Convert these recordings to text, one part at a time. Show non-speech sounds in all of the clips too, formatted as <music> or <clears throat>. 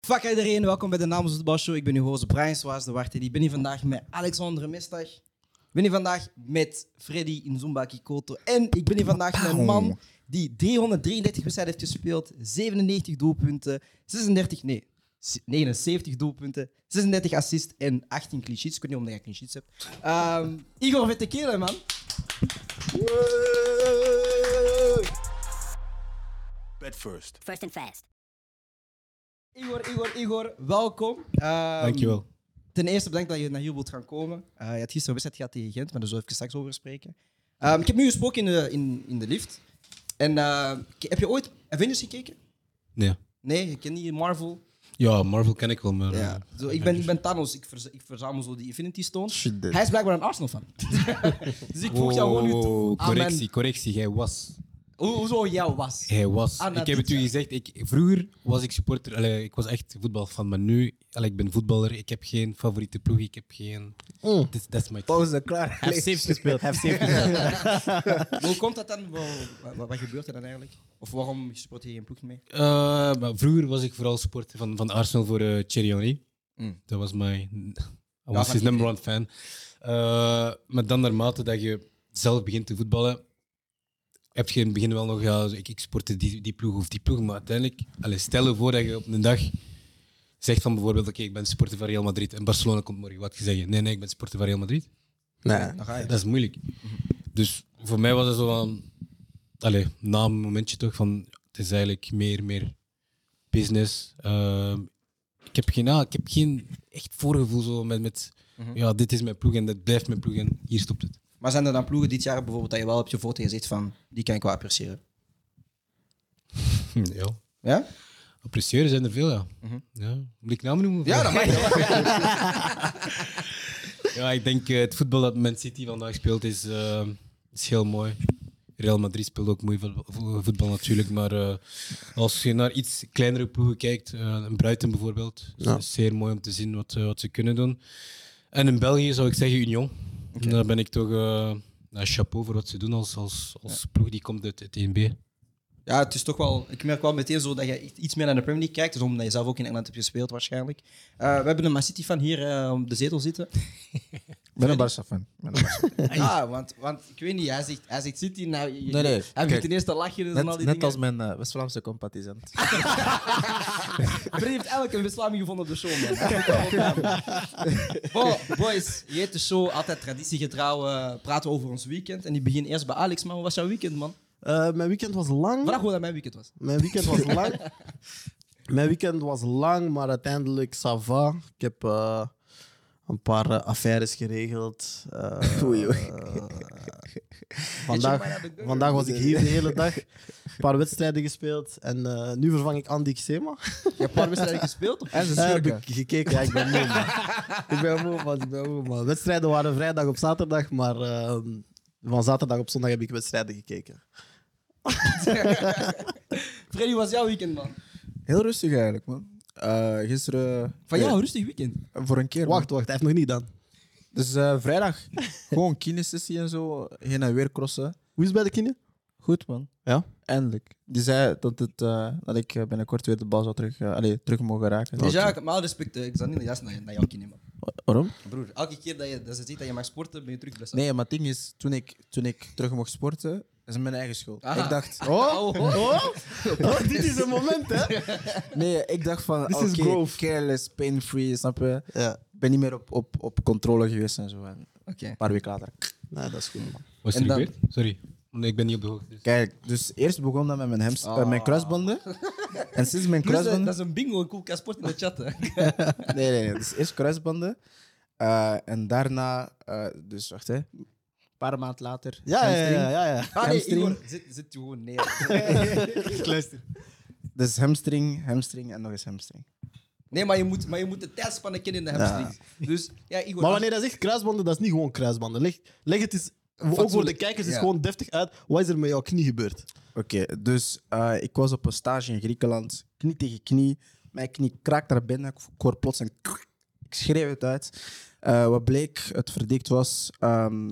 Fuck iedereen, welkom bij de Namens de Show. Ik ben uw host Brian Swaas de Warte. Ik ben hier vandaag met Alexander Mestag. Ik ben hier vandaag met Freddy Inzumba Kikoto. En ik ben hier vandaag met een man die 333 wedstrijden heeft gespeeld, 97 doelpunten, 36, nee, 79 doelpunten, 36 assists en 18 clean sheets. Ik weet niet of jij clean sheets hebt. Ehm Igor Vettekele, man. Bed first. First and fast. Igor, Igor, Igor, welkom. Ehm, Dankjewel. Ten eerste bedankt dat je naar hier wilt gaan komen. Eh, je had gisteren een wedstrijd gehad tegen Gent, maar daar zullen we even straks over spreken. Ehm, ik heb nu gesproken in de, in, in de lift. En eh, k- heb je ooit Avengers gekeken? Nee. Nee, je kent niet Marvel. Ja, Marvel ken ik wel, maar... eh, Ja. Zo, ik, ben, ik ben Thanos, ik, verz- ik verzamel zo die Infinity Stones. Shit, dude. Hij is blijkbaar een Arsenal fan. <laughs> dus ik voeg jou wow, gewoon nu toe. wow, aan mijn- correctie, correctie. Hij was. Hoe- Hoezo jou was? Hij was. Ah, nou, ik heb dit, het u ja. gezegd. Ik, vroeger was ik supporter. allee, ik was echt voetbalfan, maar nu... allee, ik ben voetballer. Ik heb geen favoriete ploeg. Ik heb geen... Mm. Dat is- Dat is mijn... Pauze, klaar. Hij heeft saves gespeeld. Hij heeft saves gespeeld. Maar Hoe komt dat dan? Wa- wa- wa- Wat gebeurt er dan eigenlijk? Of waarom support je geen ploeg meer? Eh, maar vroeger was ik vooral supporter van, van Arsenal voor eh Thierry Henry. Dat was mijn... <laughs> I was van his number one fan. Eh, maar dan naarmate dat je zelf begint te voetballen, heb je in het begin wel nog... Ja, ik, ik sportte die, die ploeg of die ploeg, maar uiteindelijk... Allez, stel je voor dat je op een dag zegt van bijvoorbeeld... Oké, ik ben supporter van Real Madrid en Barcelona komt morgen. Wat je zeggen? Nee, nee, ik ben supporter van Real Madrid. Nee. Dan ga je. Dat is moeilijk. Dus voor mij was het zo van... Allee, na een momentje toch van... Het is eigenlijk meer, meer business. Ehm, ik, heb geen, ah, ik heb geen echt voorgevoel zo met... met Ja, dit is mijn ploeg en dat blijft mijn ploeg en hier stopt het. Maar zijn er dan ploegen dit jaar bijvoorbeeld dat je wel op je voet en je zegt van, die kan ik wel appreciëren? Hm, Ja. Ja? Appreciëren zijn er veel, ja. ja. Moet ik namen noemen? of Ja, niet? dat mag je wel. Ja, ik denk eh, het voetbal dat Man City vandaag speelt is, eh, is heel mooi. Real Madrid speelt ook mooi vo- vo- voetbal natuurlijk, maar eh, als je naar iets kleinere ploegen kijkt, eh, een Bruiten bijvoorbeeld, is Ja. het zeer mooi om te zien wat, eh, wat ze kunnen doen. En in België zou ik zeggen Union. Daar ben ik toch eh, nou, chapeau voor wat ze doen als, als, als ploeg die komt uit het 1B. Ja, het is toch wel. Ik merk wel meteen zo dat je echt iets meer naar de Premier League kijkt. Dus omdat je zelf ook in Engeland hebt gespeeld, waarschijnlijk. Eh, we hebben een Man City van hier eh, op de zetel <laughs> zitten. Ik ben een Barca fan. Ik ben een Barca fan. Ja, want, want ik weet niet, hij zegt, hij zegt City. Nou, je- je- Nee, nee, Hij kijk. begint ten eerste lachen en al Net, die net als dingen. mijn eh, West-Vlaamse compatisant. Brie heeft elke beslaming gevonden op de show, <laughs> man. Bo- boys, je heet de show altijd traditiegetrouw. eh, praten we over ons weekend. En die begin eerst bij Alex, man. Hoe was jouw weekend, man? Eh, mijn weekend was lang. Vraag hoe dat mijn weekend was. Mijn weekend was lang. Mijn weekend was lang, maar uiteindelijk ça va. Ik heb eh, een paar eh, affaires geregeld. Eh, Oei, oei. eh, vandaag, vandaag was ik hier de hele dag. Een paar wedstrijden gespeeld. En eh, nu vervang ik Andy Xema. Je hebt een paar wedstrijden gespeeld? Of? En ze Eh, heb schurken. ik gekeken. Ja, ik ben moe, man. ik ben moe, man. Ik ben moe, man. Wedstrijden waren vrijdag op zaterdag, maar eh, van zaterdag op zondag heb ik wedstrijden gekeken. Freddy, hoe was jouw weekend, man? Heel rustig eigenlijk, man. Eh, gisteren... Van jou, eh, een rustig weekend. Voor een keer, man. Wacht, wacht. Hij heeft nog niet dan. Dus eh, vrijdag gewoon kinesessie en zo. Heen en weer crossen. Hoe is het bij de kine? Goed, man. Ja? Eindelijk. Die zei dat, het, eh, dat ik eh, binnenkort weer de bal zou terug, eh, allee, terug mogen raken. Dus ja, ik heb mijn alle respect. eh, Ik zal niet juist naar, naar jou kiezen, man. Wa- Waarom? Broer, elke keer dat je, dat ze ziet dat je mag sporten, ben je terug blessé. Nee, maar het ding is, toen ik, toen ik terug mocht sporten, is mijn eigen schuld. Aha. Ik dacht, Oh, oh, oh. dit is een moment, hè? nee, ik dacht van, This is oké, growth. careless, pain-free, snap je? Ja, Ik ben niet meer op, op, op controle geweest en zo. En een Oké. paar weken later. nou, dat is goed, man. Was En er dan- gebeurd? Sorry, nee, ik ben niet op de hoogte. dus. Kijk, dus eerst begon dat met mijn, hamst- eh, Ah. mijn kruisbanden. en sinds <laughs> mijn Dus, Plus, eh, kruisbanden... Dat is een bingo, een cool kan sporten in de <laughs> chat. hè. Nee, nee, nee. Dus eerst kruisbanden. eh, en daarna, eh, dus wacht hè. Een paar maanden later. Ja, ja, hamstring. ja, ja. ja. Ah nee, Hamstring. Igor, zit, zit je gewoon neer. <laughs> Dus hamstring, hamstring en nog eens hamstring. Nee, maar je moet, maar je moet de tijdspannen kennen in de hamstrings. Dus, ja, Igor. Maar wanneer hij zegt kruisbanden, dat is niet gewoon kruisbanden. Leg, leg het eens, ook voor de kijkers, is Ja. gewoon deftig uit. Wat is er met jouw knie gebeurd? Oké, dus eh, ik was op een stage in Griekenland. Knie tegen knie. Mijn knie kraakt naar binnen. Ik hoor plots een krrr. Ik schreeuw het uit. Eh, wat bleek, het verdikt was... ehm,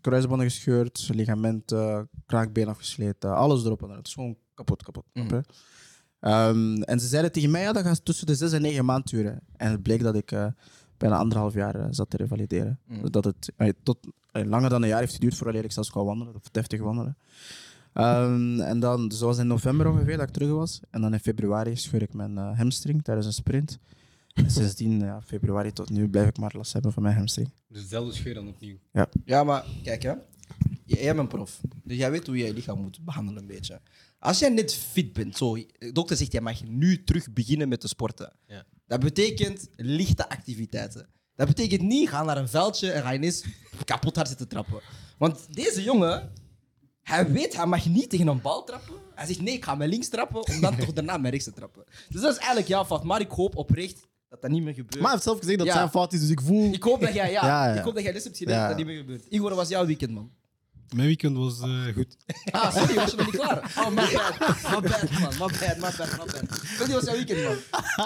kruisbanden gescheurd, ligamenten, kraakbeen afgesleten. Alles erop en eraan. Het is gewoon kapot, kapot. snap je? Ehm, en ze zeiden tegen mij, ja, dat gaat tussen de zes en negen maanden duren. En het bleek dat ik eh, bijna anderhalf jaar eh, zat te revalideren. Dus Dat het eh, tot, eh, langer dan een jaar heeft geduurd voordat ik zelfs kon wandelen, of deftig wandelen. Ehm, en dan, dus dat was in november ongeveer dat ik terug was. En dan in februari scheur ik mijn eh, hamstring tijdens een sprint. En sindsdien, ja, februari tot nu, blijf ik maar last hebben van mijn hamstring. Dus dezelfde scheur dan opnieuw. Ja, maar kijk, hè. Jij bent een prof. Dus jij weet hoe jij je lichaam moet behandelen, een beetje. Als jij net fit bent, zo, de dokter zegt, jij mag nu terug beginnen met te sporten. Ja. Dat betekent lichte activiteiten. Dat betekent niet, ga naar een veldje en ga ineens kapot hard zitten trappen. Want deze jongen, hij weet, hij mag niet tegen een bal trappen. Hij zegt, nee, ik ga mijn links trappen, om <laughs> dan toch daarna mijn rechts te trappen. Dus dat is eigenlijk jouw fout. Maar ik hoop oprecht dat dat niet meer gebeurt. Maar hij heeft zelf gezegd dat Ja. zijn fout is, dus ik voel... ik hoop dat jij, ja, Ja, ja. Ik hoop dat jij les hebt geleerd Ja. dat dat niet meer gebeurt. Igor, dat was jouw weekend, man. Mijn weekend was eh, goed. Ah, sorry, was je nog niet klaar? Oh, my bad. My bad, man. My bad, my bad, my bad. Sorry, was jouw weekend, man.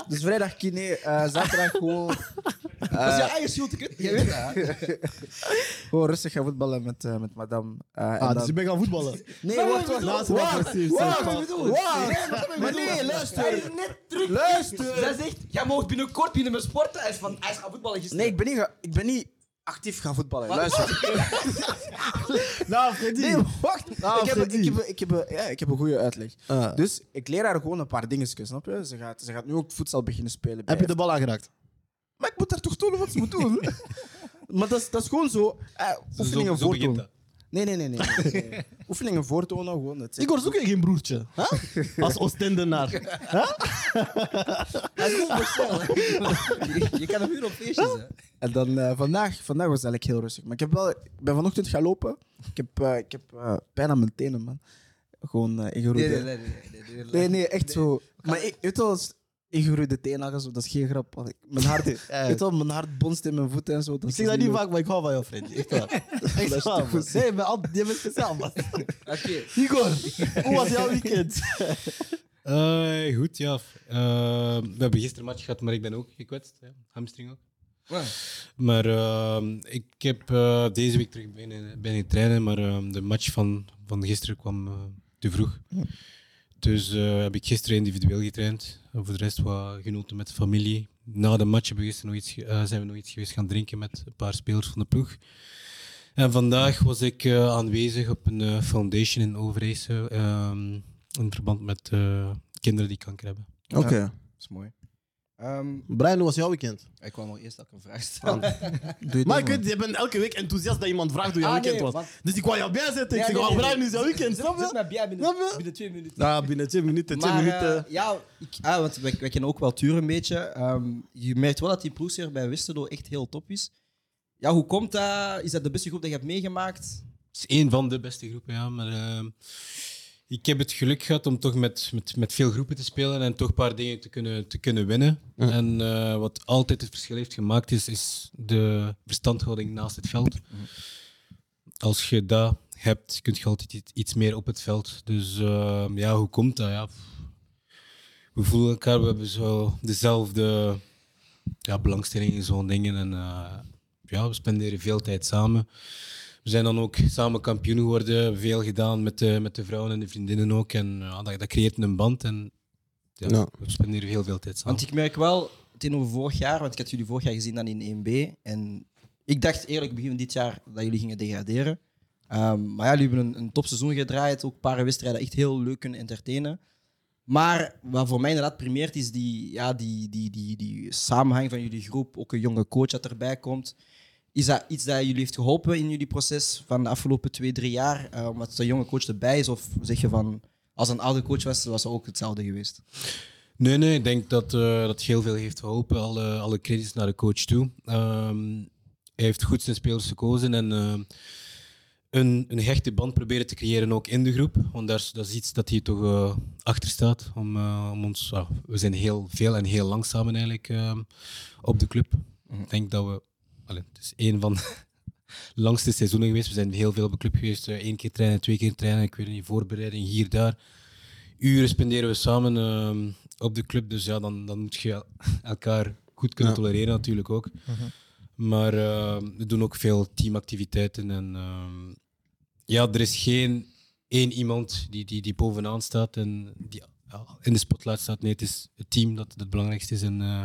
Dus vrijdag kine, eh, zaterdag gewoon, Dat is jouw eigen schuld, kut. Jij weet dat, hè? <laughs> gewoon rustig gaan voetballen met, eh, met madame. Eh, en Ah, dan- dus ik ben gaan <laughs> voetballen. Nee, Maar wacht, wat wacht. bedoel- wacht, Laatste dag wacht. precies. Wat Wacht, bedoel je? Nee, wat heb ik bedoeld? Nee, luister. Hij is net terug. Luister. Zij zegt, jij mag binnenkort binnen me sporten. Hij is van, hij is gaan voetballen gisteren. Nee, ik ben niet, ga- ik ben niet actief gaan voetballen. Luister. Nou, Freddy. Nee, wacht. Ah, ik, heb, ik, Freddy. heb, ik, heb, ja, ik heb een goede uitleg. Ah. Dus ik leer haar gewoon een paar dingetjes, snap je? Ze gaat, ze gaat nu ook voetbal beginnen spelen. bij Heb je de bal aangeraakt? Maar ik moet haar toch tonen wat ze moet doen. <laughs> maar dat is, dat is gewoon zo. eh, oefeningen zo begint voortonen. dat. Nee, nee, nee. nee, nee, nee, <laughs> nee. oefeningen voortonen, gewoon. Het Ik zoek je geen broertje. Hè? <laughs> Als Oostendenaar. Hij is goed voorstel, hè. Je- Je kan hem huren op feestjes, hè. En dan eh, vandaag, vandaag was het eigenlijk heel rustig. Maar ik, heb wel, ik ben vanochtend gaan lopen. Ik heb, eh, ik heb eh, pijn aan mijn tenen, man. Gewoon eh ingeroeide. Nee, nee, nee. nee, nee, echt zo. Maar ik, weet wel, als ingeroeide teenagels, dat is geen grap. Als ik- Mijn hart, <laughs> Ja. weet wel, mijn hart bonst in mijn voeten en zo. Ik zeg dat niet vaak, maar ik hou van jou, Freddy. Echt <laughs> waar. Echt waar, man. Nee, maar al- je bent speciaal, man. <laughs> Oké. Igor, hoe was jouw weekend? Eh, goed, ja. Eh, we hebben gisteren een match gehad, maar ik ben ook gekwetst. Ja. Hamstring ook. Maar ehm, ik heb eh, deze week terug ben beginnen trainen, maar ehm, de match van, van gisteren kwam eh, te vroeg. Dus eh, heb ik gisteren individueel getraind. En voor de rest wat genoten met de familie. Na de match hebben we gisteren nog iets, ge- eh, zijn we nog iets geweest gaan drinken met een paar spelers van de ploeg. En vandaag was ik eh, aanwezig op een eh, foundation in Overijssel ehm, in verband met eh, kinderen die kanker hebben. Oké. Dat is mooi. Ehm, Brian, hoe was jouw weekend? ik wou nog eerst dat ik een vraag stelde. Maar ik weet, je bent elke week enthousiast dat iemand vraagt hoe jouw Ah, weekend nee, was. want- Dus ik wou jou bijzetten. Ja, Ik zeg, nee, "Wat, nee, Brian, hoe is jouw weekend? Snap Zet je? mij bij Snap je? binnen, binnen twee minuten. Nou, binnen twee minuten, twee Maar, eh, minuten. ja, ik, ah, want wij, wij kennen ook wel Tuur een beetje. Ehm, je merkt wel dat die ploeg hier bij Westerlo echt heel top is. Ja, hoe komt dat? Is dat de beste groep dat je hebt meegemaakt? Het is één van de beste groepen, ja. Maar ehm, ik heb het geluk gehad om toch met, met, met veel groepen te spelen en toch een paar dingen te kunnen, te kunnen winnen. En eh, wat altijd het verschil heeft gemaakt, is, is de verstandhouding naast het veld. Als je dat hebt, kun je altijd iets- iets meer op het veld. Dus ehm, ja, hoe komt dat? Ja, we voelen elkaar, we hebben zo dezelfde ja, belangstelling in zo'n dingen. En eh, ja, we spenderen veel tijd samen. We zijn dan ook samen kampioen geworden, veel gedaan met de, met de vrouwen en de vriendinnen ook. En ja, dat, dat creëert een band en ja, Ja. we spenderen heel veel tijd samen. Want ik merk wel, tegenover vorig jaar, want ik had jullie vorig jaar gezien dan in 1B. En ik dacht eerlijk begin dit jaar dat jullie gingen degraderen. Ehm, maar ja, jullie hebben een, een topseizoen gedraaid. Ook een paar wedstrijden echt heel leuk kunnen entertainen. Maar wat voor mij inderdaad primeert is die, ja, die, die, die, die samenhang van jullie groep. Ook een jonge coach dat erbij komt. Is dat iets dat jullie heeft geholpen in jullie proces van de afgelopen twee, drie jaar? eh, omdat zo'n jonge coach erbij is? Of zeg je van, als een oude coach was, was het ook hetzelfde geweest? Nee, nee, ik denk dat, eh, dat heel veel heeft geholpen. Alle, alle credits naar de coach toe. Ehm, hij heeft goed zijn spelers gekozen en ehm, een, een hechte band proberen te creëren ook in de groep. Want daar is- dat is iets dat hier toch eh, achter staat. Om, eh, om ons, ah, we zijn heel veel en heel langzaam eigenlijk ehm, op de club. Ik denk dat we. allee, het is één van <laughs> de langste seizoenen geweest. We zijn heel veel op de club geweest. Eén keer trainen, twee keer trainen. Ik weet niet, voorbereiding hier, daar uren spenderen we samen ehm, op de club. Dus ja, dan, dan moet je el- elkaar goed kunnen tolereren natuurlijk ook. Maar ehm, we doen ook veel teamactiviteiten. En ehm, ja, er is geen één iemand die, die, die bovenaan staat en die ja, in de spotlight staat. Nee, het is het team dat het belangrijkste is. En eh,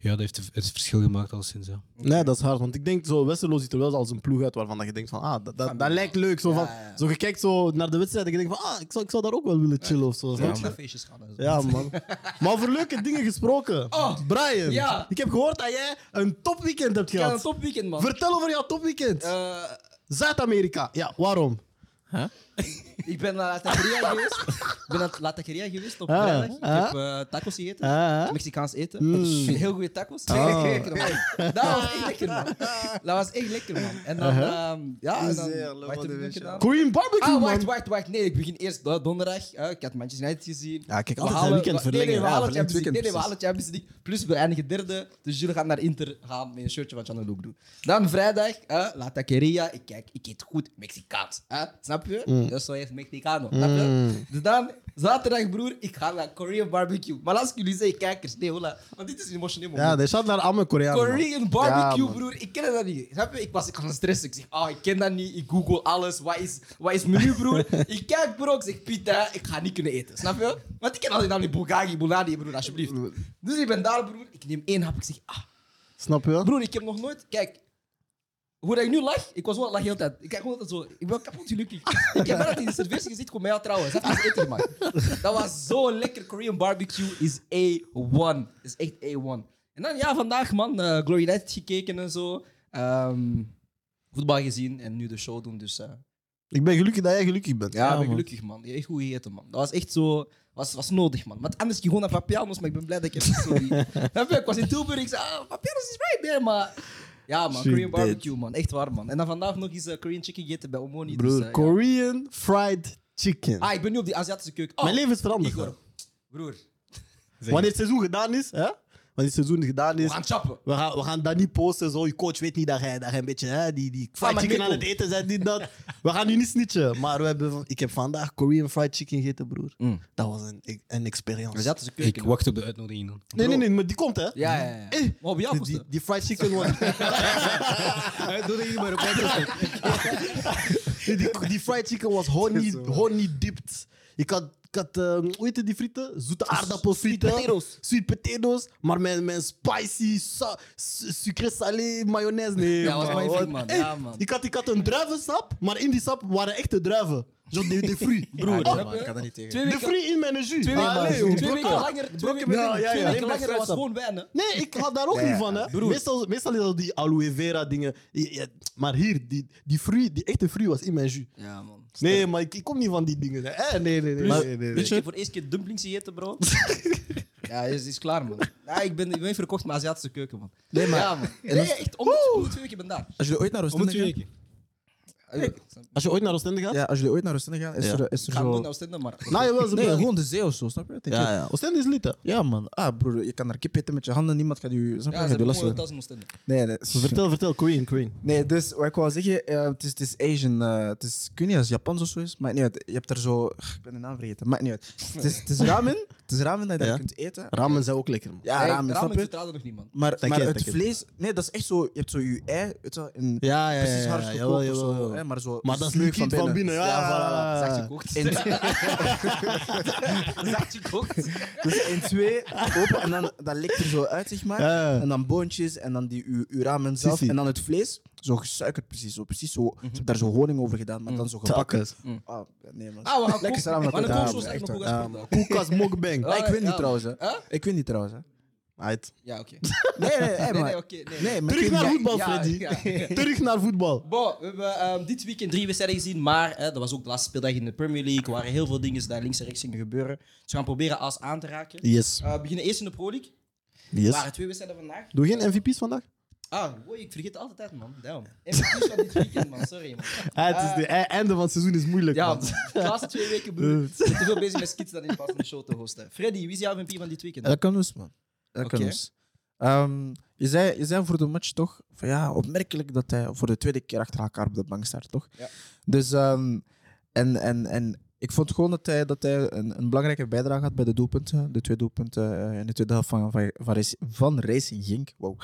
ja, dat heeft het het verschil gemaakt al sinds. Ja. Nee, dat is hard. Want ik denk, zo, Westerlo ziet er wel als een ploeg uit waarvan dat je denkt van, ah, dat, dat, dat lijkt leuk. Zo, van, ja, ja. zo je kijkt zo naar de wedstrijd en je denkt van, ah, ik zou, ik zou daar ook wel willen chillen of zo. snap je? naar feestjes gaan. en zo. Ja, <laughs> man. Maar over leuke dingen gesproken. Oh, Brian, ja. ik heb gehoord dat jij een topweekend hebt Ik had een gehad. topweekend, man. Vertel over jouw topweekend. Eh, Zuid-Amerika. Ja, waarom? ik ben naar La <laughs> Taqueria geweest. Ik ben naar La Taqueria geweest op Ah, vrijdag. Ik ah. heb eh, tacos gegeten. Ah, Mexicaans eten. Mm. Ah. Heel goede tacos. <laughs> Lekker, man. Dat was echt lekker, <laughs> man. Dat was echt lekker, man. En dan, ehm, ja, en dan, Zeer, wacht, heb ik nog Lewandowski. gedaan? Korean barbecue, Ah, man. wacht, wacht, wacht. Nee, ik begin eerst do- donderdag. Eh, ik had Manchester United gezien. Ja, kijk, We altijd halen- een weekend wa- nee, Nee, verlengen. we Ja, halen verlengd Champions League. Nee, nee, we weekend, halen Champions League. Plus, we eindigen derde. Dus jullie gaan naar Inter gaan met een shirtje van Channel Loop doen. Dan vrijdag, eh, La Taqueria. Ik kijk, ik eet goed Mexicaans. hè? Snap je? Mm. Dat is zo echt Mexicano. Snap je? Dus dan, zaterdag, broer, ik ga naar Korean barbecue. Maar als ik jullie zeggen, kijkers, nee, hola. Want dit is een emotioneel moment. Ja, dat staat naar allemaal Koreanen. man. Korean Ja, barbecue, man. broer. Ik ken dat niet. Snap je? Ik was ik was aan het stressen. Ik zeg, ah, ik ken dat niet. Ik google alles. Wat is, wat is menu, <laughs> broer? ik kijk, broer. Ik zeg, Pita, ik ga niet kunnen eten. Snap je? Want ik ken al die namen, Bulgari, Bulgari, broer, alsjeblieft. Dus ik ben daar, broer. Ik neem één hap. Ik zeg, ah, Snap je? broer, ik heb nog nooit... Kijk, hoe dat ik nu lach, ik was wel lach heel de tijd. Ik kijk gewoon altijd zo. Ik ben kapot gelukkig. ik heb net in de serveertje gezien, kom mij aan trouwens. Dat is eten gemaakt. Dat was zo lekker. Korean barbecue is A1. Is echt A1. En dan ja, vandaag man, eh, Glory United gekeken en zo. Ehm, voetbal gezien en nu de show doen. Dus eh, Ik ben gelukkig dat jij gelukkig bent. ja, ik ben gelukkig man. Je hebt echt goed gegeten man. Dat was echt zo. Was, was nodig, man. Want anders ging ik gewoon naar Papianos, maar ik ben blij dat ik het <laughs> zo niet- Snap je? Ik was in Tilburg, ik zei, ah, Papianos is right there, maar... Ja, man, Shit, Korean dit. barbecue, man. Echt waar, man. En dan vandaag nog eens eh, Korean chicken gegeten bij Omoni. dus, Broer, eh, ja. Korean fried chicken. Ah, ik ben nu op die Aziatische keuken. Oh, Mijn leven is veranderd. Igor. hè. Broer, Wanneer het seizoen gedaan is, hè? Wanneer het seizoen gedaan we is, gaan chappen. we gaan, we gaan dat niet posten. Zo. Je coach weet niet dat jij, dat jij een beetje hè, die, die Ah, fried maar chicken aan Nico. het eten bent. Dit, dat. We gaan nu niet snitchen. Maar we hebben, van- ik heb vandaag Korean fried chicken gegeten, broer. Mm. Dat was een, een experience. Aziatische keuken. Ik wacht op de uitnodiging dan. nee, nee, nee, maar die komt, hè? Ja, ja, ja. Eh, Maar op jouw die, die, kosten. die fried <laughs> chicken was. Uitnodiging, maar op uitnodiging. Nee, die, die fried chicken was <laughs> honey, honey dipped. Ik had, ik had ehm, hoe heet het, die frieten? Zoete aardappelfrieten. potatoes. Sweet potatoes. Maar mijn, mijn spicy sa- su- sucre salé mayonaise. Nee, Ja, was man, mijn wat- vriend, man. Hey, Ja, man. Ik, had, ik had een druivensap, maar in die sap waren echte druiven. Zo de, de <laughs> fruit, broer. ik kan daar niet tegen. Twee de weken, fruit in mijn jus. twee Ah, weken, nee, twee joh, weken brokken. langer. Twee weken, Ja, ja, twee ja. Alleen weken maar langer was fruitsap. gewoon wennen. Nee, ik had daar ook niet van, hè. Meestal, meestal is dat die aloe vera dingen. Ja, ja, Maar hier, die, die fruit, die echte fruit was in mijn jus. Ja, man. Nee, maar ik, ik kom niet van die dingen. hè. Eh, nee, nee, nee. Maar- nee, nee, nee. Weet je, ik heb voor de eerste keer dumplings gegeten, bro. <laughs> ja, is, is klaar, man. Ja, ik, ben, ik ben verkocht met Aziatische keuken, man. Nee, maar... Ja, man. Nee, echt, om de, om de twee weken ben ik daar. Als jullie ooit naar Oostende gaan, Ah, Als je ooit naar Oostende gaat? ja, als jullie ooit naar Oostende gaan, is Ja. er, is er Ik ga nooit zo... naar Oostende, maar... Nou, jawel, ze Nee, brengen- gewoon de zee of zo, snap je? Denk je- Ja, ja. Oostende is lid, hè. Ja, man. Ah, broer, je kan daar kip eten met je handen, niemand gaat je, snap je, Ja, ze gaat je hebben last mooie doen. hotels in Oostende. Nee, nee. Vertel, vertel, Queen, Queen. Nee, dus wat ik wou zeggen, eh, het, is, het is Asian, eh, het is, ik weet niet of het Japans of zo is, maakt niet uit. Je hebt er zo, <laughs> ik ben de naam vergeten, maakt niet uit. Het is, het is ramen, het is ramen dat je daar Ja. kunt eten. Ramen zijn ook lekker, man. Ja, Hey, ramen, snap ramen je? vertrouwde nog niet, man. Maar, Dank maar je, het dank je. vlees, nee, dat is echt zo, je hebt zo je ei, weet je wel, en Ja, ja, precies hard gekookt jawel, of zo, jawel. hè, maar zo Maar dat is smeuig liquid van binnen. ja, Dat is echt ja, gekookt. <laughs> En- Dat is echt <laughs> gekookt. Dus in twee open en dan dat lekt er zo uit, zeg maar. Ja, ja. En dan boontjes en dan die u, uw ramen zelf. Sissi. En dan het vlees, zo gesuikerd precies. Zo, precies zo. Ze hebben daar zo honing over gedaan, maar Mhm. dan zo gebakken. Takkes. Ah, nee, man. Ah, we gaan Lekker koken. samen We met gaan een kookshow elkaar, man, zijn, echt maar waar. koken is Koekas mukbang. <laughs> Ah, ik win Ja. niet trouwens, hè. Huh? Ik win niet trouwens, hè. Uit. Ja, oké. Nee, nee, <laughs> nee, Nee, maar- nee, oké. nee, nee. nee, maar Terug ik- naar ja, voetbal, ja, Freddy. ja. <laughs> Terug naar voetbal. Bon, we hebben ehm, dit weekend drie wedstrijden gezien, maar hè, dat was ook de laatste speeldag in de Premier League. Er waren heel veel dingen daar links en rechts gingen gebeuren. Dus we gaan proberen alles aan te raken. Yes. Eh, we beginnen eerst in de Pro League. Er yes. waren twee wedstrijden vandaag. Doe geen MVP's vandaag? Ah, boy, ik vergeet het altijd uit, man. Damn. En het is van dit weekend, man. Sorry, man. het is de e- einde van het seizoen is moeilijk, Ja, man. de laatste twee weken, broer. Ik ben te veel bezig met skits dan in plaats van de show te hosten. Freddy, wie is jouw MVP van dit weekend? El Canoes, man. El Oké. Canoes. Ehm, je, zei, je zei voor de match toch van ja, opmerkelijk dat hij voor de tweede keer achter elkaar op de bank staat, toch? Ja. Dus ehm, en, en, en ik vond gewoon dat hij, dat hij een, een belangrijke bijdrage had bij de doelpunten. De twee doelpunten eh, in de tweede helft van, van, van, Raci- van Racing Gink. Wow.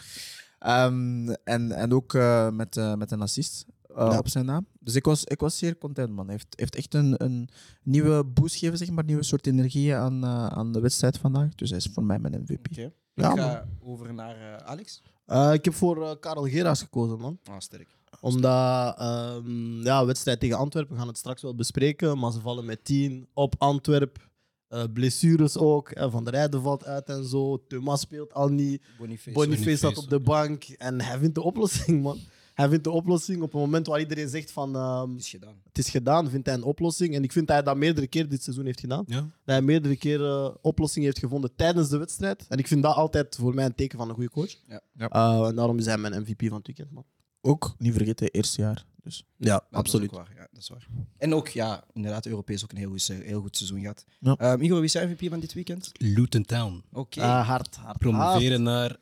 Ehm, en, en ook eh, met, eh, met een assist. eh, Ja. op zijn naam. Dus ik was, ik was zeer content, man. Hij heeft, heeft echt een, een nieuwe boost gegeven, zeg maar, nieuwe soort energie aan, eh, aan de wedstrijd vandaag. Dus hij is voor mij mijn MVP. Oké. Ja, ik man. ga over naar eh, Alex. Eh, ik heb voor eh, Karel Geraas gekozen, man. Ah, sterk. Omdat, ehm, ja, wedstrijd tegen Antwerpen, we gaan het straks wel bespreken. Maar ze vallen met 10 op Antwerp. Eh, blessures ook. eh, Van der Rijden valt uit en zo. Thomas speelt al niet. Boniface. Boniface zat Boniface, op de bank. En hij vindt de oplossing, man. Hij vindt de oplossing op het moment waar iedereen zegt van ehm, is gedaan. het is gedaan, vindt hij een oplossing. En ik vind dat hij dat meerdere keer dit seizoen heeft gedaan. Ja. Dat hij meerdere keren oplossingen heeft gevonden tijdens de wedstrijd. En ik vind dat altijd voor mij een teken van een goede coach. Ja. Ja. Eh, en daarom is hij mijn MVP van het weekend, man. Ook, niet vergeten, eerste jaar. Dus. Ja, Ja, Nou, Dat is ook waar. Ja, dat is waar. En ook, ja, inderdaad, Europees ook een heel goed, se- heel goed seizoen gehad. Ja. Ehm, Igor, wie is jouw MVP van dit weekend? Luton Town. Oké. Ah, hard, hard. Promoveren naar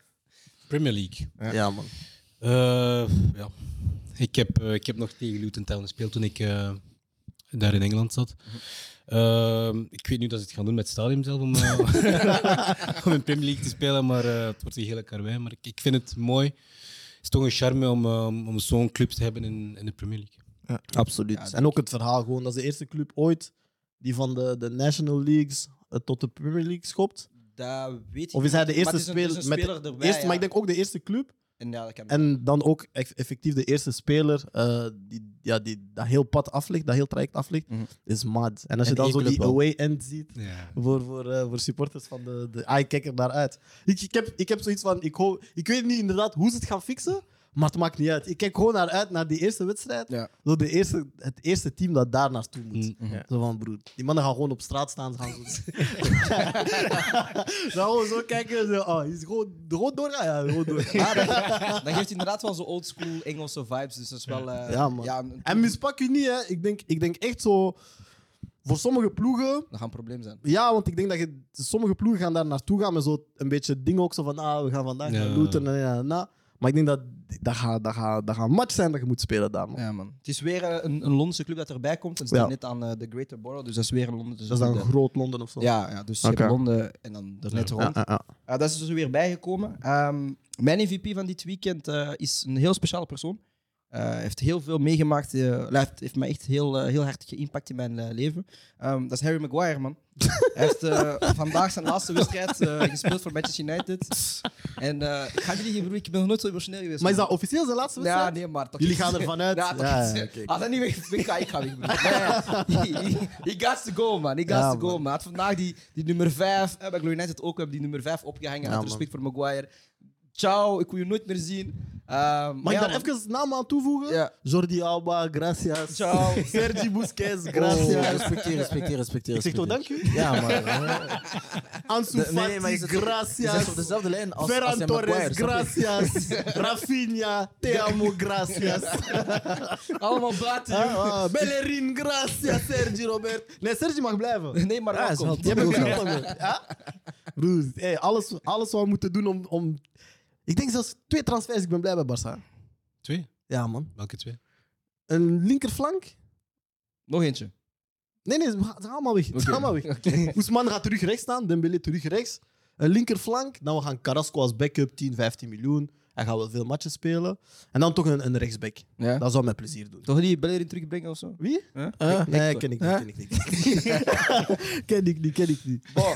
Premier League. hard. Ja, man. Eh, ja. ik, heb, eh, ik heb nog tegen Luton Town gespeeld toen ik eh, daar in Engeland zat. Ehm, ik weet nu dat ze het gaan doen met het stadion zelf om, eh, <laughs> om in Premier League te spelen, maar eh, het wordt een hele karwei. Maar ik, ik vind het mooi. Het is toch een charme om, eh, om om zo'n club te hebben in, in de Premier League. Absoluut. Ja, en ook het verhaal gewoon. Dat is de eerste club ooit die van de, de National Leagues eh, tot de Premier League schopt. Dat weet ik Of is hij de niet, maar eerste het is een- het is speler? een met de speler erbij, eerste, ja. Maar ik denk ook de eerste club. En, ja, dat kan En dan ook eff- effectief de eerste speler eh, die, ja, die dat heel pad aflegt, dat heel traject aflegt, Mhm. is mad. En als En je dan één zo club die wel. away end ziet, Ja. voor, voor, eh, voor supporters van de, de ah, ik kijk er naar uit. Ik, ik, heb, ik heb zoiets van, ik, hoop, ik weet niet inderdaad hoe ze het gaan fixen, maar het maakt niet uit. Ik kijk gewoon naar uit naar die eerste wedstrijd. Ja. Zo de eerste, het eerste team dat daar naartoe moet. Mhm. Ja. Zo van, broer, die mannen gaan gewoon op straat staan. ze Gaan zo... <laughs> Ze gaan gewoon zo kijken. Zo, oh, is gewoon, gewoon door. Ah, Ja, ja, gewoon <laughs> door. Dat geeft inderdaad wel zo oldschool Engelse vibes. Dus dat is wel... eh, Ja, man. een- en mispak je niet, hè. Ik denk, ik denk echt zo... Voor sommige ploegen... dat gaat een probleem zijn. Ja, want ik denk dat je, sommige ploegen gaan daar naartoe gaan met zo een beetje het ding ook zo van ah, we gaan vandaag Ja. naar looten en ja, na. Maar ik denk dat dat gaat dat gaat dat gaat een match zijn dat je moet spelen daar. Man. Ja, man. Het is weer eh, een, een Londense club dat erbij komt. En ze Ja. doen net aan eh, de Greater Borough, dus dat is weer in Londen. Dus Dat is dan de- groot Londen of zo. ja, ja, dus je Oké. hebt Londen en dan er net rond. Ja, ja, ja. Eh, dat is dus weer bijgekomen. Ehm, mijn MVP van dit weekend eh, is een heel speciale persoon. Eh, Hij heeft heel veel meegemaakt. eh, Hij heeft, heeft mij echt heel, eh, heel hard geïmpact in mijn eh, leven. Ehm, dat is Harry Maguire, <laughs> man. Hij heeft eh, vandaag zijn laatste wedstrijd eh, gespeeld voor Manchester United. En eh, ik ga jullie broer, ik ben nog nooit zo emotioneel geweest. Maar is man. dat officieel zijn laatste Ja, wedstrijd? nee, maar toch Jullie iets. gaan ervan uit. Ja, toch Ja, iets. ja, oké, Als dat niet weg is, dan ga ik gaan weg. broer. Nee, nee. <laughs> He- he- He got to go, man. He got Ja, to go, man. Hij had vandaag die, die nummer eh, 5, bij Glory United ook, we hebben die nummer 5 opgehangen. Ja, uit man. respect voor Maguire. Ciao, ik wil je nooit meer zien. Ehm, Mag ja, ik daar man. even namen aan toevoegen? Ja. Jordi Alba, gracias. Ciao. <laughs> Sergi Busquets, Oh, gracias. respecteer, respecteer, respecteer. ik zeg toch respecteer. dank u? Ja, maar... <laughs> Ansu De- Fati, je zit- je gracias. zit op dezelfde lijn als, als Ferran hij Torres, Maguire, snap je? gracias. Rafinha, te amo, gracias. Allemaal buiten. Ah, ah, Bellerin, gracias, Sergi Robert. Nee, Sergi mag blijven. <laughs> Nee, maar Ja, is wel welkom. Jij bent Broer, ook niet meer. Ja? Broer, hey, alles, alles wat we moeten doen om, om... Ik denk zelfs twee transfers, ik ben blij bij Barça. Twee? Ja, man. Welke twee? Een linkerflank? Nog eentje. Nee, nee, ze gaan ze gaan allemaal weg. Ze gaan allemaal <laughs> weg. Oesman gaat terug rechts staan, Dembele terug rechts. Een linkerflank, dan we gaan Carrasco als backup, 10, 15 miljoen. Hij gaat wel veel matches spelen. En dan toch een, een rechtsback. Ja. Dat zou mij plezier doen. Toch die Bellerin terugbrengen of zo? Wie? Huh? Ah, Eh, nee, Hector. ken ik niet. Ken ik niet. ken ik niet, ken ik niet. <laughs> Bon,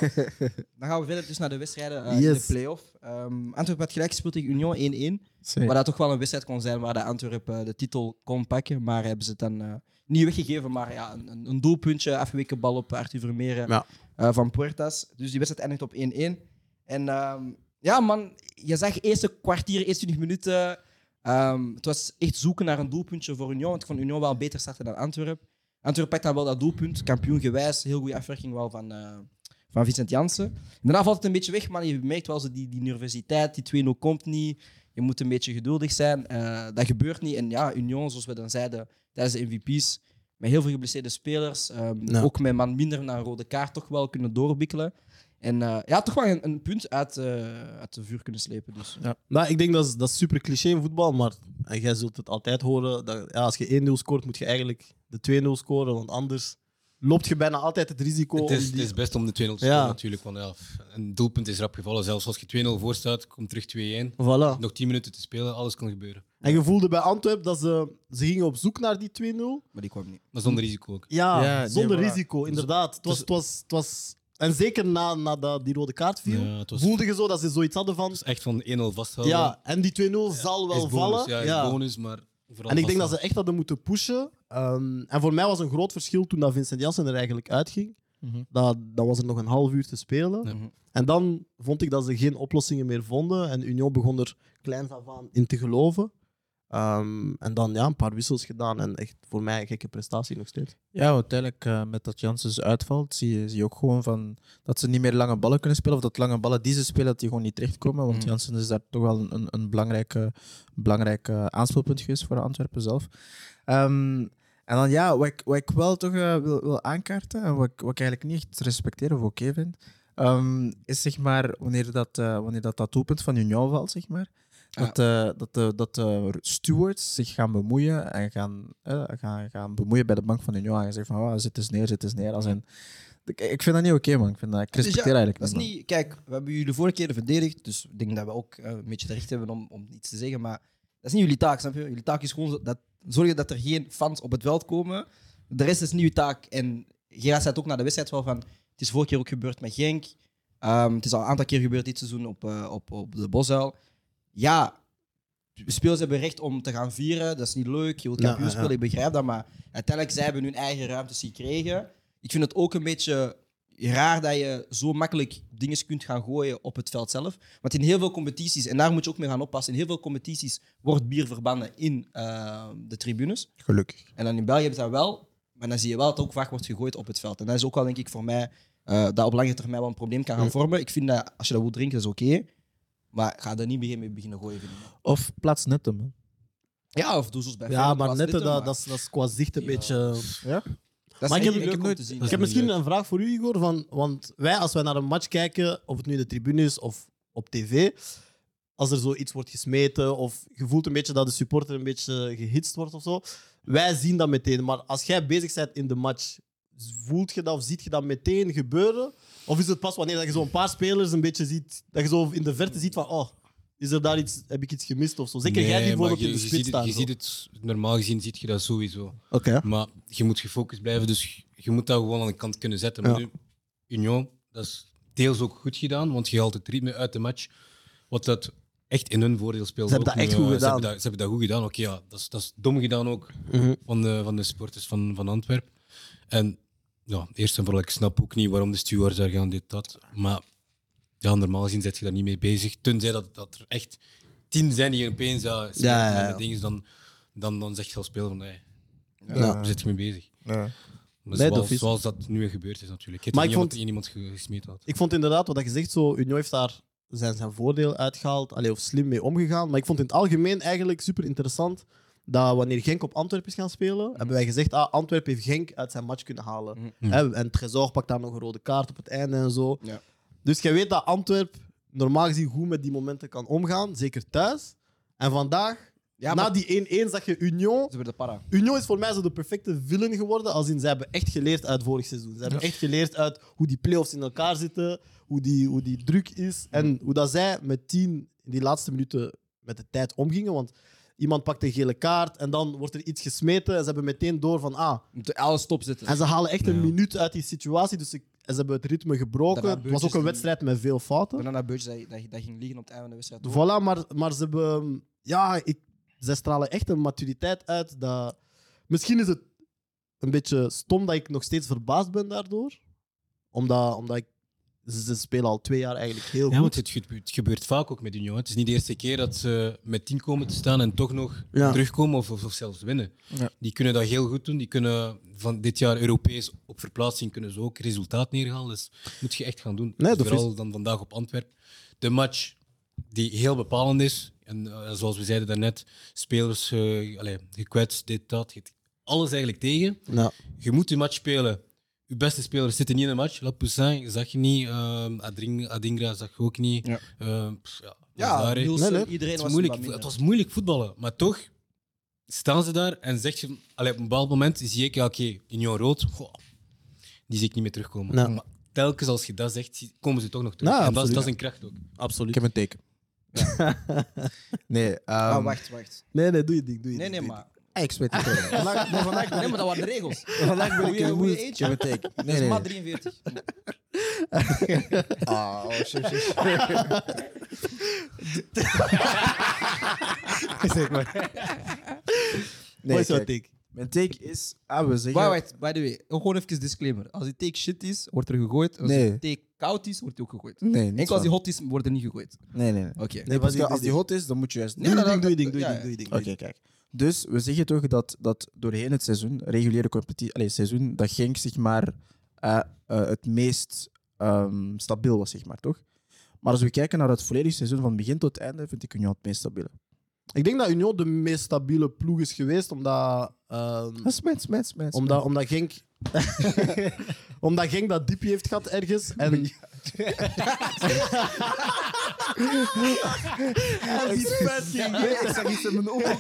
dan gaan we verder dus naar de wedstrijden eh, in de Yes. play-off. Ehm Antwerpen had gelijk gespeeld tegen Union 1-1. Zeker. Waar dat toch wel een wedstrijd kon zijn waar de Antwerpen eh, de titel kon pakken. Maar hebben ze het dan eh, niet weggegeven. Maar ja, een, een- een doelpuntje, afgeweken bal op Arthur Vermeer Ja. eh, van Puertas. Dus die wedstrijd eindigt op 1-1. En ehm, ja, man, je zag eerste kwartier, eerste 20 minuten. ehm, het was echt zoeken naar een doelpuntje voor Union. Want ik vond Union wel beter starten dan Antwerpen. Antwerpen pakt dan wel dat doelpunt. Kampioen gewijs, heel goede afwerking wel van, eh, van Vincent Jansen. Daarna valt het een beetje weg, maar je merkt wel zo die, die nervositeit. Die 2-0 komt niet. Je moet een beetje geduldig zijn. Eh, dat gebeurt niet. En ja, Union, zoals we dan zeiden tijdens de MVP's, met heel veel geblesseerde spelers, ehm, Ja. ook met man minder naar een rode kaart, toch wel kunnen doorbikkelen. En eh, ja, toch wel een, een punt uit, eh, uit de vuur kunnen slepen. Dus. Nou, ik denk dat is, dat is super cliché in voetbal, maar en jij zult het altijd horen. Dat, ja, als je 1-0 scoort, moet je eigenlijk de 2-0 scoren, want anders loopt je bijna altijd het risico. Het is, om Oh, die- het is best om de 2-0 te scoren Ja. natuurlijk. Want ja, een doelpunt is rap gevallen. Zelfs als je 2-0 voor staat, komt terug 2-1. Voilà. Nog 10 minuten te spelen, alles kan gebeuren. En je voelde bij Antwerpen dat ze, ze gingen op zoek naar die 2-0. Maar die kwam niet. Maar zonder risico ook. Ja, Ja, nee, zonder maar- risico, Dus- inderdaad. Het was, het was, het was, en zeker na, nadat die rode kaart viel, Ja, het was- voelde je zo dat ze zoiets hadden van... Dus echt van 1-0 vasthouden. Ja, en die 2-0 zal wel is bonus, vallen. Ja, is Ja. bonus, maar vooral En ik denk dat ze vasthouden. echt hadden moeten pushen. Ehm, en voor mij was een groot verschil toen dat Vincent Janssen er eigenlijk uitging. Mhm. dat, dat was er nog een half uur te spelen. Ja. Mhm. En dan vond ik dat ze geen oplossingen meer vonden. En Union begon er kleins af aan in te geloven. Ehm, en dan ja, een paar wissels gedaan. En echt voor mij een gekke prestatie nog steeds. Ja, want uiteindelijk eh, met dat Janssens uitvalt, zie je, zie je ook gewoon van dat ze niet meer lange ballen kunnen spelen. Of dat lange ballen die ze spelen, dat die gewoon niet terechtkomen. Want Mm. Mhm. Janssen is daar toch wel een, een, een belangrijke, belangrijk eh, aanspeelpunt geweest voor Antwerpen zelf. Ehm, en dan ja, wat ik, wat ik wel toch eh, wil, wil aankaarten en wat ik, wat ik eigenlijk niet echt respecteer of oké vind, ehm, is zeg maar wanneer dat, eh, wanneer dat, dat doelpunt van Union valt, zeg maar. Dat, eh, dat, de, dat de stewards zich gaan bemoeien en gaan, eh, gaan, gaan bemoeien bij de bank van Union. En zeggen van, oh, zit eens neer, zit eens neer. Als in, ik, ik vind dat niet oké, man. Ik, vind dat, ik Dus ja, respecteer eigenlijk Dat is man. niet, kijk, we hebben jullie de vorige keer verdedigd, dus ik denk dat we ook eh, een beetje terecht hebben om, om iets te zeggen, maar dat is niet jullie taak, snap je? Jullie taak is gewoon zo- dat, zorgen dat er geen fans op het veld komen. De rest is niet uw taak. En Gerard zei het ook na de wedstrijd wel van, het is vorige keer ook gebeurd met Genk, Ehm, het is al een aantal keer gebeurd dit seizoen op, eh, op, op de Bosuil. Ja, de spelers hebben recht om te gaan vieren, dat is niet leuk, je wilt Ja, kampioen ja, ja. spelen, ik begrijp dat, maar uiteindelijk zij hebben hun eigen ruimtes gekregen. Ik vind het ook een beetje raar dat je zo makkelijk dingen kunt gaan gooien op het veld zelf. Want in heel veel competities, en daar moet je ook mee gaan oppassen, in heel veel competities wordt bier verbannen in eh, de tribunes. Gelukkig. En dan in België hebben ze dat wel, maar dan zie je wel dat het ook vaak wordt gegooid op het veld. En dat is ook wel, denk ik, voor mij, eh, dat op lange termijn wel een probleem kan gaan vormen. Ik vind dat als je dat wil drinken, dat is oké. maar ga er niet begin- mee beginnen gooien. Vind ik. Of plaats netten, man. Ja, of doe zoals bij Ja, Feyenoord, maar was net eh, dit dat, hem, maar dat, is, dat is qua zicht een Ja. beetje... dat is maar ik niet heb- leuk ik heb om nooit- te zien. Dat is Ik heb niet misschien leuk. een vraag voor u, Igor. Van, want wij, als wij naar een match kijken, of het nu in de tribune is of op tv, als er zoiets wordt gesmeten of je voelt een beetje dat de supporter een beetje gehitst wordt of zo, wij zien dat meteen. Maar als jij bezig bent in de match, voelt je dat of ziet je dat meteen gebeuren? Of is het pas wanneer dat je zo'n paar spelers een beetje ziet, dat je zo in de verte ziet van, oh, is er daar iets, heb ik iets gemist of zo? Zeker jij die Nee, maar bijvoorbeeld je- in de je spits ziet het- staat. Je zo. ziet het, normaal gezien ziet je dat sowieso. Oké. Maar je moet gefocust blijven, dus je moet dat gewoon aan de kant kunnen zetten. Maar nu, Union, dat is deels ook goed gedaan, want je haalt het ritme uit de match. Wat dat echt in hun voordeel speelt. Ze hebben Ook dat echt nu, goed eh, Ze gedaan. Mhm. hebben dat, ze hebben dat goed gedaan. Oké, ja, dat, is, dat is dom gedaan ook van, de, van de supporters van, van Antwerpen. En ja, eerst en vooral, ik snap ook niet waarom de stewards daar gaan, dit, dat. Maar ja, normaal gezien zet je daar niet mee bezig. Tenzij dat, dat er echt tien zijn die opeens ja, smijten ja, met ja. de dingen, dan, dan, dan zegt je als speler van, nee, Ja. daar zit je mee bezig. Ja. Maar Nee, dat zoals, is- zoals dat nu gebeurd is natuurlijk. Het Maar maar ik iemand vond- in iemand ge- gesmeed had. Ik vond inderdaad wat je zegt, zo, Union heeft daar zijn, zijn voordeel uitgehaald allee, of slim mee omgegaan. Maar ik vond in het algemeen eigenlijk super interessant dat wanneer Genk op Antwerpen is gaan spelen, hebben wij gezegd ah, Antwerpen heeft Genk uit zijn match kunnen halen. Mhm. Hè, en Trezor pakt daar nog een rode kaart op het einde en zo. Ja. Dus jij weet dat Antwerp normaal gezien goed met die momenten kan omgaan, zeker thuis. En vandaag, Ja, na maar ze die 1-1, zag je Union hebben de para. Union is voor mij zo de perfecte villain geworden. Als in, ze hebben echt geleerd uit vorig seizoen. Ze hebben echt geleerd uit hoe die play-offs in elkaar zitten, hoe die, hoe die druk is en hoe dat zij met tien in die laatste minuten met de tijd omgingen. Want iemand pakt een gele kaart en dan wordt er iets gesmeten en ze hebben meteen door van ah. Moet alles stopzetten. En ze halen echt een Ja. minuut uit die situatie, dus ik- en ze hebben het ritme gebroken. Daarna Het was ook een die- wedstrijd met veel fouten. Daarna dat Beurtje dat, dat, dat ging liggen op het einde van de wedstrijd. hoor. Voilà, maar, maar ze hebben... ehm, Ja, ik, ze stralen echt een maturiteit uit. Dat, misschien is het een beetje stom dat ik nog steeds verbaasd ben daardoor. Omdat, omdat ik... Ze, ze spelen al twee jaar eigenlijk heel Ja, want goed. het gebeurt, het gebeurt vaak ook met Union. hè. Het is niet de eerste keer dat ze met 10 komen te staan en toch nog Ja. terugkomen of, of, of zelfs winnen. Ja. Die kunnen dat heel goed doen. Die kunnen van dit jaar Europees op verplaatsing kunnen ze ook resultaat neerhalen. Dus dat moet je echt gaan doen. Nee, Dus dat is- vooral dan vandaag op Antwerpen. De match die heel bepalend is. En eh, zoals we zeiden daarnet, spelers eh allee, gekwetst, dit, dat. het- Alles eigenlijk tegen. Ja. Je moet die match spelen. Je beste spelers zitten niet in de match. Lapoussin zag je niet. ehm, Adring- Adingra zag je ook niet. Ja. Ehm, pff, ja, Ja, Lazare. Nielsen, Nee, nee. iedereen was het, was moeilijk, wat minder. het was moeilijk voetballen. Maar toch staan ze daar en zeg je... Allee, op een bepaald moment zie ik, ja, oké, Union Rood, goh, die zie ik niet meer terugkomen. Nou. Maar telkens als je dat zegt, zie- komen ze toch nog terug. Nou, en dat, is- absoluut. dat is een kracht ook. Ik Absoluut. heb een teken. <laughs> Nee, ehm, Um, Ah, wacht, wacht. Nee, nee, doe je ding. Doe je Nee, nee, ding, doe maar. Ik zweet het wel. <laughs> Vandaag, maar vandaag, nee, maar dat waren de regels. Vandaag ben ik Hoe je- in hoe je moed. eet, Ja, betek. Dat Nee, is nee. maar 43. Ah, oh, shit, shit. <laughs> Zeg maar. je ding. Wat Nee, is jouw kijk. take? Mijn take is... Ah, we zeggen... Wacht, wacht, by the way. Gewoon even disclaimer. Als die take shit is, wordt er gegooid. Als die Nee. take koud is, wordt die ook gegooid. Nee, niet Enkel als die waar. hot is, wordt er niet gegooid. Nee, nee, nee. Oké. Nee, wat want doe je als die ding? hot is, dan moet je juist... Nee, Doe je dat- ding, doe je ding, doe je ja, ding, ja. doe je ding. Oké, doe je kijk. Dus we zeggen toch dat, dat doorheen het seizoen, reguliere competitie, allez, seizoen, dat Genk zeg maar, eh, eh, het meest ehm, stabiel was, zeg maar, toch? Maar als we kijken naar het volledige seizoen van begin tot einde, vind ik Union het meest stabiele. ding. Ik denk dat Union de meest stabiele ploeg is geweest, omdat... ehm, Dat is mens, mens, mens. Omdat, omdat Genk... omdat Genk dat diepje heeft gehad ergens. En... Hij is fucking ik zag iets in mijn ogen.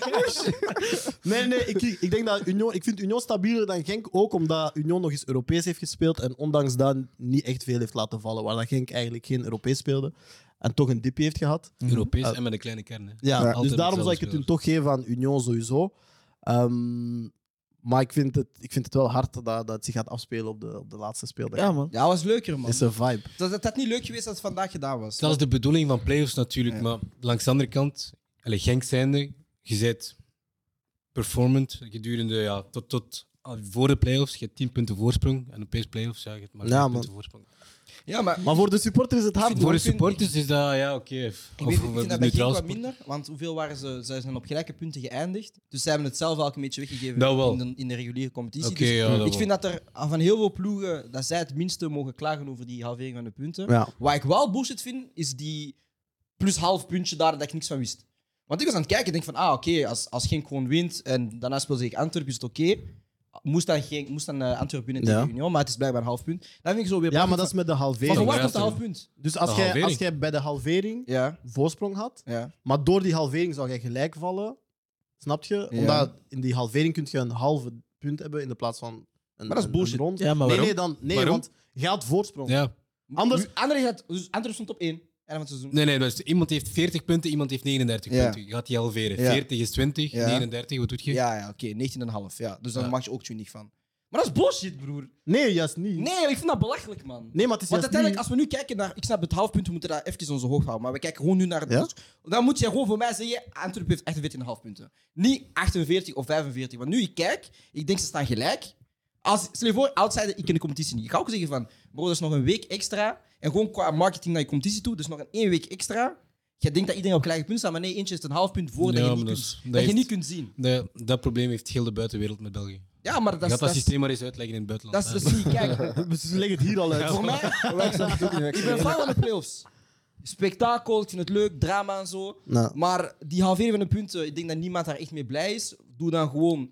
Nee, nee, ik, ik, denk dat Union, ik vind Union stabieler dan Genk ook omdat Union nog eens Europees heeft gespeeld en ondanks dat niet echt veel heeft laten vallen, waar dat Genk eigenlijk geen Europees speelde en toch een dipje heeft gehad. Europees Mm-hmm. en met een kleine kern. Hè. Ja, Altijd dus daarom dezelfde zou ik het hun spelers. toch geven aan Union sowieso. Ehm, maar ik vind, het, ik vind het wel hard dat, dat het zich gaat afspelen op de, op de laatste speeldag. Ja, man. Ja, dat was leuker, man. is een vibe. Dat, dat had niet leuk geweest als het vandaag gedaan was. Dat is de bedoeling van playoffs natuurlijk, maar langs de andere kant, allee, Genk zijnde, je bent performant gedurende, ja, tot, tot ah, voor de playoffs, je hebt 10 punten voorsprong en opeens playoffs, ja, je hebt maar Ja, 5 man. punten voorsprong. Ja, maar Maar voor de supporter is het hard. Voor de ik vind- supporters is dat, ja, oké. Of Ik weet, ik we vind dat hebben bij nu Genk trouwens. wat minder, want hoeveel waren ze? Zij zijn op gelijke punten geëindigd. Dus zij hebben het zelf ook een beetje weggegeven Dat wel. In, de, in de reguliere competitie. Oké, Dus ja, dat ik wel. vind dat er van heel veel ploegen dat zij het minste mogen klagen over die halvering van de punten. Ja. Wat ik wel bullshit vind, is die plus half puntje daar dat ik niks van wist. Want ik was aan het kijken en denk van, ah oké, als, als Genk gewoon wint en daarna speelt ze tegen Antwerpen, is het oké. Moest dan, Genk, moest dan eh, Antwerpen winnen tegen Ja. Union, maar het is blijkbaar een half punt. Dat vind ik zo weer... Ja, maar dat is met de van halvering. verwacht op de Luister. half punt. Dus als De jij, halvering. als jij bij de halvering Ja, voorsprong had, ja. maar door die halvering zou jij gelijk vallen, snap je? Ja. Omdat in die halvering kun je een halve punt hebben in de plaats van een, Maar dat is een- bullshit. een rond. Ja, maar nee, waarom? nee, dan, nee Waarom? want je had voorsprong. Ja. Anders- Nu- Anderlecht had, dus Anderlecht stond op 1. En het seizoen. Nee, nee, dus iemand heeft 40 punten, iemand heeft 39 Ja. punten. Je gaat die halveren. Ja. 40 is 20, Ja. 39, wat doet je? Ja, ja oké, 19,5. Ja. Dus daar Ja. maak je ook 20 van. Maar dat is bullshit, broer. Nee, juist niet. Nee, ik vind dat belachelijk, man. Nee, maar het is Want juist niet- uiteindelijk, als we nu kijken naar... Ik snap het halfpunt, we moeten dat even onze hoog houden. Maar we kijken gewoon nu naar... het- Ja? dus- dan moet je gewoon voor mij zeggen, Antwerpen heeft 48,5 punten. Niet 48 of 45. Want nu ik kijk, ik denk ze staan gelijk. Als, stel je voor, outsider, ik ken de competitie niet. Ik ga ook zeggen van, bro, dat is nog een week extra. En gewoon qua marketing naar je competitie toe, dus nog een één week extra. Je denkt dat iedereen op gelijke punten staat, maar nee, eentje is een half punt voor Ja, dat, je maar niet dat kunt, is- dat, dat je heeft- niet kunt zien. Dat, dat probleem heeft heel de buitenwereld met België. Ja, maar Je dat gaat is... dat dat is- systeem maar eens uitleggen in het buitenland. Dat is dat zie je, <laughs> kijk. <laughs> Ze leggen het hier al uit. Nou, Voor mij, ik ben fan van de playoffs. Spektakel, ik vind het leuk, drama en zo. Nou. Maar die halvering van de punten, ik denk dat niemand daar echt mee blij is. Doe dan gewoon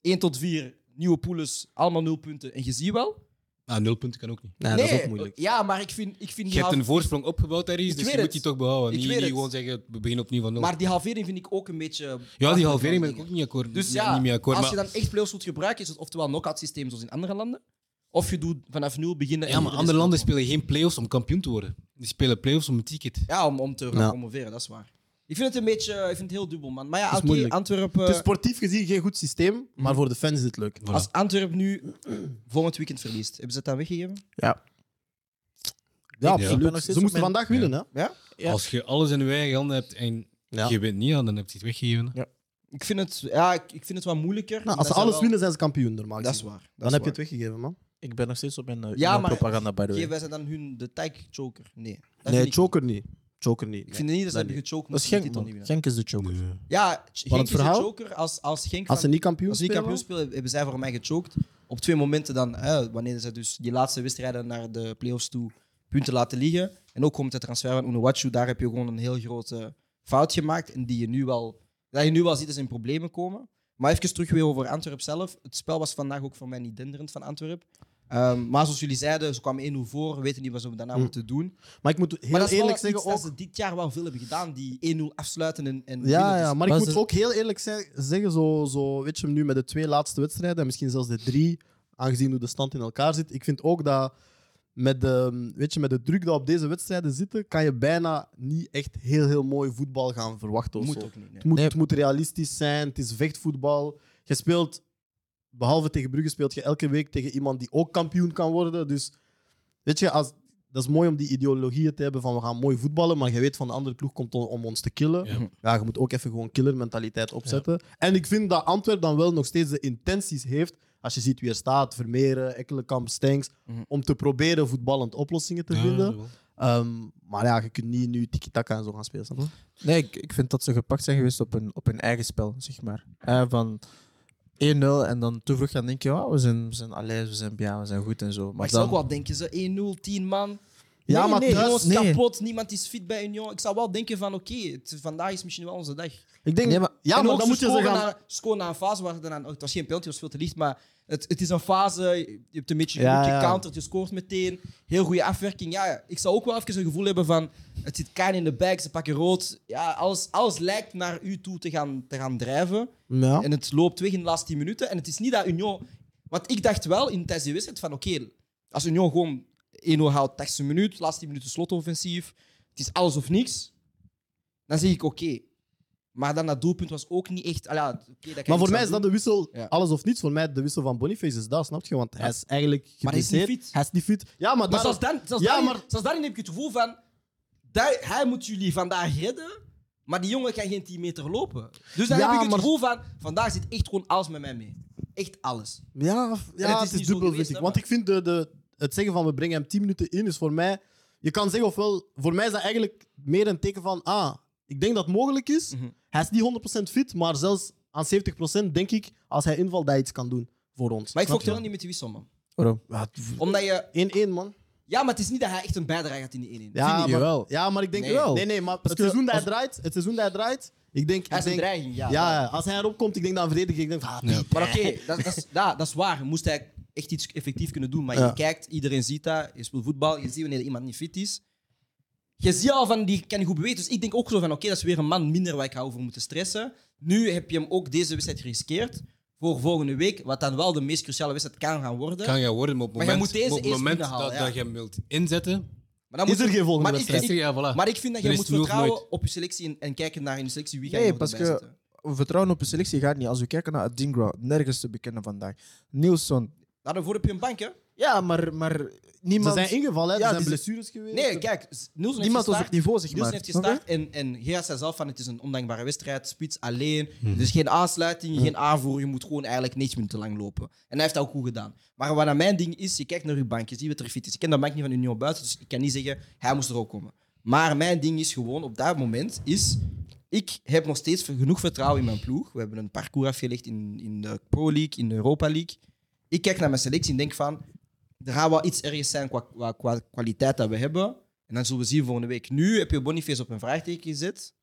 1 tot 4 nieuwe pooles, allemaal 0 punten en je ziet wel. Ah, nul punten kan ook niet. Nee, dat is ook moeilijk. Ja, maar ik vind, ik vind Je die hebt halve- een voorsprong opgebouwd daar Ik is, dus weet je moet het. die toch behouden. Ik Niet, weet niet het. gewoon zeggen, we beginnen opnieuw van nul. Maar die halvering vind ik ook een beetje. ja, die halvering ben ik ook niet akkoord. Dus niet- ja, niet meer akkoord. als Maar, je dan echt playoffs moet gebruiken, is het oftewel knock-out systeem zoals in andere landen. Of je doet vanaf nul beginnen. en ja, maar iedereen andere landen speelt spelen geen play-offs om kampioen te worden. Die spelen play-offs om een ticket. gewoon. Ja, om, om te gaan Ja. promoveren, dat is waar. Ik vind het een beetje, ik vind het heel dubbel, man. Maar ja, is oké, moeilijk. Antwerpen. Het is sportief gezien geen goed systeem, maar voor de fans is het leuk. Voilà. Als Antwerpen nu volgend weekend verliest, hebben ze het dan weggegeven? Ja. Ja. Ja, Ik ben absoluut. nog Ze steeds op moesten mijn- vandaag winnen, hè? Ja. Als je alles in je eigen handen hebt en Ja. je bent niet aan, dan heb je het weggegeven. Ik vind het, ja, ik, ik vind het wat moeilijker. Nou, omdat als ze zij alles wel- winnen, zijn ze kampioen normaal dat is gezien. waar. dat Dan is heb je waar. het weggegeven, man. Ik ben nog steeds op mijn eh, Ja, Union maar- propaganda, by the way. Geven wij ze dan hun de tag choker? Nee. dat vind Nee, ik- choker niet. Choker niet. Ik vind niet dat ze dat hebben gechoked. Dat is moeten ze die Genk, titel niet man. winnen. Genk is de choker. Ja, Ch- Genk is de verhaal? choker. Als, als Genk Als ze van- niet kampioen als ze zijn. niet kampioen spelen, hebben zij voor mij gechoked. Op twee momenten dan, hè, wanneer ze dus die laatste wedstrijden naar de play-offs toe punten laten liggen. En ook komt het transfer van Unuwachu, daar heb je gewoon een heel grote fout gemaakt. En die je nu wel, dat je nu wel ziet dat ze in problemen komen. Maar even terug weer over Antwerp zelf. Het spel was vandaag ook voor mij niet denderend van Antwerp. Ehm, maar zoals jullie zeiden, ze kwamen 1-0 voor. We weten niet wat ze daarna moeten doen. Maar ik moet Maar Hm. heel dat is wel eerlijk iets zeggen ook. dat ze dit jaar wel veel hebben gedaan. Die 1-0 afsluiten en, en winnen. Ja, Dus ja, maar ik Maar moet ze- ook heel eerlijk ze- zeggen, zo, zo, weet je hem nu met de twee laatste wedstrijden, en misschien zelfs de drie, aangezien hoe de stand in elkaar zit. Ik vind ook dat met de, weet je, met de druk dat op deze wedstrijden zitten, kan je bijna niet echt heel, heel mooi voetbal gaan verwachten. Of Moet zo. ook niet. nee. Het, moet, Nee. het moet realistisch zijn, het is vechtvoetbal. Je speelt, behalve tegen Brugge, speelt je elke week tegen iemand die ook kampioen kan worden. Dus weet je, als, dat is mooi om die ideologieën te hebben van we gaan mooi voetballen, maar je weet van de andere ploeg komt om, om ons te killen. Ja. Ja. je moet ook even gewoon killermentaliteit opzetten. En ik vind dat Antwerp dan wel nog steeds de intenties heeft, als je ziet wie er staat, Vermeeren, Ekkelenkamp, Stenks, Mhm. om te proberen voetballend oplossingen te vinden. Ehm, maar ja, je kunt niet nu tiki-taka en zo gaan spelen. snap je? Nee, ik, ik vind dat ze gepakt zijn geweest op hun, op hun eigen spel, zeg maar. Eh, van 1-0 en dan te vroeg gaan denken, ja, we zijn, we zijn alert, we zijn ja, we zijn goed en zo. Maar Maar ik zou dan, ook wel denken, ze 1-0, 10 man. Ja, nee, maar nee, thuis- jongens, nee. kapot. Niemand is fit bij Union. Ik zou wel denken van, oké, het- vandaag is misschien wel onze dag. Ik denk, Nee, maar- ja, en maar ook dan ze moet je ze scoren gaan... na- scoren na een fase waar dan, oh, het was geen penalty, het was veel te licht, maar het, het is een fase, je hebt een beetje Ja, goed ja. gecounterd, je scoort meteen, heel goede afwerking. Ja, ik zou ook wel even een gevoel hebben van, het zit kein in de bag, ze pakken rood. Ja, alles, alles lijkt naar u toe te gaan, te gaan drijven. Ja. En het loopt weg in de laatste 10 minuten. En het is niet dat Union. Want ik dacht wel in tijdens die wedstrijd van oké, als Union gewoon 1-0 haalt, 80 minuut, laatste 10 minuten slotoffensief, het is alles of niks, dan zeg ik oké. Maar dan dat doelpunt was ook niet echt. allee, ja, oké, dat kan je Maar niks voor mij aan is dat doen. de wissel, Ja. alles of niets, voor mij de wissel van Boniface is dat, snap je? Want hij is eigenlijk Maar hij is niet geblesseerd. fit. Hij is niet fit. Ja, maar, Maar daar- zelfs, dan, zelfs, Ja, daarin, maar- zelfs daarin heb ik het gevoel van. daar- hij moet jullie vandaag redden, maar die jongen kan geen 10 meter lopen. Dus dan Ja, heb ik het maar- gevoel van. vandaag zit echt gewoon alles met mij mee. Echt alles. ja, f- ja, het is het is, niet zo dubbel, geweest, vind ik. hè, Want maar- ik vind de, de, het zeggen van we brengen hem 10 minuten in is voor mij... Je kan zeggen ofwel... Voor mij is dat eigenlijk meer een teken van... Ah, ik denk dat het mogelijk is. Mhm. Hij is niet 100% fit, maar zelfs aan 70% denk ik, als hij invalt, dat hij iets kan doen voor ons. Maar ik Snap fokte wel je? niet met die wissel, man. waarom? Ja, Omdat je 1-1, man. Ja, maar het is niet dat hij echt een bijdrage had in die 1-1. Ja, Vind je maar, wel? Ja, maar ik denk Nee. wel. Nee, nee, maar het Parce que seizoen dat hij als- draait, het seizoen dat hij draait, ik denk... Hij ik is een denk dreiging, ja. ja, als hij erop komt, ik denk dan verdedig ik. Ik denk van, ah, Ja. die- Maar oké, dat, dat, is- ja, dat is waar. Moest hij echt iets effectief kunnen doen. Maar Ja. je kijkt, iedereen ziet dat. Je speelt voetbal, je ziet wanneer iemand niet fit is. Je ziet al van, die kan niet goed bewegen. Dus ik denk ook zo van, oké, dat is weer een man minder waar ik ga over moeten stressen. Nu heb je hem ook deze wedstrijd geriskeerd voor volgende week. Wat dan wel de meest cruciale wedstrijd kan gaan worden. Kan gaan worden, maar op het Maar jij moment, moet deze maar op het eerst moment dat, binnenhalen, ja. dat je hem wilt inzetten, maar dan Is er geen volgende maar ik- wedstrijd? ik- is er- ja, voilà. maar ik vind dat Er je is moet nu of vertrouwen nooit. op je selectie en, en kijken naar je selectie. Wie ga Nee, je nog parce erbij que- zetten? Vertrouwen op je selectie gaat niet. Als we kijken naar Adingra, nergens te bekennen vandaag. Nielsen, Daarvoor heb je een bank, hè? ja, maar, maar Ze niemand, zijn ingevallen, hè. Ja, er zijn die- blessures geweest. Nee, kijk, Z- Nielsen heeft niemand was op gestart. het niveau, zeg maar. Nielsen heeft Snap je? gestart en, en Gea zei zelf van het is een ondankbare wedstrijd, spits alleen. Dus geen aansluiting, geen aanvoer. Je moet gewoon eigenlijk 90 minuten lang lopen. En hij heeft dat ook goed gedaan. Maar wat dan mijn ding is, je kijkt naar uw bank, je ziet wat er fit is. Ik ken dat bank niet van Union buiten, dus ik kan niet zeggen, hij moest er ook komen. Maar mijn ding is gewoon, op dat moment is, ik heb nog steeds genoeg vertrouwen in mijn ploeg. We hebben een parcours afgelegd in, in de Pro League, in de Europa League. Ik kijk naar mijn selectie en denk van, er gaat wel iets ergens zijn qua, qua, qua kwaliteit dat we hebben. En dan zullen we zien volgende week. Nu heb je Boniface op een vraagteken gezet.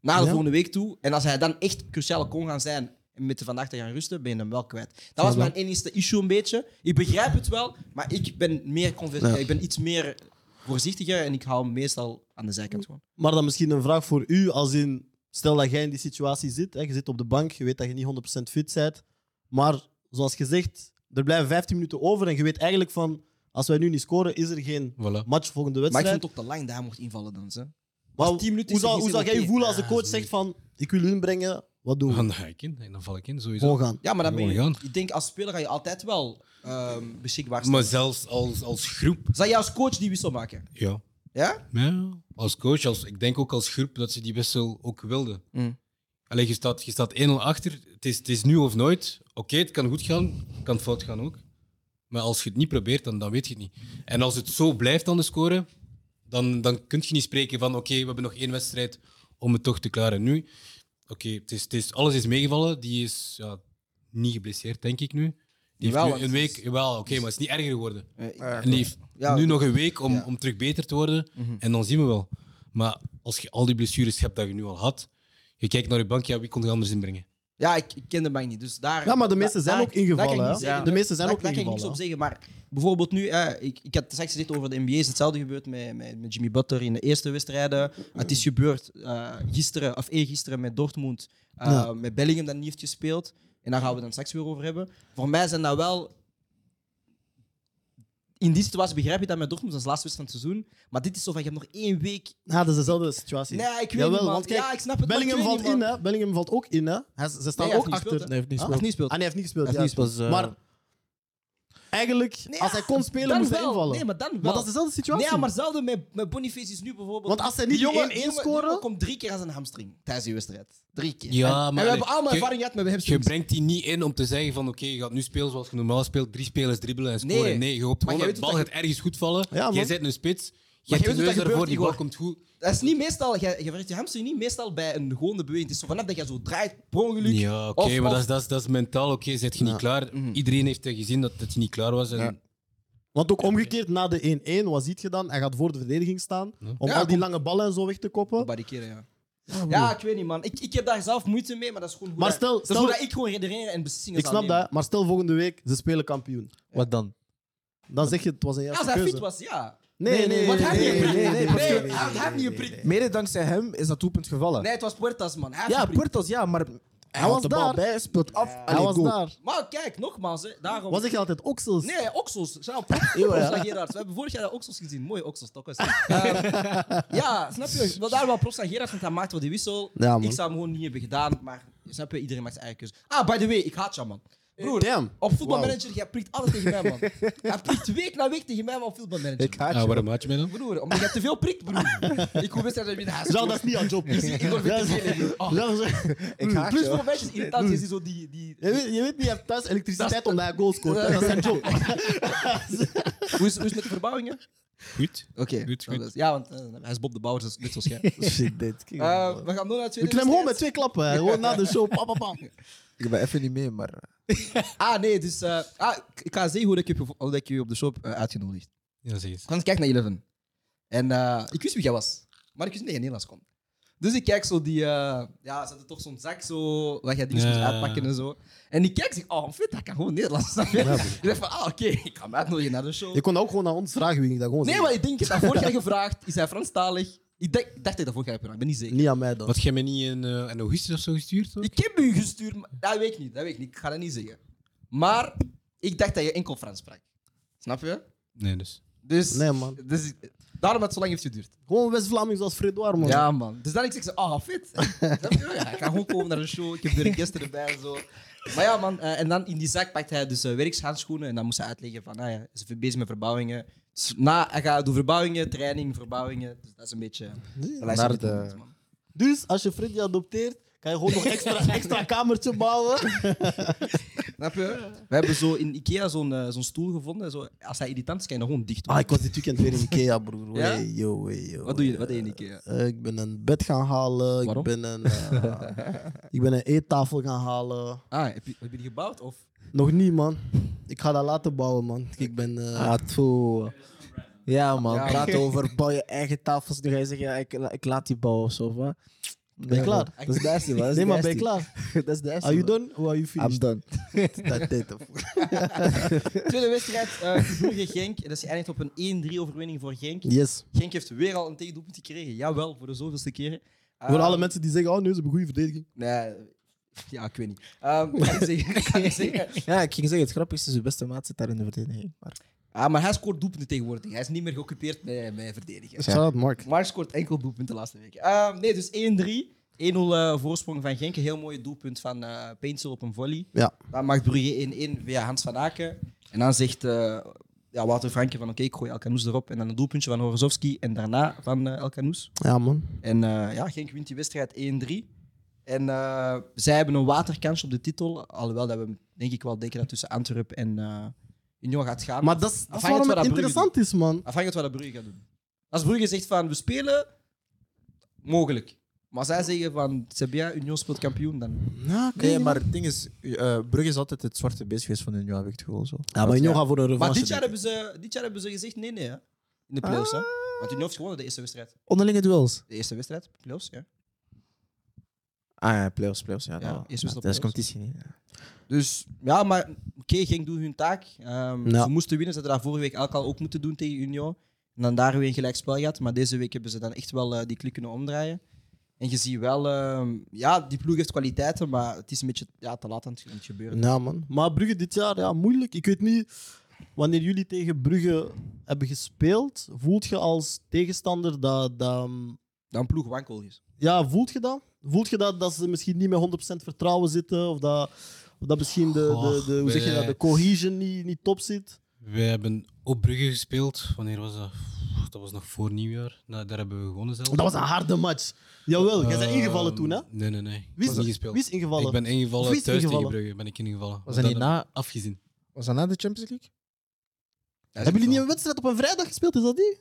Naar de Ja. volgende week toe. En als hij dan echt cruciaal kon gaan zijn en met de vandaag te gaan rusten, ben je hem wel kwijt. Dat was mijn enigste issue een beetje. Ik begrijp het wel, maar ik ben, meer conver- eh, Ja. ik ben iets meer voorzichtiger en ik hou hem meestal aan de zijkant gewoon. Maar dan misschien een vraag voor u, als in... Stel dat jij in die situatie zit, hè, je zit op de bank, je weet dat je niet 100% fit bent. Maar zoals gezegd, er blijven 15 minuten over en je weet eigenlijk van... Als wij nu niet scoren, is er geen voilà. match volgende Maar ik wedstrijd. vind het ook te lang dat hij mocht invallen dan. Ze. Maar als 10 minuten hoe is, zou, is hoe het zou jij je oké. voelen als de Ja, coach zoiets. zegt van... Ik wil u inbrengen, wat doen we? dan ga ik in en dan val ik in, sowieso. Gewoon gaan. Ja, maar dan ben je, Gewoon ik denk als speler ga je altijd wel ehm, beschikbaar Maar zijn. zelfs als, als groep, Zou je als coach die wissel maken? ja. Ja? ja. Als coach, als, ik denk ook als groep dat ze die wissel ook wilden. Mm. Alleen je staat, je staat 1-0 achter, het is, het is nu of nooit. Oké, het kan goed gaan, kan fout gaan ook. Maar als je het niet probeert, dan, dan weet je het niet. En als het zo blijft aan de scoren, dan, dan kun je niet spreken van oké, we hebben nog één wedstrijd om het toch te klaren. Nu, oké, het is, het is, alles is meegevallen. Die is ja, niet geblesseerd, denk ik nu. Die Jawel, heeft want nu een het week, is- jawel, oké, maar het is niet erger geworden. Eh, En die heeft Ja, nu dat- nog een week om, ja. Mhm. om terug beter te worden. En dan zien we wel. Maar als je al die blessures hebt dat je nu al had, je kijkt naar je bank, ja, wie kon er anders inbrengen? Ja, ik, ik ken de bank niet. Dus daar, Ja, maar de meeste da- zijn daar- ook ingevallen, daar kan ik niet hè? zeggen. De meeste zijn Daar- ook daar kan ik niks ingevallen, op zeggen. Maar bijvoorbeeld nu, hè, ik, ik had straks gezegd over de NBA. Is hetzelfde gebeurd met, met, met Jimmy Butler in de eerste wedstrijden. Het is gebeurd eh, gisteren of eergisteren met Dortmund. eh, Ja. Met Bellingham dat niet heeft gespeeld. En daar gaan we het dan straks weer over hebben. Voor mij zijn dat wel in die situatie begrijp je dat met Dortmund, dat is de laatste wedstrijd van het seizoen. Maar dit is zo van, je hebt nog één week. Ja, dat is dezelfde situatie. Nee, ik weet Jawel, niet, man. want kijk, ja, ik snap het, maar ik Bellingham weet valt niet, in, man. hè. Bellingham valt ook in, hè. Hij- Ze staan Nee, hij ook heeft niet achter. gespeeld, hè. Nee, heeft niet Ah, gespeeld. of niet speelt. Ah, nee, hij heeft niet gespeeld. Hij ja. heeft niet gespeeld, dus, eh, Maar eigenlijk, Nee, als hij kon spelen, dan moest hij wel. invallen. Nee, maar dan wel. Maar dat is dezelfde situatie. Nee, ja, maar zelden met, met Boniface is nu bijvoorbeeld. Want als zij Die niet jongen- 1-1 die jongen- die jongen scoren... komt drie keer aan zijn hamstring tijdens die wedstrijd. Drie keer. Ja, En- maar en we hebben je- allemaal je- ervaring gehad met Je hamstrings. brengt die niet in om te zeggen van oké, je gaat nu spelen zoals je normaal speelt. Drie spelers dribbelen en scoren. Nee. Nee, je hoopt Maar jij gewoon dat de weet bal wat gaat ergens goed vallen. Ja, man. jij zet een spits. Je jij hebt weet de wat neus dat ervoor, gebeurt, die bal Igor. komt goed. Dat is niet meestal, je, je werkt je hamstring niet meestal bij een gewone beweging. Het is zo vanaf dat je zo draait, per ongeluk. Ja, oké, Of- of- maar Mhm. Dat, is, dat, is, dat is mentaal. Oké, zet je niet klaar. Iedereen heeft eh, gezien dat, dat je niet klaar was. En Ah, Ja. Want ook omgekeerd, na de 1-1, wat ziet je dan? Hij gaat voor de verdediging staan om Ja, al die kom- lange ballen en zo weg te koppen. Barricade, ja. Ja, ik weet niet, man. Ik, ik heb daar zelf moeite mee, maar dat is gewoon hoe, Oh, Maar dat- stel- dat, is stel- hoe dat ik gewoon redeneren en beslissingen Ik zou snap nemen. dat, maar stel volgende week, ze spelen kampioen. Wat dan? Dan zeg je, het was een Als juiste hij fit keuze. was, ja. Nee, nee, Want nee, hij heeft nee, niet nee, geprikt. nee, nee, nee, Nee, nee, hij hij heeft niet geprikt. Mede dankzij hem is dat doelpunt gevallen. Nee, het was Puertas, man. Hij heeft Ja, geprikt. Puertas, ja, maar hij, was had de bal Ah, daar. bij, speelt af. Hij was daar. Maar kijk, nogmaals, hè, daarom... Wat zeg je altijd? Oksels? Nee, oksels. Zijn al props Gerard. We hebben vorig jaar de oksels gezien. Mooie oksels, toch? <laughs> eens. Ehm, ja, snap je? Wel daar wel props aan Gerard, want hij maakt wel die wissel. Ja, man. ik zou hem gewoon niet hebben gedaan, maar snap je? Iedereen maakt zijn eigen keuze. Ah, by the way, ik haat jou, man. Broer, Eh, Damn. op voetbalmanager, jij prikt alles tegen mij, <laughs> man. Jij prikt week na week tegen mij, man, op voetbalmanager. Ik haat Ah, je. waarom had je mij dan? Broer, omdat jij te veel prikt, broer. ik hoef wedstrijden met haast. Jean, dat is niet <laughs> jouw job. Igor <laughs> Ja, vindt het heel leuk. Oh. Jean, zeg- Ik haat Plus je. voor mensen is irritant, je ziet zo die... die Je weet, je weet niet, je hebt thuis elektriciteit omdat hij goals scoort. hè. Ja. Dat is zijn job. hoe, is, hoe is het met de verbouwingen? Goed. Oké. Goed, dat goed. is- Ja, want eh, hij is Bob de Bouwer, dus net zoals jij. Shit, dit. kijk. Eh, we gaan door naar het We tweede klemmen gewoon wedstrijd. met twee klappen. hè. Gewoon na de show. Pam, pam, pam. Ik ben even niet mee, maar... <laughs> Ah, nee, dus... eh, ah, ik- ik ga zeggen hoe dat ik je, gevo- hoe dat ik je op de shop eh, uitgenodigd. Ja, zeg eens. Ik kwam kijken naar Eleven. En eh, ik wist wie jij was. Maar ik wist niet dat je Nederlands kon. Dus ik kijk zo die... eh, ja, ze hadden toch zo'n zak zo... Dat jij die moest Ja. uitpakken en zo. En ik kijk, zeg... Oh, vet, dat kan gewoon Nederlands. snap je? ik dacht van... Ah, oké, ik ga me uitnodigen naar de show. <laughs> Je kon dat ook gewoon aan ons vragen, wie ik dat gewoon Nee, zeg. maar ik denk, ik heb dat vorig jaar gevraagd. Is hij Franstalig? Ik denk, dacht dat ik dat vorig jaar heb gedaan. Ik ben niet zeker. Niet aan mij dan. Had jij mij niet in, eh, in augustus of zo gestuurd? hoor? Ik heb u gestuurd, maar dat weet ik niet. Dat weet ik niet. Ik ga dat niet zeggen. Maar ik dacht dat je enkel Frans sprak. Snap je? Nee, dus. Dus, Nee, man. Dus, ik- daarom dat het zo lang heeft geduurd. Gewoon West-Vlaming zoals Fredoir, man. Ja, man. Dus dan ik zeg ze, ah, fit. <laughs> Snap je? Ja, ik ga gewoon komen naar de show. Ik heb de register erbij en zo. Maar ja, man. eh, en dan in die zak pakt hij dus eh, werkshandschoenen. En dan moest hij uitleggen van, nou ja, ze zijn bezig met verbouwingen. Dus na, hij gaat door verbouwingen, training, verbouwingen. Dus dat is een beetje... dat Naar de- man. Dus als je Freddy adopteert, kan je gewoon nog <laughs> extra, extra kamertje bouwen. Snap je? We hebben zo in Ikea zo'n eh, zo'n stoel gevonden. Zo, als hij irritant is, kan je dat gewoon dicht doen. Ah, ik was dit weekend weer in Ikea, broer. Ja? Hey, yo, hey, yo. Wat doe je, wat deed je in Ikea? Eh, ik ben een bed gaan halen. Waarom? Ik ben een, <laughs> eh, ik ben een eettafel gaan halen. Ah, heb je, heb je die gebouwd? Of? Nog niet, man. Ik ga dat laten bouwen, man. Ik ben... eh, Ah, toe. Ja, man. Ja. Praat over bouw je eigen tafels. Nu ga je zeggen, ja, ik, ik laat die bouwen of zo. Wat? ben je klaar? Dat is nasty, man. Dat is nee, maar ben je nasty. klaar? Dat is nasty, Are man. you done? Or are you I'm finished? <laughs> done. Dat deed hem. Tweede wedstrijd, eh Brugge Genk. En dat is geëindigd op een 1-3 overwinning voor Genk. Yes. Genk heeft weer al een tegendoelpunt gekregen. Jawel, voor de zoveelste keren. Eh, Voor alle mensen die zeggen, oh nee, ze hebben goede verdediging. Nee, ja, ik weet niet. Ehm, <laughs> ik kan niet zeggen- ik kan niet zeggen. Ja, ik ging zeggen, het grappige is, zijn beste maat zit daar in de verdediging. Maar... Ah, maar hij scoort doelpunten tegenwoordig. Hij is niet meer geoccupeerd met, met verdedigen. Shout out Mark. Maar hij scoort enkel doelpunten de laatste week. Ehm, nee, dus 1-3. 1-0 eh, voorsprong van Genk. Een heel mooi doelpunt van eh Peensel op een volley. Ja. Dan maakt Brugge 1-1 via Hans van Aken. En dan zegt eh, ja, Wouter Franke van oké, ik gooi Elkanoes erop. En dan een doelpuntje van Horozovski en daarna van eh Elkanoes. Ja, man. En eh, ja, Genk wint die wedstrijd 1-3. En eh, zij hebben een waterkans op de titel. Alhoewel dat we denk ik wel denken dat tussen Antwerpen en eh Union gaat gaan. Maar dat is, dat is Afhankelijk waarom wat het dat Brugge interessant is, man. Afhankelijk van wat dat Brugge gaat doen. Als Brugge zegt van we spelen, mogelijk. Maar als zij zeggen van CBA, Union speelt kampioen, dan. Ja, Nee, maar het ding is, eh, Brugge is altijd het zwarte beest geweest van hun heb ik het gevoel. Zo. Ja, maar Union Ja. gaat voor een revanche. Maar dit jaar, denk ik. hebben ze, dit jaar hebben ze gezegd nee, nee. Hè? In de playoffs, hè? Want Union heeft gewonnen de eerste wedstrijd. Onderlinge duels. Ah. De eerste wedstrijd, playoffs, ja. Ah ja, playoffs, playoffs. Ja, Ja, nou, eerst was dat het is op competitie niet. Ja. Dus ja, maar oké, Genk doet hun taak. Ehm, Ja. Ze moesten winnen, ze hadden dat vorige week elk al ook moeten doen tegen Union. En dan daar weer een gelijkspel gehad. Maar deze week hebben ze dan echt wel eh, die klik kunnen omdraaien. En je ziet wel, ehm, ja, die ploeg heeft kwaliteiten, maar het is een beetje ja, te laat aan het aan het gebeuren. Ja, man. Maar Brugge dit jaar, ja, moeilijk. Ik weet niet. wanneer jullie tegen Brugge hebben gespeeld, voelt je als tegenstander dat. dat ehm, Dat een ploeg wankel is. ja, voelt je dat? Voelt je dat, dat ze misschien niet met 100% vertrouwen zitten? Of dat, of dat misschien de, de, de, hoe zeg je dat, de cohesion niet, niet top zit? We hebben op Brugge gespeeld. Wanneer was dat? Pff, Dat was nog voor nieuwjaar. Nou, daar hebben we gewonnen zelf. Dat was een harde match. Jawel, jij bent ingevallen toen, hè? Nee, nee, nee. Wie Wie is, Ehm, niet gespeeld? wie is ingevallen? Ik ben ingevallen Of wie is thuis ingevallen? tegen Brugge. Ben ik ingevallen. Was dat niet na? Afgezien. Was dat na de Champions League? Hebben jullie niet een wedstrijd op een vrijdag gespeeld? Is dat die?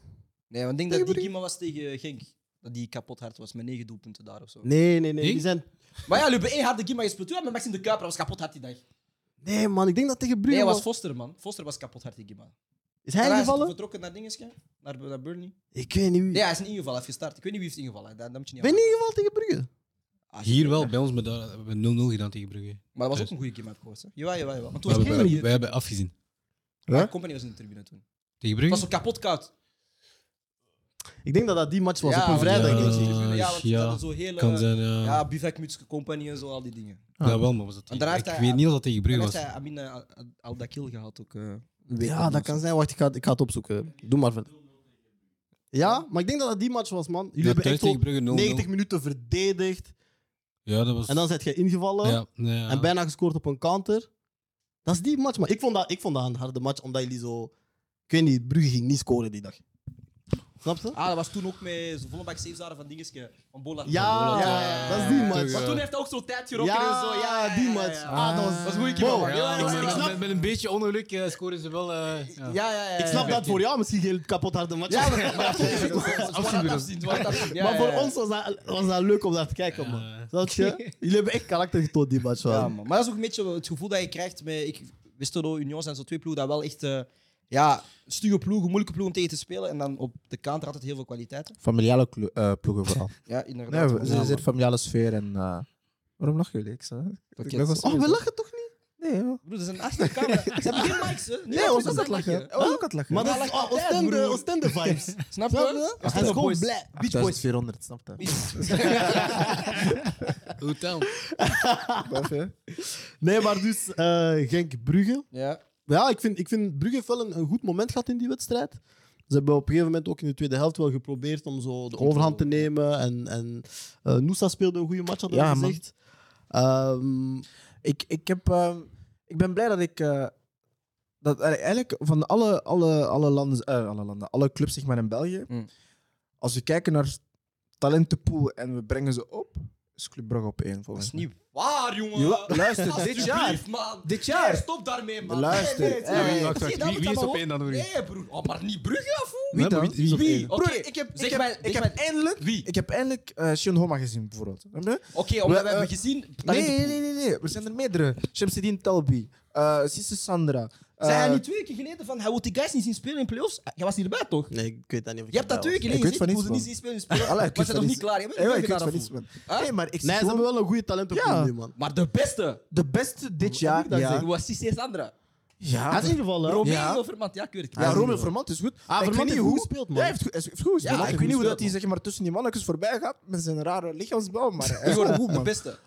Nee, want ik denk dat die Tegen Kima was tegen Genk. Dat die kapot hard was met negen doelpunten daar of zo. Nee, nee, nee. Ik? Die zijn... Maar ja, Lube 1 had de Kima gespeeld. Toen met Maxime de Kuiper was kapot hard die dag. Nee, man, ik denk dat tegen Brugge Nee, hij was was. Foster, man. Foster was kapot hard die Kima. Is hij Hij is ingevallen? vertrokken naar Dingeske, naar, naar Burnley. Ik weet niet wie. Nee, hij is niet ingevallen. Hij heeft gestart. Ik weet niet wie heeft ingevallen. Dat, dat moet je niet Ben je niet ingevallen tegen Brugge? aan- Ah, Hier wel, Dus. bij ons, maar daar hebben we 0-0 gedaan tegen Brugge. Maar dat was ook een goede Kima, heb ik gehoord. hè. Jawel, jawel, jawel. Want toen Maar was we, Kima hebben- hier. wij hebben afgezien. Ja, Company was in de tribune toen. Tegen Het was Brugge? zo kapot koud. Ik denk dat dat die match was Ja, op een want- vrijdag. Ja, denk ik. ja, want ja, dat is zo hele... Kan zijn, ja. ja, bivakmuts, compagnie en zo, al die dingen. Ja, wel, maar was dat Want daarna tegen- Ik heeft hij- weet niet of dat tegen En Brugge heeft was. hij Amine Al- Al- Aldakil gehad ook. eh, een week Ja, daarna dat of zo. kan zijn. Wacht, ik ga, ik ga het opzoeken. Doe maar verder. Ja, maar ik denk dat dat die match was, man. Jullie Ja, hebben thuis echt tot tegen Brugge 0-0. 90 minuten verdedigd. Ja, dat was... En dan zet je ingevallen. ja, nee, ja. En bijna gescoord op een counter. Dat is die match, man. Ik vond dat, ik vond dat een harde match, omdat jullie zo... Ik weet niet, Brugge ging niet scoren die dag. Snap je? Ah, dat was toen ook met zo'n volle bak saves waren van dingeske. Van Bola. Ja, ja, ja, dat is die match. Want Ja. toen heeft hij ook zo tijd gerokken Ja, en zo. Ja, die ja, ja, match. ja. Ah, dat was- dat was een goede keeper. Wow. man. Ja, ik- maar ik snap- met, met een beetje ongeluk eh, scoren ze wel... eh, ja. Ja, ja, ja. Ik snap dat voor jou misschien heel kapot harde match. Ja, was. maar- <laughs> maar voor ons was het afzien, afzien, het was afzien. Ja, maar ja, voor ja. ons was dat, was dat leuk om naar te kijken, man. Snap <laughs> je? Jullie hebben echt karakter getoond die match, man. Ja, man. Maar dat is ook een beetje het gevoel dat je krijgt met ik, Westerlo, Union zijn zo twee ploegen dat wel echt eh ja, stuwe ploegen, moeilijke ploegen om tegen te spelen. En dan op de counter altijd heel veel kwaliteiten. Familiale klo- eh, ploegen vooral. Ja, inderdaad. Nee, man. we- ze zit familiale sfeer en... eh, Waarom lachen jullie? Ik sta... Pakket. ik ben gewoon Oh, serieus. we lachen toch niet? Nee, joh. Broer, dat is een achterkamer. Ze hebben geen mics, hè? Nee, ons ook aan het lachen. Ons ook aan het lachen. Maar dat Ja, is like oh, Oostende, broer. Oostende vibes. Snap Snap je? je? Hij is gewoon blij. Beach Boys. 8400, snap je? Hoe dan? Baf, hè? <laughs> Nee, maar dus eh Genk Brugge. Ja. Ja, ik vind, ik vind Brugge heeft wel een, een goed moment gehad in die wedstrijd. Ze hebben op een gegeven moment ook in de tweede helft wel geprobeerd om zo de overhand te nemen. En, en eh, Noosa speelde een goede match, hadden we Ja, man. gezegd. Ehm, Ik, ik, heb, ehm, ik ben blij dat ik. eh, dat er eigenlijk van alle, alle, alle, landen, eh, alle landen, alle clubs zeg maar in België. Mm. Als we kijken naar talentenpool en we brengen ze op, is Club Brugge op één Dat volgens is mij. niet waar, jongen. Jawel, luister, dit Alsjeblieft, jaar. man. Dit jaar. Nee, stop daarmee, man. Luister. Eh, Nee, nee, nee, Hey, nee. wacht, Zie je dat Wie, wat wie is allemaal op één dan, hoor? Nee, broer. Oh, maar niet Brugge, of hoe? Wie dan? Wie is op Wie? één? Oké, Broer, ik heb, zeg ik heb, mij- ik zeg heb mij- eindelijk, Wie? Oh, ik heb eindelijk eh, Sean Homa gezien, bijvoorbeeld. Snap je? Oké, omdat We- we hebben eh, gezien... Nee, nee, nee, nee, nee. Er zijn er meerdere. Shamsidine Talbi, eh Sisse Sandra. eh, Zei hij niet twee keer geleden van hij wil die guys niet zien spelen in playoffs? Eh, Jij was niet erbij, toch? nee, ik weet dat niet of ik Je hebt dat erbij twee was. keer geleden Ik weet gezegd, van ik wil niets, ze niet man. zien spelen in <laughs> playoffs. Allah, Maar ze ik weet zijn nog van niet iets. klaar. Je bent Eh, nog ja, ik niet weet klaar van daarvoor. iets, man. Huh? Nee, maar ik Nee, ze zweer- hebben wel een goede talenten Ja. man. Maar de beste, De beste dit Wat heb jaar. ik daar ja. was Cissé Sandra. Ja, Hij is ingevallen. hè? Romeo Ja. Vermand, ja, Ah, ik weet het. ja Romeo Vermand is goed. Maar ik Vermand weet niet heeft hoe goed gespeeld, man. Ja, hij heeft, goed- hij heeft goed Ja, gespeeld. hij heeft ik goed weet niet hoe dat gespeeld, hij zeg maar, tussen die mannetjes voorbij gaat met zijn rare lichaamsbouw. Maar eh, hij is Igor, wel goed, de man. beste.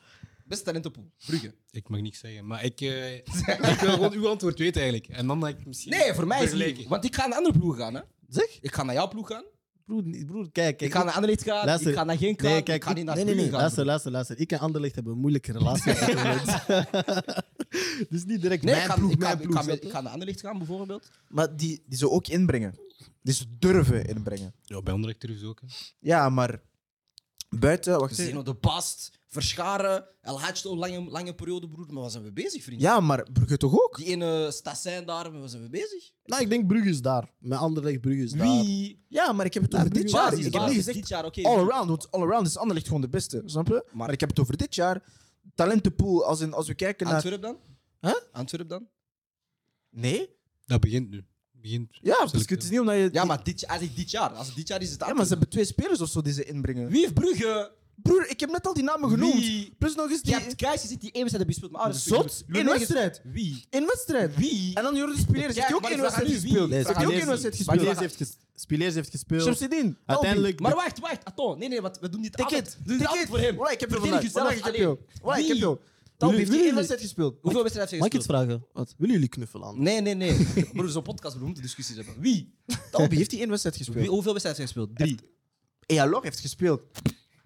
Beste talentenpool, Brugge. Ik mag niks zeggen, maar <laughs> ik, eh, ik wil gewoon uw antwoord weten eigenlijk. En dan dat ik misschien. Nee, voor mij is het niet. vergelijken. Want ik ga naar een andere ploeg gaan, hè. Zeg? Ik ga naar jouw ploeg gaan. Broer, niet- broer kijk. Ik ga naar Anderlecht gaan. Luister. Ik ga naar geen Nee, gaan. kijk, ik ga niet naar nee, nee, Brugge nee. gaan. Luister, luister, luister. Ik en Anderlecht hebben een moeilijke <laughs> relatie. op dit moment. <laughs> dus niet direct Nee, ik mijn ga, ploeg, ik, ga, mijn ik, ga, met- ploeg. snap ik je? ga naar Anderlecht gaan, bijvoorbeeld. Maar die, die ze ook inbrengen. Die ze durven inbrengen. Ja, bij Anderlecht durven ze ook. hè. Ja, maar buiten... Wacht even. Zeno de Bast, Verscharen, El Hadj, een lange, lange periode, broer. Maar waar zijn we bezig, vriend? Ja, maar Brugge toch ook? Die ene Stassin daar, maar waar zijn we bezig? Nou, ik denk Brugge is daar. Mijn Anderlecht Brugge is daar. Wie? Ja, maar ik heb het over dit jaar. Basis, ik heb niet basis, gezegd dit jaar, oké. all around, want all around is Anderlecht gewoon de beste. Snap je? Maar, ik heb het over dit jaar. Talentenpool, als, in, als we kijken naar... Antwerp dan? Huh? Antwerp dan? Nee? Dat begint nu. Begint Ja, dus het is niet omdat je... Ja, maar dit, hij zegt dit jaar. Als het dit jaar is, het Ja, maar ze Antwerp. hebben twee spelers of zo die ze inbrengen. Wie heeft Brugge? Broer, ik heb net al die namen genoemd. Wie? Plus nog eens Je die... hebt guys gezien die één wedstrijd hebben gespeeld, maar ouders... Zot? Jullie Eén nergens- wedstrijd? Wie? Eén wedstrijd. Wie? En dan Jordi Spileers. Ja, Heeft hij ook maar één ik vraag aan wedstrijd u, wie? gespeeld? Nee, Heeft hij ook één wedstrijd Spileers gespeeld? heeft, ges- Spileers heeft gespeeld. Shamsidin. Uiteindelijk. Maar wacht, wacht. Attends. Nee, nee, want we doen dit Take altijd. it. We doen dit Take altijd it. voor hem. Voilà, ik heb er Verdedig vandaag. Voilà, jezelf ik heb jou. alleen. Voilà, ik Wie? heb jou. Talb Jullie- heeft jullie- één wedstrijd gespeeld. <laughs> Hoeveel wedstrijden Mag heeft ik hij iets gespeeld? vragen? Wat? Willen jullie knuffelen aan? Nee, nee, nee. <laughs> Broer, zo'n podcast beroemd de discussies hebben. Wie? Talbi heeft die één wedstrijd gespeeld. Wie- Hoeveel wedstrijden heeft hij gespeeld? Drie. Ealor heeft gespeeld.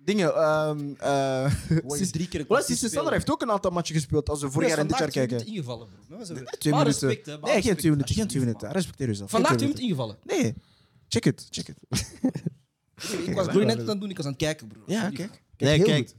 Dingen, ehm eh <laughs> Wou je Sis- drie keer een kwartier Wel, Sisse spelen? Sander heeft ook een aantal matchen gespeeld als we vorig jaar en dit jaar Vandaag twee kijken. minuten ingevallen, broer. Nou, ze- Nee, Twee Maar minuten. respect, hè, maar nee, geen twee respect, minuten. Geen twee alsjeblieft, minuten. Respecteer jezelf. Geen Vandaag twee twee minuten ingevallen. Nee. Check het, check het. Broer, Ik was broer net aan het doen, ik was aan het kijken, broer. Ja, kijk. Nee, heel kijk. goed.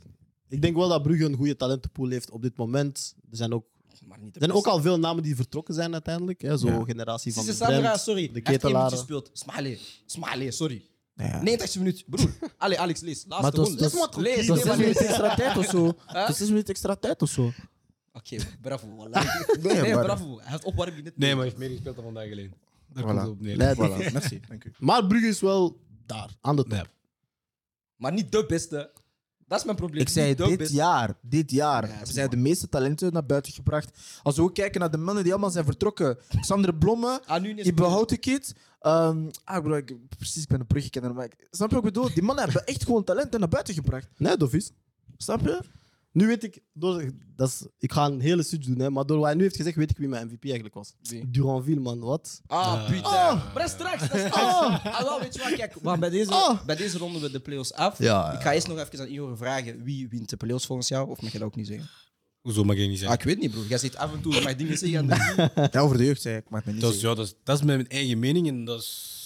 Ik denk wel dat Brugge een goede talentenpool heeft op dit moment. Er zijn ook, Maar niet de er zijn ook beste. al veel namen die vertrokken zijn uiteindelijk. Hè? Zo Ja. generatie van Sisse de Sandra, Brent, sorry. de Hij heeft één minuutje Ketelaren. gespeeld. Smiley. Smiley, sorry. Ja. 90 minuut. Broer, allez, Alex, lees. Maar Laatste dat is- ronde. dat is- Lees, dat is nee, zes maar minuten lees. extra tijd of zo. Dat is zes minuten extra tijd of zo. Oké, bravo. wallahi. Nee, Nee, maar- bravo. Hij heeft opwarming net. Nee, maar hij heeft meer gespeeld dan vandaag alleen. Daar komt Voilà. het op neer. Nee, voilà. Oh, Merci. Dank u. Maar Brugge is wel daar, aan de top. Nee. Maar niet de beste. Dat is mijn probleem. Ik zei Niet de dit beste. jaar, dit jaar Ja, hebben zeg zij de maar. meeste talenten naar buiten gebracht. Als we ook kijken naar de mannen die allemaal zijn vertrokken. Sander Blomme, Ah, nu ineens- die behoudt de kid. Ehm, ah, bro, ik, precies, ik ben een bruggekenner. Maar ik, snap je wat ik bedoel? Die mannen hebben echt gewoon talenten naar buiten gebracht. Nee, dat is. Snap je? Nu weet ik, door, dat is, ik ga een hele switch doen, hè, maar door wat hij nu heeft gezegd, weet ik wie mijn MVP eigenlijk was. Wie? Duranville, man, wat? Ah, Ah. putain. Ah. Maar dat is straks, dat is straks. Ah, wel, weet je wat, kijk. Maar bij deze, Ah. bij deze ronden we de play-offs af. Ja, ja. Ik ga eerst nog even aan Ior vragen wie wint de play-offs volgens jou. Of mag je dat ook niet zeggen? Hoezo mag ik niet Ah, zeggen? ik weet niet, broer. Jij zit af en toe mijn dingen zeggen. aan de- <laughs> <laughs> Ja, over de jeugd zei ik, maar ik ben niet Dat is, zeker. ja, dat, is, dat is mijn eigen mening en dat is...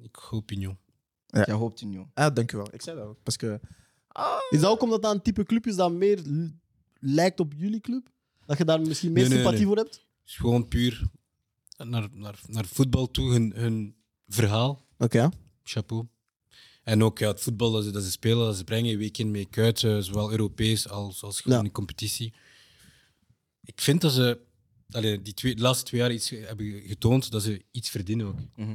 Ik hoop in jou. Jij hoopt in, joh. Ah, dank u wel. Ik zei dat ook. Parce que, Is dat ook omdat dat een type club is dat meer l- lijkt op jullie club? Dat je daar misschien meer Nee, nee, sympathie nee. voor hebt? Het is gewoon puur naar, naar, naar voetbal toe, hun, hun verhaal. Oké. chapeau. En ook ja, het voetbal dat ze, dat ze spelen, dat ze brengen, week in, week uit, eh, zowel Europees als, als gewoon Ja. in competitie. Ik vind dat ze allee, die twee, de laatste twee jaar iets hebben getoond dat ze iets verdienen ook. Mhm.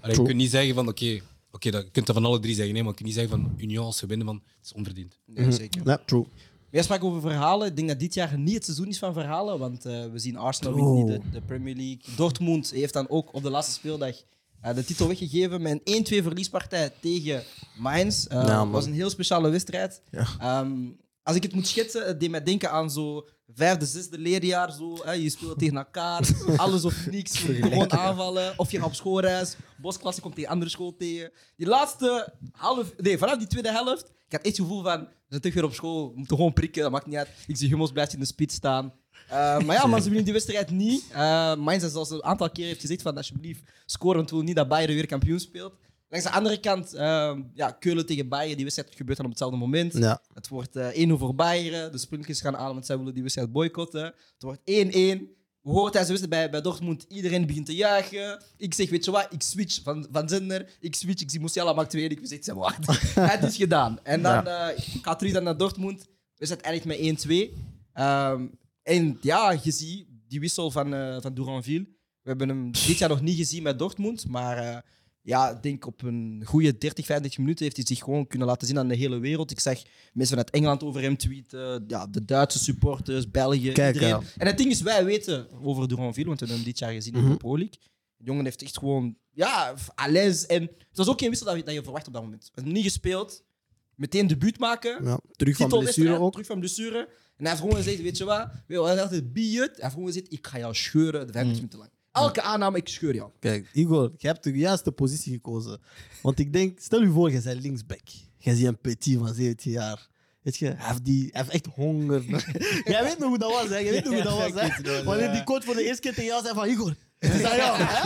Allee, je kunt niet zeggen van oké, oké, dat- je kunt dat van alle drie zeggen, nee, maar je kunt niet zeggen van Union als ze winnen, van het is onverdiend. Nee, Mhm. zeker. Ja, true. Jij sprak over verhalen. Ik denk dat dit jaar niet het seizoen is van verhalen. Want eh, we zien Arsenal wint Oh. niet de, de Premier League. Dortmund heeft dan ook op de laatste speeldag eh, de titel weggegeven met een 1-2 verliespartij tegen Mainz. Eh, Ja, man. was een heel speciale wedstrijd. Ja. Ehm, als ik het moet schetsen, het deed mij denken aan zo vijfde, zesde leerjaar. Zo, hè, je speelt tegen <laughs> elkaar, alles of niks. Gewoon aanvallen. Of je gaat op schoolreis, bosklasse komt tegen andere school tegen. Die laatste half, nee, vanaf die tweede helft, ik had echt het gevoel van, we zijn terug weer op school, we moeten gewoon prikken, dat maakt niet uit. Ik zie Hummels blijft in de spits staan. Eh, maar ja, maar ze winnen die wedstrijd niet. Eh Mainz, zoals ze een aantal keer heeft gezegd, van alsjeblieft, scoren, want we willen niet dat Bayern weer kampioen speelt. Langs de andere kant, eh, ja, Keulen tegen Bayern, die wedstrijd gebeurt dan op hetzelfde moment. Ja. Het wordt eh 1-0 voor Bayern. De sprintjes gaan aan, want zij willen die wedstrijd boycotten. Het wordt 1-1. We horen tijdens de wedstrijd bij, bij Dortmund, iedereen begint te juichen. Ik zeg, weet je wat, ik switch van, van zender. Ik switch, ik zie Musiala maakt 2-1. Ik zeg, zeg maar, <laughs> het is gedaan. En dan eh gaat terug dan naar Dortmund. We zijn eigenlijk met 1-2. Ehm, en ja, je ziet die wissel van, eh van Duranville. We hebben hem dit jaar nog niet gezien met Dortmund, maar... eh, ja, ik denk op een goede 30, 35 minuten heeft hij zich gewoon kunnen laten zien aan de hele wereld. Ik zag mensen vanuit Engeland over hem tweeten, ja, de Duitse supporters, België, Kijk, iedereen. ja. En het ding is, wij weten over Duranville, want we hebben hem dit jaar gezien Mhm. in de Pro League. De jongen heeft echt gewoon, ja, à l'aise. En het was ook geen wissel dat je, dat je verwacht op dat moment. Hij heeft niet gespeeld, meteen debuut maken, Ja. Terug van blessure titelwedstrijd, ook. terug van blessure. En hij heeft gewoon gezegd, weet je wat, hij had altijd bijet. Hij heeft gewoon gezegd, ik ga jou scheuren 25 Hmm. minuten lang. Elke aanname, ik scheur jou. Kijk, Igor, je hebt de juiste positie gekozen. Want ik denk, stel je voor, je bent linksback. Je ziet een petit van 17 jaar. Weet je, hij heeft, die, hij heeft echt <laughs> honger. Jij weet nog hoe dat was, hè? Jij weet nog hoe dat was, hè? Wanneer die coach voor de eerste keer tegen jou zei van <laughs> Igor, het is aan jou, hè?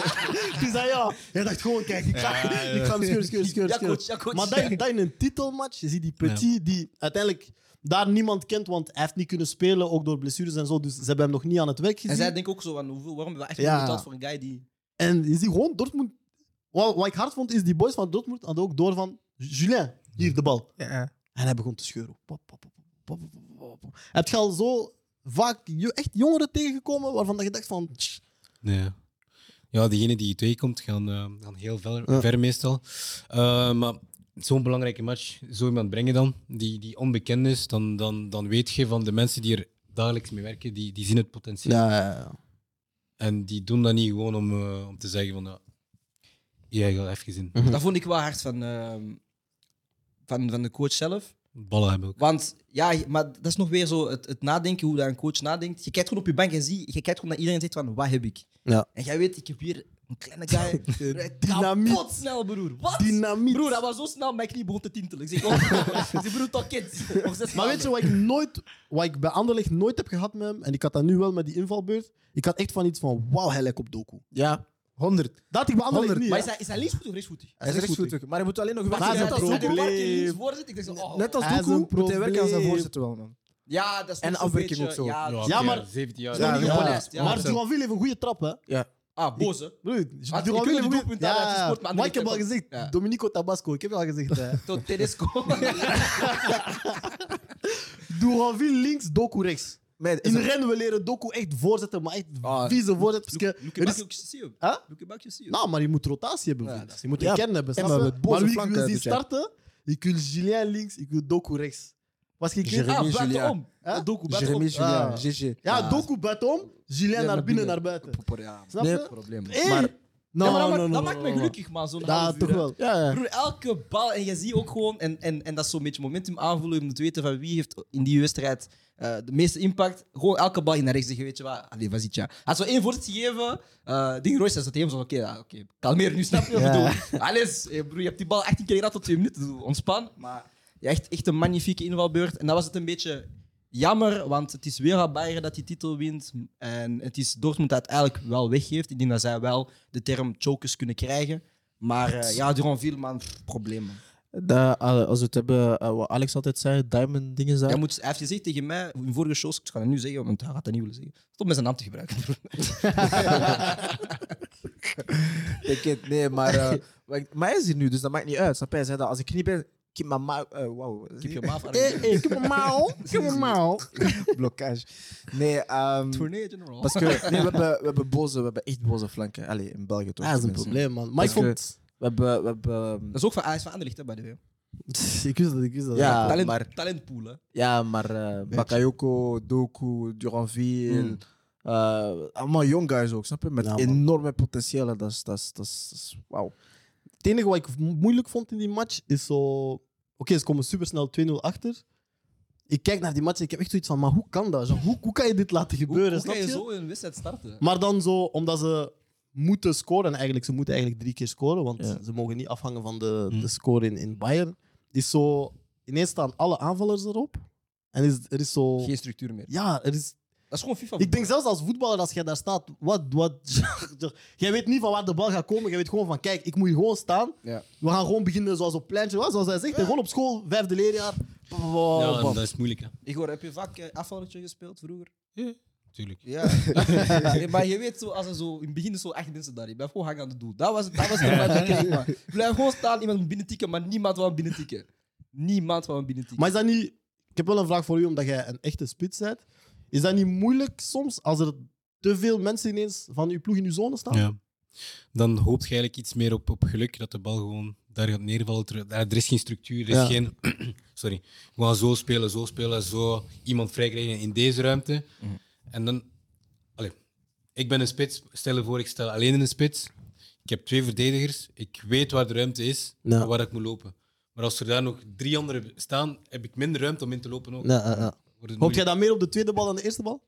Het is aan jou. Jij dacht gewoon, kijk, ik ga, ik ga hem scheuren, scheuren, scheuren. Ja, coach, scheuren. ja, coach. Maar dat in, dat in een titelmatch, je ziet die petit die uiteindelijk daar niemand kent, want hij heeft niet kunnen spelen, ook door blessures en zo. Dus ze hebben hem nog niet aan het werk gezien. En zij denken ook zo van, hoeveel, waarom hebben we echt Ja. ja. betaald voor een guy die... En je ziet gewoon Dortmund. Wat, wat ik hard vond, is die boys van Dortmund hadden ook door van Julien, hier de bal. ja. En hij begon te scheuren. Pop, pop, pop, pop, pop, pop, pop. Heb je al zo vaak jo- echt jongeren tegengekomen waarvan dat je dacht van. tsch, Nee. Ja, diegenen die je tegenkomt gaan, eh, gaan heel ver, Ja. ver meestal. Eh, maar zo'n belangrijke match, zo iemand brengen dan, die, die onbekend is, dan, dan, dan weet je van de mensen die er dagelijks mee werken, die, die zien het potentieel. Ja, ja, ja. En die doen dat niet gewoon om, eh, om te zeggen van, ja, jij gaat even in. Dat vond ik wel hard van, ehm, van, van de coach zelf. Ballen hebben ook. Want ja, maar dat is nog weer zo het, het nadenken, hoe dat een coach nadenkt. Je kijkt gewoon op je bank en zie, je kijkt gewoon naar iedereen en zegt van, wat heb ik? Ja. En jij weet, ik heb hier een kleine <laughs> guy. Dynamiet. Kapot snel, broer. Wat? Dynamiet. Broer, dat was zo snel, mijn knie begon te tintelen. Ik zeg, oh, <laughs> ik zeg, broer, toch kind. Nog zes Maar weet je wat ik, nooit, wat ik bij Anderlecht nooit heb gehad met hem, en ik had dat nu wel met die invalbeurt, ik had echt van iets van, wauw, hij lijkt op Doku. Ja, 100. Dat had ik bij Anderlecht 100, niet, Maar hè. is hij, is hij linksvoetig of rechtsvoetig? Hij is rechtsvoetig, maar hij moet alleen nog Maar werken is aan een net zijn als Doku voorzet. probleem. Martin links voorzit, ik denk zo, oh. Net als Hij is Doku een moet hij werken aan zijn probleem. voorzet wel, man. Ja, dat is En nog zo'n afwerking beetje- ook zo. Ja, dat is- Ja, maar- 17 jaar. Ja, Ja, ja. gepolijst, ja. Maar Duranville heeft een goede trap, hè. Ah, boze. Broer, Had- ik wil een doelpunt aan uit de sport, maar maar ik heb al Anderlecht- gezegd, Ja. Domenico Tabasco, ik heb al gezegd. eh. hè. Tot <laughs> Tedesco. Duranville links, Doku rechts. Maar is In er- rennen we leren Doku echt voorzetten, maar echt Ah. vieze voorzetten. parce que Luke er is- Bakje zie je. Huh? Luke Bakje zie je. Nou, maar je moet rotatie hebben. Ja, vriend. dat is- je moet Ja, een kern hebben. en snap je? met maar, boze wie ik flanken wil zien doet hij. starten, ik wil Julien links, ik wil Doku rechts. Was je Jeremy ah, Jeremy buitenom. Julia. Huh? Doku, buitenom. Jeremy Julien, Ah. GG. Ja, Ja. Doku buitenom, Julien naar binnen, naar buiten. Ja, Snap Nee, Dus je? probleem. Hey! Maar- No, ja, maar dat, maakt- no, no, dat no, maakt no, me no. gelukkig, man. Zo'n Ja, half uur, toch hè. wel. Ja, ja. Broer, elke bal. En je ziet ook gewoon, en, en, en dat is zo'n beetje momentum aanvoelen. Je moet weten van wie heeft in die wedstrijd eh, de meeste impact. Gewoon elke bal in naar rechts zeggen, weet je wat. Allee, was ja. Als we één voorzet geven, eh Ding Royce, dan zat hij even zo, oké, ja, oké, kalmeer nu, snap je wat ik bedoel? Alles, eh, broer, je hebt die bal 18 keer gehad tot 2 minuten, doe, ontspan. Maar ja, echt, echt een magnifieke invalbeurt. En dat was het een beetje jammer, want het is weer Bayern dat die titel wint. En het is Dortmund dat eigenlijk wel weggeeft. Ik denk dat zij wel de term chokers kunnen krijgen. Maar eh, ja, Duranville, man, pff, probleem. man. Da- eh, als we het hebben, eh, wat Alex altijd zei, diamond dingen Hij, zijn. moet, hij heeft gezegd tegen mij in vorige shows, ik ga het nu zeggen, want hij gaat dat niet willen zeggen. Stop met zijn naam te gebruiken. Ik weet- nee, maar, eh, wat ik- <laughs> maar hij is hier nu, dus dat maakt niet uit. Snap je? Hij zei dat als ik er niet ben, keep my mouth... eh, wow. Keep your mouth out of <laughs> Eh, it. eh, keep my mouth. Keep my mouth. Blokkage. Nee, ehm Tournee General. parce <laughs> que, nee, we, hebben, we hebben boze, we hebben echt boze flanken. Allee, in België toch. Ja, dat is een tenminste. probleem, man. Maar ik Parce vond... We hebben... We hebben ehm, Dat is ook van AS van Anderlecht, hè, by the way. Ik wist dat, ik wist dat. ja, Talent, Ah, maar, Talentpool, hè. ja, maar eh, Bakayoko, Doku, Duranville... Mm. eh, allemaal young guys ook, snap je? Met Ja, man. enorme potentieel. Dat is... Dat is, dat is, dat is- Wauw. Het enige wat ik mo- moeilijk vond in die match is zo. Oké, ze komen supersnel 2-0 achter. Ik kijk naar die match en ik heb echt zoiets van: maar hoe kan dat? Zo, Hoe, hoe kan je dit laten Hoe, gebeuren? hoe snap kan je je? zo een wedstrijd starten? Maar dan zo, omdat ze moeten scoren eigenlijk. Ze moeten eigenlijk drie keer scoren, want Ja. ze mogen niet afhangen van de, Hm. Hmm. de score in, in Bayern. Is zo, ineens staan alle aanvallers erop. En is, er is zo. Geen structuur meer. Ja, er is Dat is gewoon FIFA. ik denk zelfs als voetballer, als jij daar staat, wat, <laughs> wat, jij weet niet van waar de bal gaat komen. Jij weet gewoon van, kijk, ik moet hier gewoon staan. Ja. We gaan gewoon beginnen zoals op pleintje, was, zoals hij zegt. En gewoon op school, vijfde leerjaar. Bam, bam, bam. Ja, dat is moeilijk, hè. Ik hoor, heb je vaak eh, afvallertje gespeeld vroeger? Tuurlijk. Ja. <laughs> nee, maar je weet, zo, als er zo, in het begin is zo echt mensen daar. Ik blijf gewoon hangen aan het doel. Dat was, het- dat was de vibe die ik kreeg, man. Ik blijf gewoon staan, iemand moet binnentikken, maar niemand wil binnentikken. Niemand wil binnentikken. Maar is dat niet... Ik heb wel een vraag voor u, omdat jij een echte spits bent. Is dat niet moeilijk soms, als er te veel mensen ineens van uw ploeg in uw zone staan? Ja. Dan hoopt je eigenlijk iets meer op, op geluk dat de bal gewoon daar gaat neervallen. terwijl daar- Er is geen structuur, er is Ja. geen. <clears throat> Sorry. Gewoon zo spelen, zo spelen, zo iemand vrijkrijgen in deze ruimte. Mhm. En dan. Allee, ik ben een spits. Stel je voor, ik stel alleen in een spits. Ik heb twee verdedigers. Ik weet waar de ruimte is Ja. en waar ik moet lopen. Maar als er daar nog drie anderen staan, heb ik minder ruimte om in te lopen. Ook. Nee, eh, eh. Wordt het Hoopt jij moeilijk. dan meer op de tweede bal dan de eerste bal?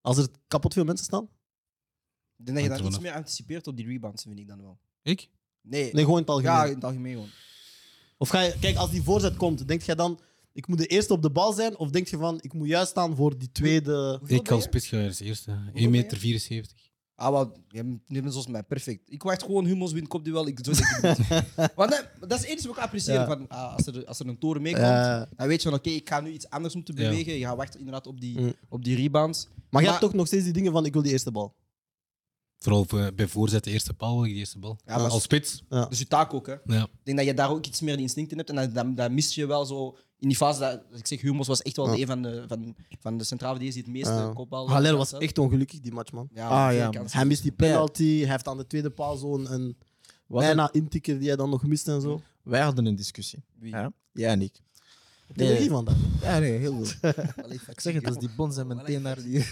Als er kapot veel mensen staan? Ik denk dat je Hangt dan er iets vanaf. meer anticipeert op die rebounds, vind ik dan wel. Ik? Nee, Nee, gewoon in het algemeen. ja, in het algemeen gewoon. Of ga je, kijk, als die voorzet komt, denk jij dan, ik moet de eerste op de bal zijn? Of denk je van, ik moet juist staan voor die tweede. Hoeveel Ik ben als je? spits ga als eerste. ben je? 1,74 meter. 74. Ah, wat, je bent- je bent zoals mij, perfect. Ik wacht gewoon humos win kopduel. Ik, zo denk ik <laughs> niet. Want dat, dat is het enige wat ik apprecieer. Ja. Van, ah, als, er, als er een toren meekomt, Ja. dan weet je van oké, ik ga nu iets anders moeten Ja. bewegen. Je gaat wachten inderdaad op die, Mm. op die rebounds. Maar je hebt toch nog steeds die dingen van, ik wil die eerste bal. Vooral voor- bij voorzet de eerste bal, wil ik de eerste bal. Ja, maar- Als spits. Dus je taak ook, hè. Ja. Ik denk dat je daar ook iets meer die instincten hebt. En dat, dat, dat mist je wel zo. In die fase, dat, als ik zeg, Humos was echt wel Ja. de een van de, van, van de centrale verdedigers die het meeste Ja. kopbal... Haller was echt ongelukkig die match, man. Ja, Ah, veel ja, kansen. Hij mist die penalty, hij heeft aan de tweede paal zo'n een bijna intikker die hij dan nog mist en zo. Wij hadden een discussie. Wie? Ja, ja en ik. Nee. Nee. Er iemand aan. Ja, nee, heel <laughs> veel. Allee, fuck, Ik zeg het, ja. als die bond zijn Oh, wel meteen naar die... <laughs>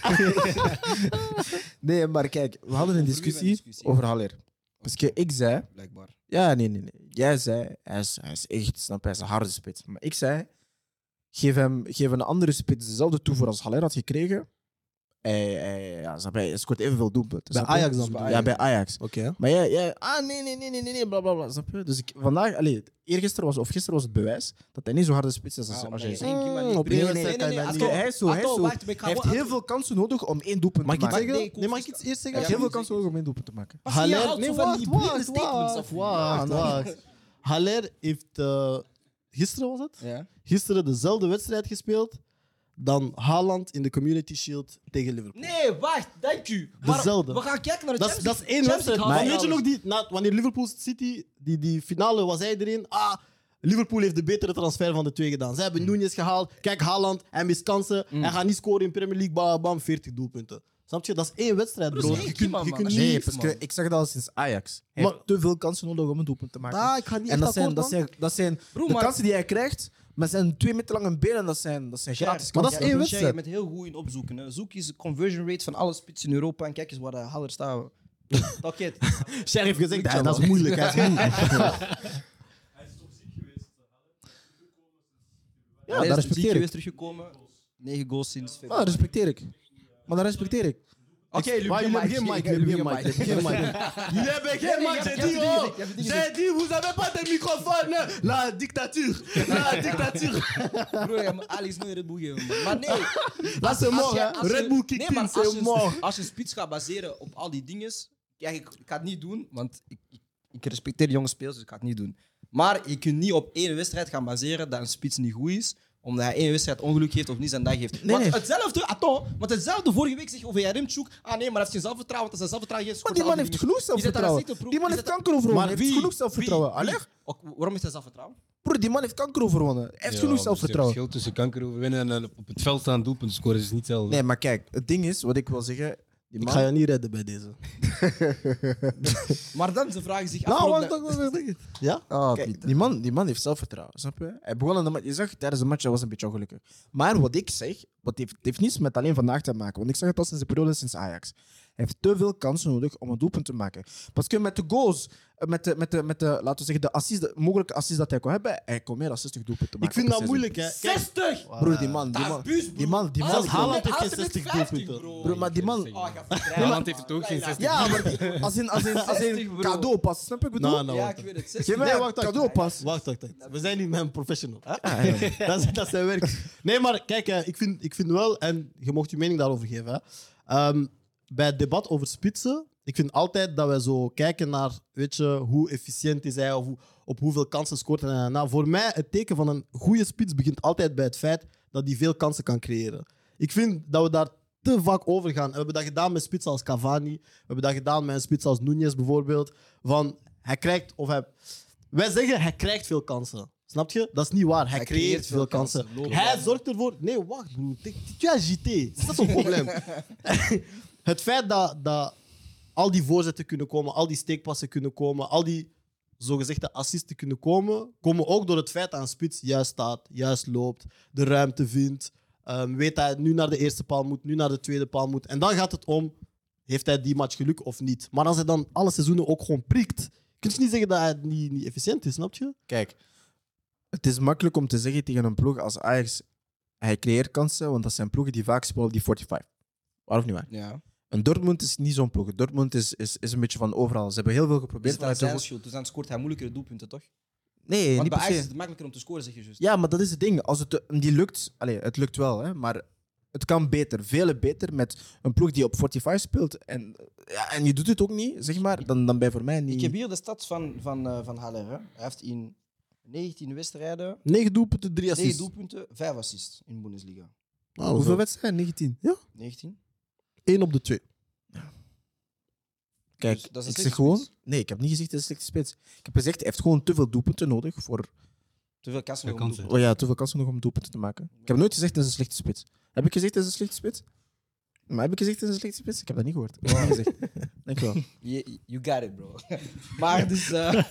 nee, maar kijk, we hadden een Over wie we een discussie discussie? over Haller. Parce que ik zei... Dus Blijkbaar. Ja, nee, nee, nee. Jij zei, hij is, hij is echt, snap je, hij is een harde spits. Maar ik zei, Geef, hem, geef een andere spits dezelfde toevoer als Haller had gekregen. Hij, hij, ja, snap je, hij scoort evenveel doelpunten. Bij snap je? Dus Ajax dan bedoel je? Ja, bij Ajax. Oké. Maar jij, jij, ah nee, nee, nee, nee, nee, nee, bla bla bla. Snap je? Dus ik, vandaag, allee, eergisteren was, of gisteren was het bewijs dat hij niet zo harde spits is Ah, Ah, als, als jij zegt. Mm, op Nee, nee, nee, kan je nee, mij Atto, niet- hij is zo, hij is Atto, zo. wacht, maar ik ga Hij heeft wel- heel veel kansen nodig om één doelpunt Mag ik te iets maken. zeggen? nee, ik Nee, hoef mag ik niet iets eerst Hij zeggen? heeft heel veel kansen nodig om één doelpunt te maken. Pas, je Haller, houdt nee, zo van wacht, die blinde wacht, statements af. wacht, Ja, wacht, nou. wacht. Haller heeft eh, gisteren was het? Ja. Gisteren dezelfde wedstrijd gespeeld dan Haaland in de Community Shield tegen Liverpool. Nee, wacht, dank u. Maar Dezelfde. We gaan kijken naar de Dat is, Champions dat is één Champions wedstrijd. League Maar haalt weet je alles. nog, die, na, wanneer Liverpool City, die, die finale, was hij erin. Ah, Liverpool heeft de betere transfer van de twee gedaan. Ze hebben Nunes gehaald. Kijk, Haaland, hij mist kansen. Hij gaat niet scoren in Premier League. Bam, bam, 40 doelpunten. Snap je? Dat is één wedstrijd, is bro. één Je kunt, keer, je man. kunt Nee, niet... parce que ik zeg dat al sinds Ajax. Hij Maar- heeft te veel kansen nodig om een doelpunt te maken. Ah, ik ga niet en echt dat zijn, dat akkoord, man. zijn, dat zijn Broer, de maar- kansen die hij krijgt, maar zijn twee meter lange benen, dat zijn, dat zijn gratis maar dat kansen. is Ja, één dus jij wedstrijd. bent heel goed in opzoeken. Hè. Zoek eens de conversion rate van alle spits in Europa en kijk eens waar de haller <laughs> staan. Dat kent. Sher heeft gezegd, "Ah, Ja, dat, dat is is moeilijk. Hij is <laughs> Ja, dat respecteer ik. is teruggekomen. 9 goals sinds Maar dat respecteer ik. Maar dat respecteer ik. Oké, Luc, Maar je jullie mag- hebben Ah, geen je- mic, je- jullie je- hebben geen mic. Jullie hebben <laughs> geen mic. Jullie hebben geen Nee, mic, nee, je j'ai hebt dit, het niet oh gezegd, je hebt het niet J'ai dit, vous avez pas de microphone La dictature La dictature Broer, ja, maar Ali is nooit Red Bull geven, man. Maar nee. Dat is als mort, jij- hè. als je- Red Bull kick nee, maar in, eh, als c'est mort. je, <laughs> als je spits gaat baseren op al die dingen, ja, ik, ik ga het niet doen, want ik, ik, ik respecteer jonge spelers, dus ik ga het niet doen. Maar je kunt niet op één wedstrijd gaan baseren dat een spits niet goed is, omdat hij één wedstrijd ongeluk heeft of niet zijn dag heeft. want nee. hetzelfde, attends, want hetzelfde vorige week zeg je over Jaremchuk, ah nee, maar hij heeft geen zelfvertrouwen, want als hij zelfvertrouwen heeft, Maar scoort die hij man al heeft die genoeg dingen. Is dat zelfvertrouwen. racistisch, broer? Die man Is heeft dat- kanker overwonnen. Hij wie? heeft genoeg Wie? zelfvertrouwen. Allee, Ook- Waarom heeft hij zelfvertrouwen? broer, die man heeft kanker overwonnen. Hij heeft genoeg zelfvertrouwen. Het verschil tussen kanker overwinnen en eh, op het veld aan doelpunten scoren is niet hetzelfde. Nee, maar kijk, het ding is, wat ik wil zeggen. Die Ik man, ga je niet redden bij deze. Maar dan ze vragen zich af. Nou, waarom wacht, dat- wacht, wacht, wacht. Ja? Kijk, Ah, die, man, die man heeft zelfvertrouwen, snap je? Hij begon aan de match. Je zag tijdens de match, hij was een beetje ongelukkig. Maar wat ik zeg, wat heeft, het heeft niets met alleen vandaag te maken. Want ik zeg het al sinds de periode sinds Ajax. Hij heeft te veel kansen nodig om een doelpunt te maken. Pas kun je met de goals, eh, met de, met de, met de laten we zeggen, de, assist, de mogelijke assist dat hij kon hebben, hij kon meer dan 60 doelpunten Ik maken. vind op dat een moeilijk, Eh, hè. Kijk, 60! seizoen. Broer, die man, die Dat man, is buis, broer. die man, die man, Als Zelfs Haaland heeft Als geen 60 doelpunten. bro. broer, maar die man, Oh, <laughs> ga verdrijven, Haaland heeft man. het ook geen Ja, 60. <laughs> ja, maar die- als in, als in, als in 60, bro. cadeau pas, snap je wat ik bedoel? nou, nou, Ja, ik wacht. weet het. Geef 60. mij Nee, een wacht, wacht. cadeau pas. Ah, Wacht, wacht, wacht. We zijn niet met een professional. Hè? <laughs> dat, is, dat is zijn werk. Nee, maar kijk, eh, ik vind, ik vind wel, en je mocht je mening daarover geven. Hè. Ehm, bij het debat over spitsen, ik vind altijd dat wij zo kijken naar, weet je, hoe efficiënt is hij of hoe- op hoeveel kansen scoort hij. en daarna. Voor mij, het teken van een goede spits begint altijd bij het feit dat hij veel kansen kan creëren. Ik vind dat we daar te vaak over gaan. En we hebben dat gedaan met spitsen als Cavani, we hebben dat gedaan met een spits als Nunez bijvoorbeeld. Van, hij krijgt, of hij... Wij zeggen, hij krijgt veel kansen. Snap je? Dat is niet waar. Hij, Hij creëert, veel kansen. Logisch. Hij zorgt ervoor... Nee, wacht, broer. Tu tu as agité. Dat is <laughs> een probleem. het feit dat, dat al die voorzetten kunnen komen, al die steekpassen kunnen komen, al die zogezegde assisten kunnen komen, komen ook door het feit dat een spits juist staat, juist loopt, de ruimte vindt, ehm, weet dat hij nu naar de eerste paal moet, nu naar de tweede paal moet. En dan gaat het om, heeft hij die match geluk of niet? Maar als hij dan alle seizoenen ook gewoon prikt, kun je niet zeggen dat hij niet, niet efficiënt is, snap je? Kijk, het is makkelijk om te zeggen tegen een ploeg als Ajax, hij creëert kansen, want dat zijn ploegen die vaak spelen op die 45. Waar of niet waar? Ja. Een Dortmund is niet zo'n ploeg. Dortmund is, is, is een beetje van overal. Ze hebben heel veel geprobeerd. Is het aan vanuit de zijn hoek. schuld? Dus dan scoort hij moeilijkere doelpunten, toch? Nee, Want niet bij per Ajax is se. het makkelijker om te scoren, zeg je juist. Ja, maar dat is het ding. Als het eh, die lukt, allez, het lukt wel, hè, maar het kan beter, vele beter met een ploeg die op 45 speelt en, ja, en je doet het ook niet, zeg maar, dan, dan ben je voor mij niet. Ik heb hier de stats van, van, eh, van Haller. Hè. Hij heeft in 19 wedstrijden 9 doelpunten, 3 9 assists. doelpunten, 5 assists in de Bundesliga. Nou, Hoeveel wedstrijden? 19? Ja. 19? 1 op de 2. Kijk, Dus dat is een ik slechte zeg gewoon... spits. Nee, ik heb niet gezegd dat het een slechte spits. Ik heb gezegd, hij heeft gewoon te veel doelpunten nodig voor... Te veel kassen Veel om kansen. doelpunten. Oh ja, te veel kansen nog om doelpunten te maken. Ik heb nooit gezegd, dat is een slechte spits. Heb ik gezegd, dat is een slechte spits? Maar heb ik gezegd, dat is een slechte spits? Ik heb dat niet gehoord. Ik heb dat niet <laughs> gezegd. Dankjewel. You, you got it, bro. <laughs> maar dus... eh,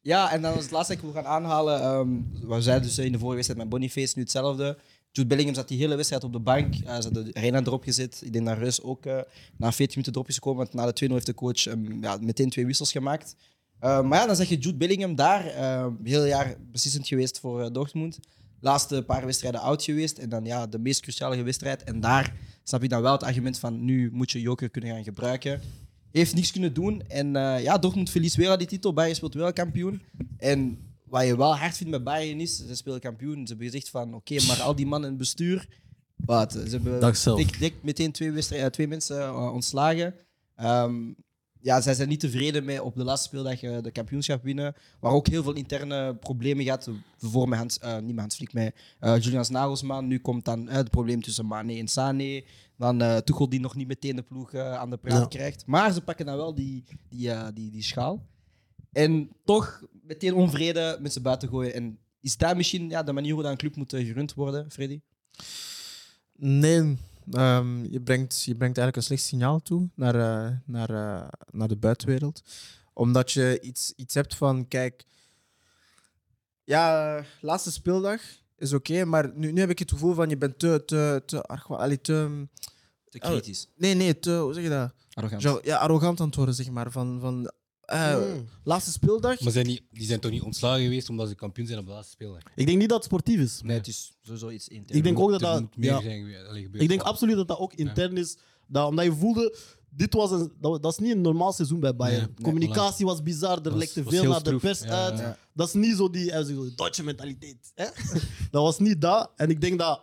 ja, en dan als het laatste dat ik wil gaan aanhalen... ehm we zeiden dus in de vorige wedstrijd met Boniface nu hetzelfde. Jude Bellingham zat die hele wedstrijd op de bank. Eh, ze hadden Reina erop gezet. Ik denk dat Reus ook eh, na 14 minuten erop is gekomen. Want na de 2-0 heeft de coach ehm, ja, meteen twee wissels gemaakt. ehm, Eh, maar ja, dan zeg je Jude Bellingham daar. eh, heel jaar beslissend geweest voor eh, Dortmund. laatste paar wedstrijden oud geweest. En dan ja, de meest cruciale wedstrijd. En daar snap ik dan wel het argument van nu moet je joker kunnen gaan gebruiken. Heeft niks kunnen doen. En eh, ja, Dortmund verliest weer aan die titel. Bayern speelt wel kampioen. En wat je wel hard vindt met Bayern is, ze spelen kampioen. Ze hebben gezegd van oké, maar al die mannen in het bestuur... Wat, ze hebben Dag zelf. dik- dik meteen twee, wedstrijden- eh, twee mensen eh, ontslagen. Ehm, ja, zij zijn niet tevreden mee op de laatste speeldag eh, de kampioenschap winnen. Waar ook heel veel interne problemen gaat. Voor met Hans, eh, niet met Hans Flick, met eh, Julian Nagelsman. Nu komt dan eh, het probleem tussen Mane en Sané. Dan eh Tuchel die nog niet meteen de ploeg eh, aan de praat Ja. krijgt. Maar ze pakken dan wel die, die, eh, die, die schaal. En toch meteen onvrede met ze buiten gooien. En is daar misschien ja, de manier hoe dat een club moet eh, gerund worden, Freddy? Nee, ehm, je, brengt, je brengt eigenlijk een slecht signaal toe naar, eh, naar, eh, naar de buitenwereld. Omdat je iets, iets hebt van, kijk, ja, eh, laatste speeldag is oké, maar nu, nu heb ik het gevoel van je bent te, te, te, argwa- allee, te, Te Ah, kritisch. nee, nee, te, hoe zeg je dat? Arrogant. Zo, ja, arrogant aan het worden, zeg maar. Van, van, eh, Mm. Laatste speeldag? Maar zijn die, die zijn toch niet ontslagen geweest omdat ze kampioen zijn op de laatste speeldag? Ik denk niet dat het sportief is. Nee, het is sowieso iets intern. Ik denk Er ook moet- dat er dat- moet meer ja. zijn gebeurd. Allee, gebeurd. Ik denk absoluut dat dat ook intern is. Dat, omdat je voelde, dit was een, dat, dat is niet een normaal seizoen bij Bayern. Nee, nee, Communicatie was bizar, er Was- lekte was veel heel naar de stroef. pers Ja, uit. ja. Dat is niet zo die eh, zo, Duitse mentaliteit. Hè? <laughs> dat was niet dat. En ik denk dat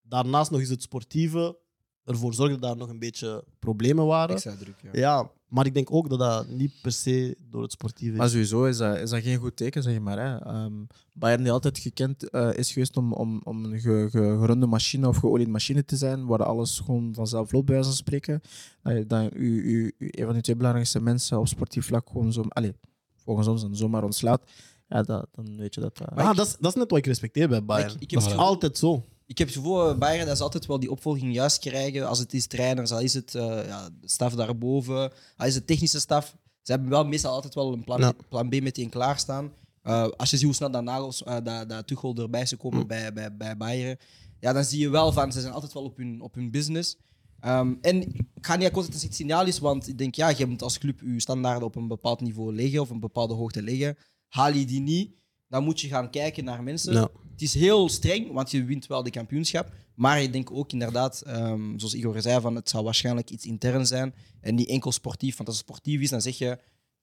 daarnaast nog eens het sportieve ervoor zorgde dat er nog een beetje problemen waren. Extra druk, ja. Ja, maar ik denk ook dat dat niet per se door het sportieve is. Maar sowieso is dat, is dat geen goed teken, zeg maar. Hè. Ehm, Bayern die altijd gekend eh, is geweest om, om, om een ge- ge- gerunde machine of geoliede machine te zijn, waar alles gewoon vanzelf loopt, bij wijze van spreken. Dat, je- dat u, u, u een van de twee belangrijkste mensen op sportief vlak gewoon zo, allez, volgens ons dan zomaar ontslaat. Ja, dat, dan weet je dat... eh. dat- Maar ja, Ah, dat, is, dat is net wat ik respecteer bij Bayern. Ik- ik heb dat is het gevoel- altijd zo. Ik heb het gevoel, eh, Bayern dat ze altijd wel die opvolging juist krijgen. Als het is trainers, al is het eh, ja, de staf daarboven, al is het technische staf. Ze hebben wel meestal altijd wel een plan, Ja. plan B meteen klaarstaan. Eh, als je ziet hoe snel dat, Nagels, eh, dat, dat Tuchel erbij is gekomen Mm. bij, bij, bij Bayern, ja, dan zie je wel van, ze zijn altijd wel op hun, op hun business. Ehm, en ik ga niet akkoord dat het een signaal is, want ik denk, ja, je moet als club je standaarden op een bepaald niveau leggen of een bepaalde hoogte leggen. Haal je die niet, dan moet je gaan kijken naar mensen. Ja. Het is heel streng, want je wint wel de kampioenschap. Maar ik denk ook inderdaad, ehm, zoals Igor zei, van, het zal waarschijnlijk iets intern zijn en niet enkel sportief. Want als het sportief is, dan zeg je, het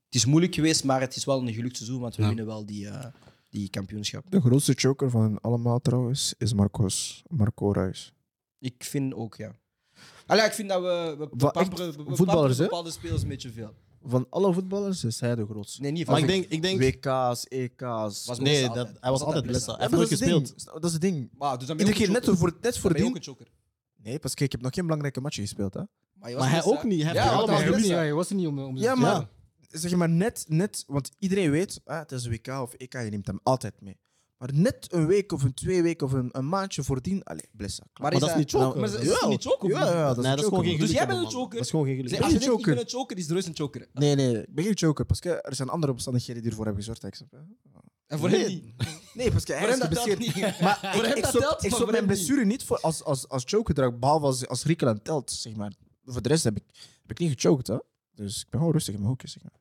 is moeilijk geweest, maar het is wel een gelukt seizoen, want we Ja. winnen wel die, eh, die kampioenschap. De grootste joker van hen allemaal trouwens is Marcos, Marco Reus. Ik vind ook, ja. Allee, ik vind dat we, we, Wa- echt? pamperen- we- we Voetballers, pamperen hè? bepaalde spelers een beetje veel. Van alle voetballers is hij de grootste. Nee, niet van Maar ik denk... Ik denk WK's, EK's... Was nee, Blessa dat, altijd. hij was altijd Blessa. Blessa. Hij Ja, heeft maar nooit dat, is het gespeeld. ding. dat is het ding. Maar, dus dan ben je Iedere keer ook een net, joker. voor, net Dan ben je voordien... ook een joker. Nee, pas kijk, ik heb nog geen belangrijke match gespeeld, hè. je was Maar hij Blessa. ook niet. Hij heeft Ja, er want hij Ja, maar allemaal was hij was gemist. niet- hij was er niet om, om Ja, maar zeg maar net, net, want iedereen weet, ah, het is WK of EK, je neemt hem altijd mee. Maar net een week of een twee weken of een, een maandje voordien, allez, blessa. Maar Nou, Maar dat is niet joker. Maar is dat Jawel. niet joker? Ja, ja, dat is Nee, een dat is gewoon joker, geen man. Dus geluk jij hebben, bent een man. joker? Dat is gewoon geen geluk. Zeg, als je Een zegt, ik ben joker. een joker, is er dus een joker. Nee, nee, ik ben geen joker, parce que er zijn andere omstandigheden die ervoor hebben gezorgd. hè, ik snap, hè. En voor Nee. hem niet. Nee, parce que hij Voor is hem dat telt geblesseerd. niet. Maar Voor hem ik, ik dat stop, telt, ik maar stop voor mijn hem niet. blessure niet voor als, als, als jokerdrag, behalve als, als Griekenland telt, zeg maar. Voor de rest heb ik, heb ik niet gechoked, hè. Dus ik ben gewoon rustig in mijn hoekje, zeg maar.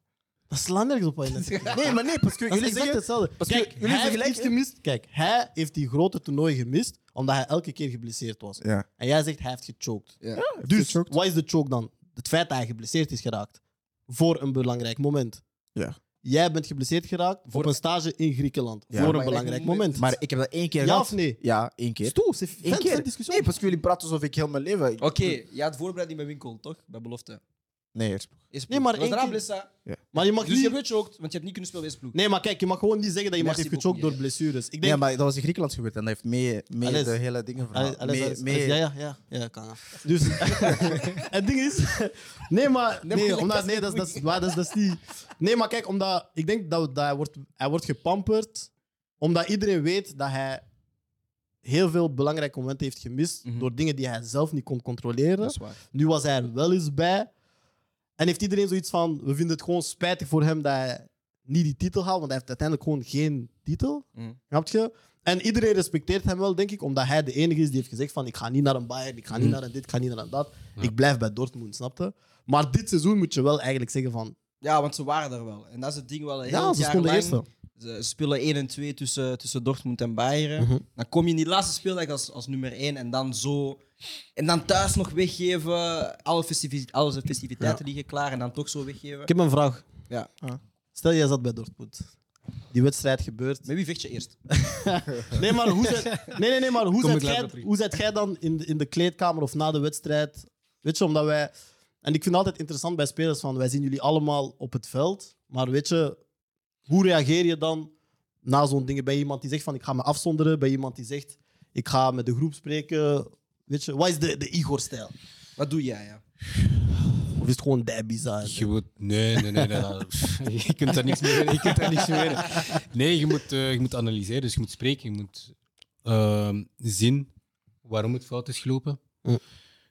Dat slaat nergens op wat je net zegt. Nee, maar nee, parce que Dat is jullie exact zeggen... hetzelfde. Parce Kijk, que jullie hij heeft vergelijken- iets gemist. Kijk, hij heeft die grote toernooi gemist omdat hij elke keer geblesseerd was. Ja. En jij zegt hij heeft gechoked. Ja. Dus gechoked. wat is de choke dan? Het feit dat hij geblesseerd is geraakt voor een belangrijk moment. Ja. Jij bent geblesseerd geraakt voor een stage in Griekenland Ja. voor Maar een je belangrijk moet- moment. Maar ik heb dat één keer ja gehad. of nee? Ja, één keer. Stoel, ze Eén vent, keer. vent discussie. Nee, pas jullie praten alsof ik heel mijn <laughs> leven. Oké, je had voorbereiding bij winkel, toch? Bij belofte. Nee, eerst. Eerst Nee, ploeg. maar Dat was één daarna keer- Blessa. Maar je mag Dus je niet... hebt gechoked, want je hebt niet kunnen spelen bij Sploeg. Nee, maar kijk, je mag gewoon niet zeggen dat je Merci mag heeft beaucoup, gechoked door ja. blessures. Nee, Ik denk... maar dat was in Griekenland gebeurd en dat heeft mee, mee Alles. de hele dingen Alles, verhaald. alles, Mee- alles, mee- alles. Ja, ja, ja. ja kan. ja. Dus, <laughs> het ding is... Nee, maar... maar Nee, dat omdat, is nee niet dat, is- dat, is, goed. waar, dat, is, dat is niet... Nee, maar kijk, omdat... Ik denk dat, dat hij, wordt, hij wordt gepamperd omdat iedereen weet dat hij heel veel belangrijke momenten heeft gemist Mhm. door dingen die hij zelf niet kon controleren. Dat is waar. Nu was hij er wel eens bij. En heeft iedereen zoiets van... We vinden het gewoon spijtig voor hem dat hij niet die titel haalt. Want hij heeft uiteindelijk gewoon geen titel. Mhm. Snap je? En iedereen respecteert hem wel, denk ik. Omdat hij de enige is die heeft gezegd van... Ik ga niet naar een Bayern, ik ga niet naar een dit, ik ga niet naar een dat. Ik blijf bij Dortmund, snap je? Maar dit seizoen moet je wel eigenlijk zeggen van... Ja, want ze waren er wel. En dat is het ding wel. Heel Ja, het ze jaar stonden lang eerste. Ze spelen 1 en 2 tussen, tussen Dortmund en Bayern. Mhm. Dan kom je in die laatste speeldag als, als nummer 1 en dan zo. En dan thuis nog weggeven. Alle, festivi- alle festiviteiten liggen klaar en dan toch zo weggeven. Ik heb een vraag. Ja. Stel, jij zat bij Dortmund. Die wedstrijd gebeurt. Met wie vecht je eerst? Nee, maar hoe zit, nee, nee, nee, maar hoe Kom zet ik later jij, terug. hoe zet jij dan in de, in de kleedkamer of na de wedstrijd? Weet je, omdat wij. En ik vind het altijd interessant bij spelers van wij zien jullie allemaal op het veld. Maar weet je, hoe reageer je dan na zo'n dingen? Bij iemand die zegt van ik ga me afzonderen, bij iemand die zegt ik ga met de groep spreken. Weet je, wat is de, de Igor-stijl? Wat doe jij? Ja? Of is het gewoon Debbie zijn? Je moet, nee, nee, nee. nee, nee. <laughs> je kunt daar niks mee winnen. Je kunt daar niks mee winnen. Nee, je moet, eh, je moet analyseren. Dus je moet spreken. Je moet ehm, zien waarom het fout is gelopen. Mm.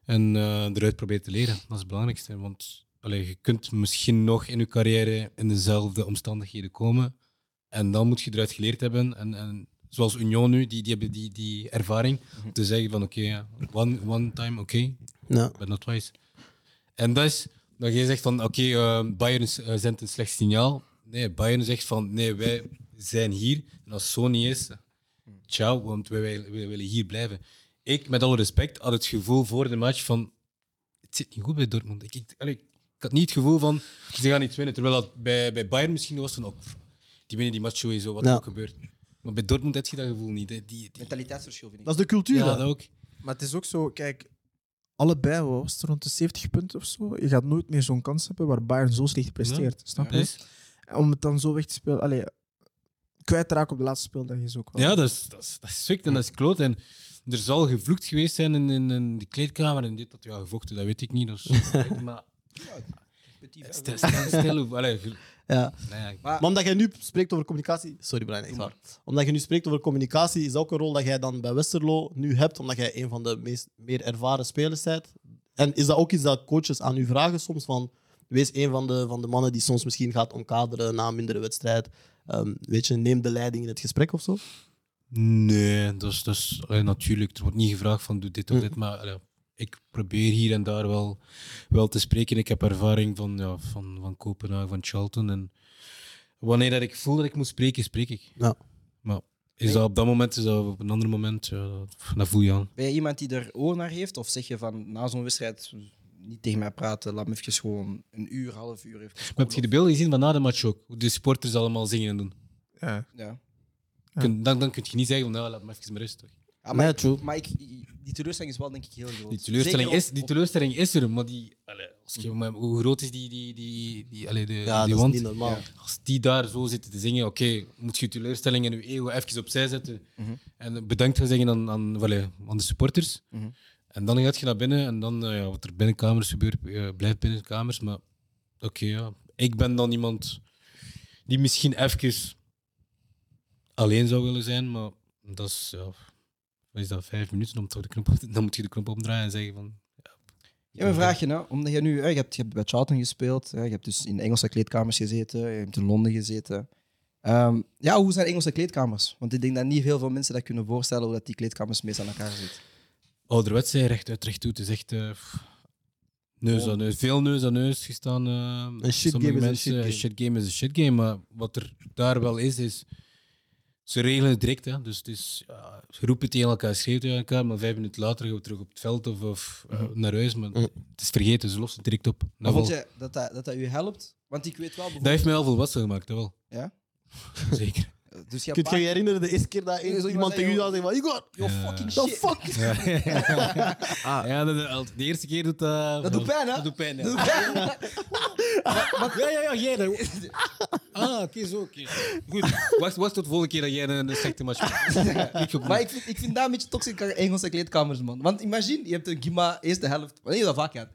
En eh, eruit proberen te leren. Dat is het belangrijkste. Want allee, je kunt misschien nog in je carrière in dezelfde omstandigheden komen. En dan moet je eruit geleerd hebben. En, en zoals Union nu, die, die hebben die, die ervaring. om Te zeggen van oké, ja, one, one time, oké, Ja. but not twice. En dat is, dat jij zegt van, oké, eh Bayern is- eh, zendt een slecht signaal. Nee, Bayern zegt van, nee, wij zijn hier. En als zo niet is, ciao, want wij, wij- wij willen hier blijven. Ik, met alle respect, had het gevoel voor de match van, het zit niet goed bij Dortmund. Ik, ik, allee, ik had niet het gevoel van, ze gaan iets winnen. Terwijl dat bij, bij Bayern misschien was van, oh, pff, die winnen die match sowieso, wat er Ja. ook gebeurt. Maar bij Dortmund heb je dat gevoel niet. hè. Die, die, Mentaliteitsverschil vind ik. Dat is de cultuur. ja, hè? dat ook. Maar het is ook zo, kijk, allebei wat was het rond de 70 punten of zo. Je gaat nooit meer zo'n kans hebben waar Bayern zo slecht presteert. Snap je? Dus- En Om het dan zo weg te spelen. Allee, kwijt te raken op de laatste speeldag is ook wel. Ja, dat is, dat, is, dat is zwikt en dat is kloot. En er zal gevloekt geweest zijn in, in, in de kleedkamer en dit, dat ja, gevochten, dat weet ik niet. Dat is- maar Petit- stel, stel, stel allee, ge- Ja. nou ja, Maar- Maar omdat jij nu spreekt over communicatie. Sorry, Brian, echt waar. Omdat je nu spreekt over communicatie, is dat ook een rol dat jij dan bij Westerlo nu hebt, omdat jij een van de meest, meer ervaren spelers bent. En is dat ook iets dat coaches aan u vragen soms? Van, wees een van de, van de mannen die soms misschien gaat omkaderen na een mindere wedstrijd. Ehm, weet je, neem de leiding in het gesprek of zo. Nee, dat is, dat is allee, natuurlijk. Er wordt niet gevraagd van doe dit of dit, maar allee, ik probeer hier en daar wel, wel te spreken. Ik heb ervaring van, ja, van, van Kopenhagen, van Charlton. En wanneer dat ik voel dat ik moet spreken, spreek ik. Ja. Maar is dat op dat moment, is dat op een ander moment, ja, dat, dat voel je aan. Ben je iemand die er oor naar heeft? Of zeg je van na zo'n wedstrijd niet tegen mij praten, laat me even gewoon een uur, half uur even. Maar heb je de beelden gezien van na de match ook? Hoe de supporters allemaal zingen en doen. Ja. Ja. Kun- dan, dan kun je niet zeggen, van, nou, laat me even met rust. Toch? Ah, maar Nee, true. maar ik, die teleurstelling is wel denk ik heel groot. Die, teleurstelling Zeker is, op- die op- teleurstelling is er, maar, die, allee, als je, maar hoe groot is die, die, die, die, allee, de, Ja, die dat is wand? niet normaal. Als die daar zo zitten te zingen, oké, moet je je teleurstelling en je ego even opzij zetten. En bedankt gaan zeggen aan, aan, voilà, aan de supporters. En dan gaat je naar binnen en dan, eh, ja, wat er binnen kamers gebeurt, eh, blijft binnen kamers. Maar oké, ja. ik ben dan iemand die misschien even alleen zou willen zijn, maar dat is, ja, wat is dat, vijf minuten om toch de knop op te- Dan moet je de knop omdraaien en zeggen van... Ja, mijn vraagje, nou, omdat je nu, hè, je, hebt, je hebt bij Charlton gespeeld, hè, je hebt dus in Engelse kleedkamers gezeten, je hebt in Londen gezeten. Ehm, ja, hoe zijn Engelse kleedkamers? Want ik denk dat niet heel veel mensen dat kunnen voorstellen hoe dat die kleedkamers meest aan elkaar zitten. Ouderwets zijn recht uit recht toe. Het is echt eh, pff, neus aan neus. Veel neus aan neus gestaan. eh, Een shit sommige game is een mensen, shit game. is een shit game. Maar wat er daar wel is, is... Ze regelen het direct. Hè. Dus het is, ja, ze roepen het tegen elkaar, schreeuwen tegen elkaar. Maar vijf minuten later gaan we terug op het veld of, of eh, naar huis. Maar Mhm. het is vergeten. Ze lossen het direct op. Maar Dat, vond Nou, wel. je dat dat, dat dat u helpt? Want ik weet wel dat bijvoorbeeld... heeft mij al veel wassen gemaakt, dat wel. Ja? <laughs> Zeker. Dus je hebt Kun je je herinneren de eerste keer dat Nee, zo iemand, iemand tegen u zei, zei van Igor, Yo, fucking the shit. fuck? Ja, ja dat, de eerste keer doet dat... eh, Dat doet pijn, hè? Dat doet pijn, ja. <laughs> ja, ja, ja, jij dan. Ah, oké, zo, oké. Goed, wacht, wacht tot de volgende keer dat jij een, een slechte match maakt. <laughs> Ik Maar ik vind, ik vind dat een beetje toxisch aan Engelse kleedkamers, man. Want imagine, je hebt een Gima, eerste helft. Wanneer je dat vaak had.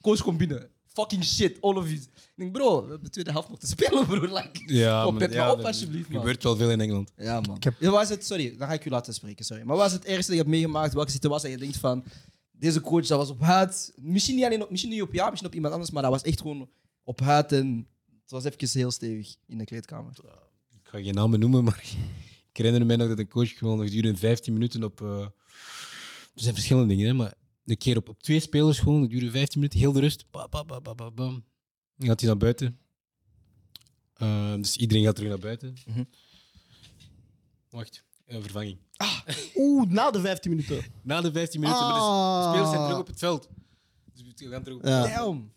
Coach komt binnen. Fucking shit, all of you. Ik denk, bro, we hebben de tweede helft nog te spelen, bro. <laughs> Like, Ja, kom, maar- pep me ja, op, dat alsjeblieft, man. gebeurt wel veel in Engeland. Ja, man. Ja, wat is het, sorry, dan ga ik u laten spreken, sorry. Maar wat is het ergste dat je hebt meegemaakt? Welke situatie dat je denkt van, deze coach, dat was op huid. Misschien niet, alleen op, misschien niet op jou, misschien op iemand anders, maar dat was echt gewoon op huid en het was even heel stevig in de kleedkamer. Ik ga geen namen noemen, maar ik herinner mij nog dat een coach gewoon gedurende 15 minuten op... eh, er zijn verschillende dingen, hè, maar een keer op, op twee spelers gewoon, dat duurde 15 minuten, heel de rust. Bam, bam, bam, bam, bam, bam. Dan gaat hij naar buiten. Eh, Eh, dus iedereen gaat terug naar buiten. Mhm. Wacht, een vervanging. Oeh, na de 15 minuten. Na de 15 minuten, maar de s- Ah. spelers zijn terug op het veld. Dus we gaan terug op Ja. Damn.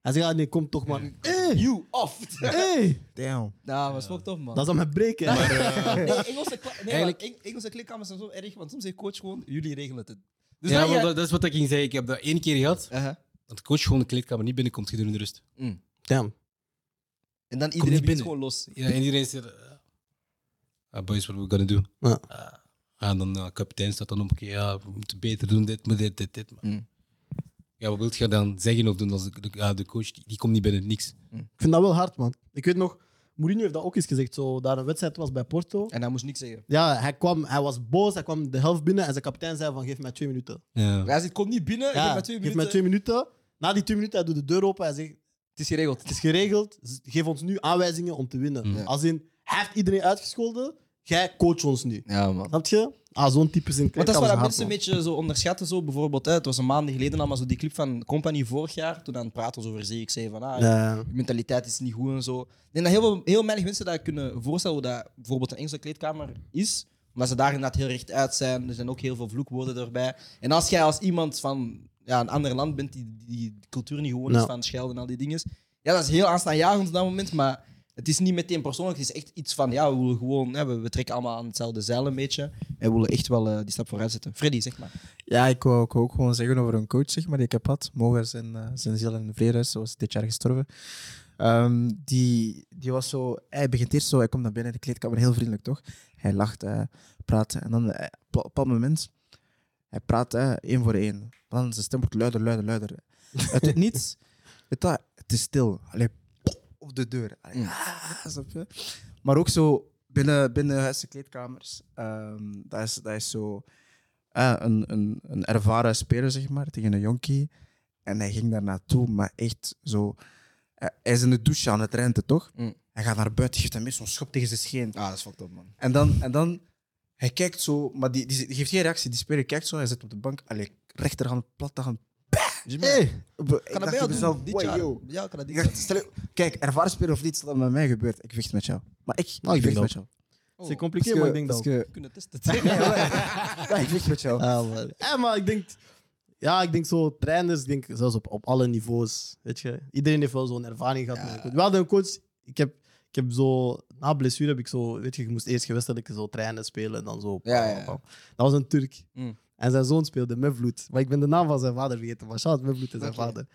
Hij zei, ja, nee, kom toch maar. Eh. <laughs> You off! Hey. Damn. Ja, was fucked up, man. Dat is aan mijn breken. hè. Nee, Engelse, kla- nee, Eigenlijk- maar Eng- Engelse klikkamers zijn zo erg, want soms zegt coach gewoon, jullie regelen het. Dus ja, dan maar ga- dat, dat is wat ik ging zeggen. Ik heb dat één keer gehad. Aha. Dat de coach gewoon de kleedkamer niet binnenkomt gedurende de rust. Damn. En dan iedereen niet begint binnen. gewoon los. Ja, en iedereen zegt... eh, ah, boys, what we gonna do? Ja. Ah, en dan eh, kapitein staat dan op. Oké, ja, we moeten beter doen. Dit, maar dit, dit, dit. Maar. Mm. Ja, wat wilt je dan zeggen of doen als de, de, ja, de coach... Die, die komt niet binnen, niks. Ik vind dat wel hard, man. Ik weet nog, Mourinho heeft dat ook eens gezegd. Zo, daar een wedstrijd was bij Porto. En hij moest niks zeggen. Ja, hij, kwam, hij was boos, hij kwam de helft binnen en zijn kapitein zei van geef mij twee minuten. Ja. Hij zegt, kom niet binnen, Ja, geef mij twee minuten. twee minuten. Na die twee minuten, hij doet de deur open en zegt Het is geregeld. het is geregeld, z- geef ons nu aanwijzingen om te winnen. Ja. Als in, hij heeft iedereen uitgescholden, jij coach ons nu. Ja, man. Snap je? Ah, zo'n type is in Want dat is kleedkamers wat hard, mensen een man. beetje zo onderschatten. Zo. Bijvoorbeeld, hè, het was een maand geleden allemaal zo die clip van Company vorig jaar. Toen aan het praten was over zee, ik zei van ah, Ja. je mentaliteit is niet goed en zo. Ik denk dat heel, veel- heel weinig mensen dat kunnen voorstellen hoe dat bijvoorbeeld een Engelse kleedkamer is. Omdat ze daar inderdaad heel recht uit zijn. Er zijn ook heel veel vloekwoorden erbij. En als jij als iemand van ja, een ander land bent die die cultuur niet gewoon is Ja. van schelden en al die dingen. Ja, dat is heel aanstaanjagend op dat moment, maar het is niet meteen persoonlijk. Het is echt iets van, ja, we willen gewoon, hè, we, we trekken allemaal aan hetzelfde zeil een beetje. En we willen echt wel eh, die stap vooruit zetten. Freddy, zeg maar. Ja, ik wou ik wou ook gewoon zeggen over een coach zeg maar, die ik heb gehad. Mogen zijn, eh, zijn ziel in de vrede is, zoals dit jaar gestorven. Ehm, die, die was zo... Hij begint eerst zo, hij komt naar binnen de kleedkamer, heel vriendelijk toch? Hij lacht, hij praat. En dan eh, op een bepaald moment, hij praat eh, één voor één. Dan zijn stem wordt luider, luider, luider. <laughs> Uit het niets, weet dat, het is stil. Allee, pop, op de deur. Allee, Mm. ah, snap je? Maar ook zo binnen, binnen huizen kleedkamers. Ehm, dat, is, dat is zo eh, een, een, een ervaren speler, zeg maar, tegen een jonkie. En hij ging daar naartoe, maar echt zo... eh, hij is in de douche aan het renten, toch? Mm. Hij gaat naar buiten, geeft hem eerst zo'n schop tegen zijn scheen. Ah, dat is fucked up, man. En dan, en dan, hij kijkt zo, maar die, die, die geeft geen reactie. Die speler kijkt zo, hij zit op de bank. Allee, rechterhand, plattehand. Hey, Ik dacht kan dat bij bij jou mezelf, doen? Dit "Wai, jaar? yo." Ja, <laughs> kan dat dit Ik jaar? dacht, stel je- kijk, ervaren speler of niet, stel dat met mij gebeurt. Ik vecht met jou. Maar ik, Nou, ik ik vecht met denk jou. Oh, Het is we compliceerd, maar ik denk dat Als ook. <laughs> je- kunnen testen. <laughs> Nee, maar- <laughs> Ja, ik vecht met jou. Ah, maar, eh, maar ik denk, ja, ik denk zo, trainers, ik denk zelfs op, op alle niveaus. Weet je, iedereen heeft wel zo'n ervaring gehad. Met een coach. We hadden een coach, ik heb, ik heb zo, na blessure heb ik zo, weet je, ik moest eerst gewestelijk zo trainen spelen en dan zo. Ja, ja, ja. Dat was een Turk. Mm. En zijn zoon speelde Mevlut. Maar ik ben de naam van zijn vader vergeten, maar Charles Mevlut is zijn Oké. vader.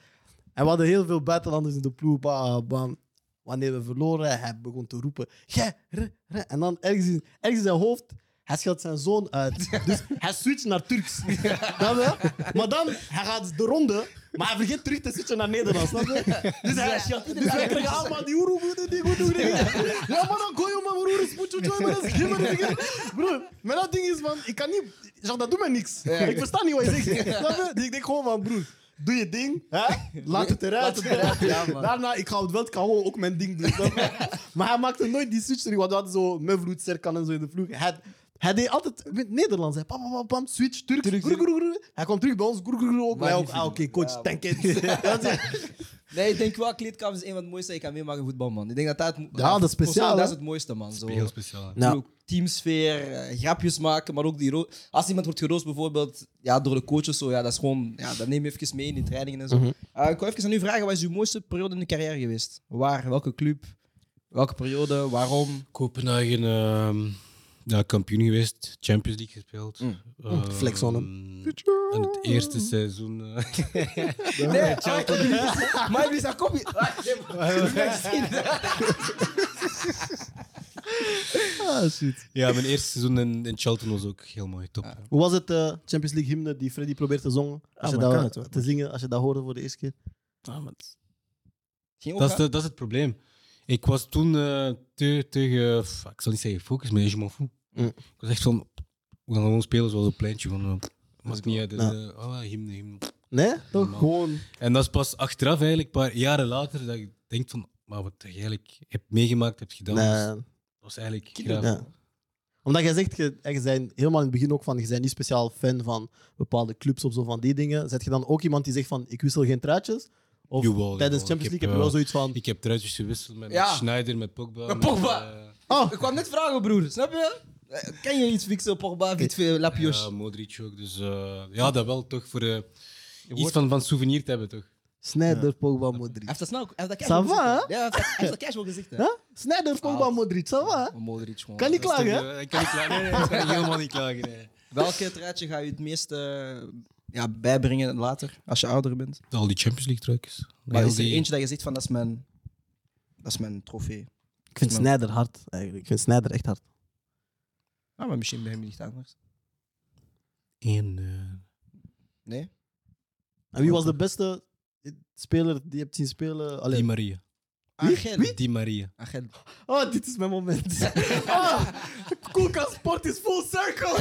En we hadden heel veel buitenlanders in de ploeg. Bam, bam. Wanneer we verloren, hij begon te roepen. "Jij, re, re." En dan ergens in, ergens in zijn hoofd, hij scheldt zijn zoon <laughs> uit. Dus hij switcht naar Turks. Snap je? Maar dan, hij gaat de ronde, maar hij vergeet terug te switchen naar Nederlands. Snap je? Dus hij scheldt iedereen. Dus we krijgen allemaal die oeroe, oeroe, die oeroe, oeroe. Ja, maar dan gooi je maar oeroe, spoetje, joe, maar dat is geen maar Bro, maar dat ding is, man, ik kan niet... Genre, dat doet mij niks. Ik versta niet wat je zegt. Snap je? Dus ik denk gewoon van, broer, doe je ding, hè? laat het eruit. Daarna, ik ga op het veld gewoon ook mijn ding doen. <laughs> snap je? maar hij maakte nooit die switch terug, want we hadden zo Mevloed, Serkan en zo in de vloer. Hij, hij deed altijd met Nederlands. Hij pam, pam, pam, pam, switch, Turk, groer, groer, groer. Hij kwam terug bij ons, groer, groer, groer, ook. Wij ook, ah, oké, coach, Ja, thank it. <laughs> Dat is- Nee, ik denk wel, kleedkamers is een van het mooiste dat je kan meemaken in voetbal, man. Ik denk dat dat... het- Ja, dat is speciaal, Dat is hè? Nou. het mooiste, man. Zo. Heel speciaal. hè. Ja. Ook teamsfeer, eh, grapjes maken, maar ook die ro- als iemand wordt geroost bijvoorbeeld ja, door de coach of zo, ja, dat is gewoon, ja, dat neem je even mee in die trainingen en Mhm. zo. Eh, ik wil even aan u vragen, wat is uw mooiste periode in de carrière geweest? Waar, welke club, welke periode, waarom? Kopenhagen ehm, ja, kampioen geweest, Champions League gespeeld. Mm. Ehm, Flex on hem. En het eerste seizoen. eh, <laughs> <laughs> Nee, <laughs> maar wie is dat kom je? Ah, nee, <laughs> maar- Ik ben gezien. ja, mijn eerste seizoen in, in Charlton was ook heel mooi, top. Ja. Hoe was het eh, Champions League hymne die Freddy probeert te, zongen, als je maar kan dat, het wel. te zingen als je dat hoorde voor de eerste keer? Ging ook Dat, is aan? de- dat is het probleem. Ik was toen eh, te, te ge- f- ik zal niet zeggen focus, maar je m'en fout. Mm. Ik was echt van, we gaan gewoon spelen zoals een pleintje. Van, eh, maakt niet uit. Dus, Ja. eh, oh, hymne, hymne. Nee? Toch? Man. Gewoon. En dat is pas achteraf, eigenlijk, een paar jaren later, dat ik denk van, maar wat je eigenlijk hebt meegemaakt, hebt gedaan, was, Nee. was eigenlijk Kinderen, graaf. Ja. Omdat jij zegt, je, en je zijn helemaal in het begin ook van, je bent niet speciaal fan van bepaalde clubs of zo van die dingen. Zet je dan ook iemand die zegt van, ik wissel geen truitjes? Of Jawel, tijdens jawel. Champions Ik heb League eh, heb je wel zoiets van. Ik heb truitjes gewisseld met, met Ja. Schneider, met Pogba. Met Pogba. eh, Oh, Ik kwam net vragen, broer. Snap je? Eh, Kan je iets fixen op Pogba, Vit veel Lapios? ja, Modric ook. Dus eh, ja, dat wel toch voor eh, iets wordt- van, van souvenir te hebben, toch? Sneijder, Pogba, Hij Modric. heeft dat snel... Hij heeft dat Ça casual va, gezegd, hè? Ja, hij heeft dat- hij heeft dat casual gezegd, hè? Huh? Sneijder, Pogba, Ah. Modric, ça va? Oh, Modric, gewoon. Kan niet Dat is klagen, hè? toch, eh, Ik kan niet klagen. Nee, nee, ik kan helemaal niet klagen. nee. Welke truitje ga je het meest eh, ja, bijbrengen later, als je ouder bent? Al die Champions League truitjes. Maar Heel is er die- eentje dat je zegt van, dat is mijn, dat is mijn trofee? Ik vind Sneijder hard, eigenlijk. Ik vind Sneijder echt hard. Ah, maar misschien bij hem niet anders. Eén, eh, Nee? En wie was de beste speler die je hebt zien spelen? Allee. <laughs> Di Maria. Angel. Di <laughs> Maria. Angel. Oh, dit is mijn moment. Oh, Koelkast Sport is full <laughs> circle.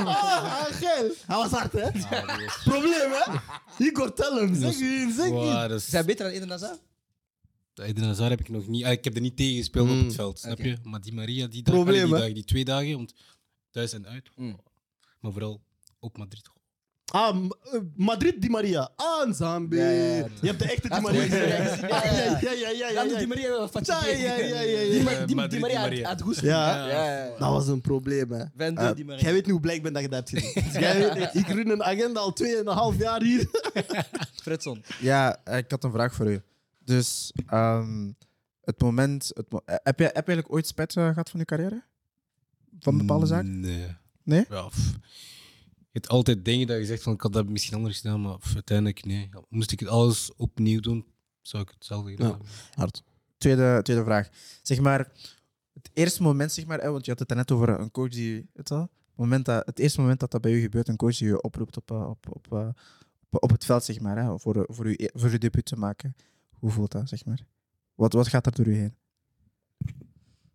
Oh, Angel. Hij was hard, hè? Probleem, hè? Igor, tell hem. Zeg niet, zeg niet. Wow, dat is- Is hij beter dan Eden Hazard? Eden Hazard heb ik nog niet. ah, Ik heb er niet tegen gespeeld op het veld, snap Oké. je? Maar die Maria, die, dag, Probleem, allee, die, hè? dagen, die twee dagen, want thuis en uit. Mm. Maar vooral op Madrid. Ah, M- eh, Madrid Di Maria. Aanzambi. Ja, ja, ja. Je hebt de echte Di Dat is Maria. mooi. gezien. <laughs> Ja, ja, ja, ja, ja, ja, Die ja. Maria van Ja, ja, ja, ja, ja. Die Ma- die- Eh, die Madrid, Maria Di uit- Maria. uit Goesel. Ja. ja, Nou, ja. Dat was een probleem, hè? Wendel Eh, Di Maria. jij weet niet hoe blij ik ben dat je dat hebt gezien. Dus jij weet, ik run een agenda al 2,5 jaar hier. Fredson. Ja, eh, ik had een vraag voor u. Dus ehm, het moment. Het mo- eh, heb, je, heb je eigenlijk ooit spijt eh, gehad van je carrière? Van Mm, bepaalde zaken? Nee. Nee? Ja, pff. het altijd dingen dat je zegt van ik had dat misschien anders gedaan, maar pff, uiteindelijk nee. Moest ik het alles opnieuw doen, zou ik hetzelfde gedaan Ja. hebben. Tweede, tweede vraag. Zeg maar, het eerste moment, zeg maar, eh, want je had het daarnet over een coach die. Het, al, het moment dat, het eerste moment dat dat bij u gebeurt, een coach die je oproept op, eh, op, op, eh, op, op het veld, zeg maar, hè, voor, eh, voor, uw e- voor uw debuut te maken. Hoe voelt dat, zeg maar? Wat, wat gaat er door u heen?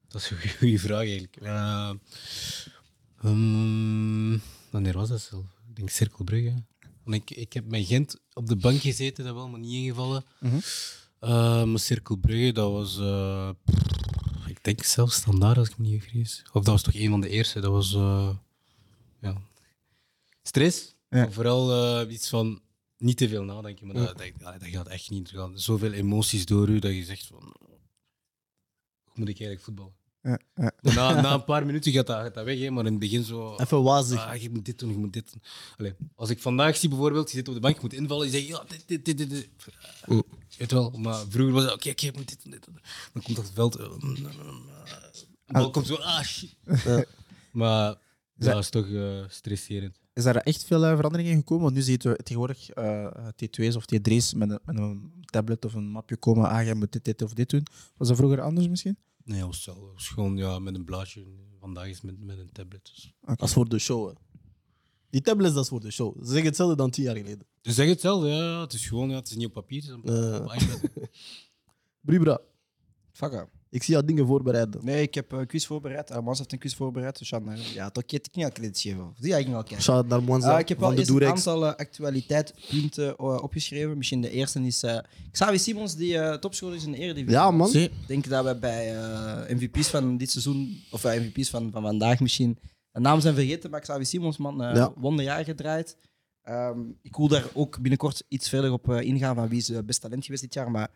Dat is een goede vraag eigenlijk. Eh, ehm, wanneer was dat zelf? Ik denk Cirkelbrugge. Want ik, ik heb met Gent op de bank gezeten, dat wel, maar niet ingevallen. Mhm. Eh, maar Cirkelbrugge, dat was. eh, ik denk zelfs standaard, als ik me niet vergis. Of dat was toch een van de eerste. Dat was. eh, ja. Stress. Ja. Maar vooral eh, iets van niet te veel nadenken, maar dat, dat, allee, dat gaat echt niet. Er gaan zoveel emoties door u dat je zegt van. Hoe moet ik eigenlijk voetballen? Ja, ja. Na, na een paar minuten gaat dat, gaat dat weg, hè, maar in het begin zo. <laughs> Even wazig. Ah, je moet dit doen, je moet dit doen. Allee, als ik vandaag zie bijvoorbeeld, je zit op de bank, je moet invallen, je zegt ja, dit, dit, dit, dit. dit. Je Weet wel, maar vroeger was het oké, oké, ik moet dit doen, dit doen. Dan komt dat het veld. eh, mm, mm, mm, eh, de bal komt zo, ah shit. Maar Zij- dat is toch eh, stresserend. Is daar echt veel eh, verandering in gekomen? Want nu zie je te- tegenwoordig eh, T2's of T3's met een, met een tablet of een mapje komen. Ah, jij moet dit, dit of dit doen. Was dat vroeger anders misschien? Nee, dat was, wel- dat was gewoon ja, met een blaadje. Vandaag is het met, met een tablet. Dus. Dat is voor de show, hè. Die tablets, dat is voor de show. Ze zeggen hetzelfde dan tien jaar geleden. Dus zeg hetzelfde, ja, het is gewoon, ja, het is niet op papier, het is op, Eh. op iPad. Bribra, Fuck up. ik zie jou dingen voorbereiden. Nee, ik heb een quiz voorbereid. Uh, Mans heeft een quiz voorbereid. Dus Sjan, eh, ja, toch keer ik niet aan credits geven. Of Die ga ik nog kijken. Shout-out naar Mwanza Ah, ik heb wel van de eerst een Durex. aantal eh, actualiteitpunten eh, opgeschreven. Misschien de eerste is eh Xavi Simons, die eh, topscorer is in de Eredivisie. Ja, man. Zie. Ik denk dat we bij eh, MVP's van dit seizoen, of eh, MVP's van, van vandaag misschien, de naam zijn vergeten, maar Xavi Simons, man, eh Ja. wonderjaar gedraaid. Ehm, ik wil daar ook binnenkort iets verder op eh, ingaan van wie is het best talent geweest dit jaar. Maar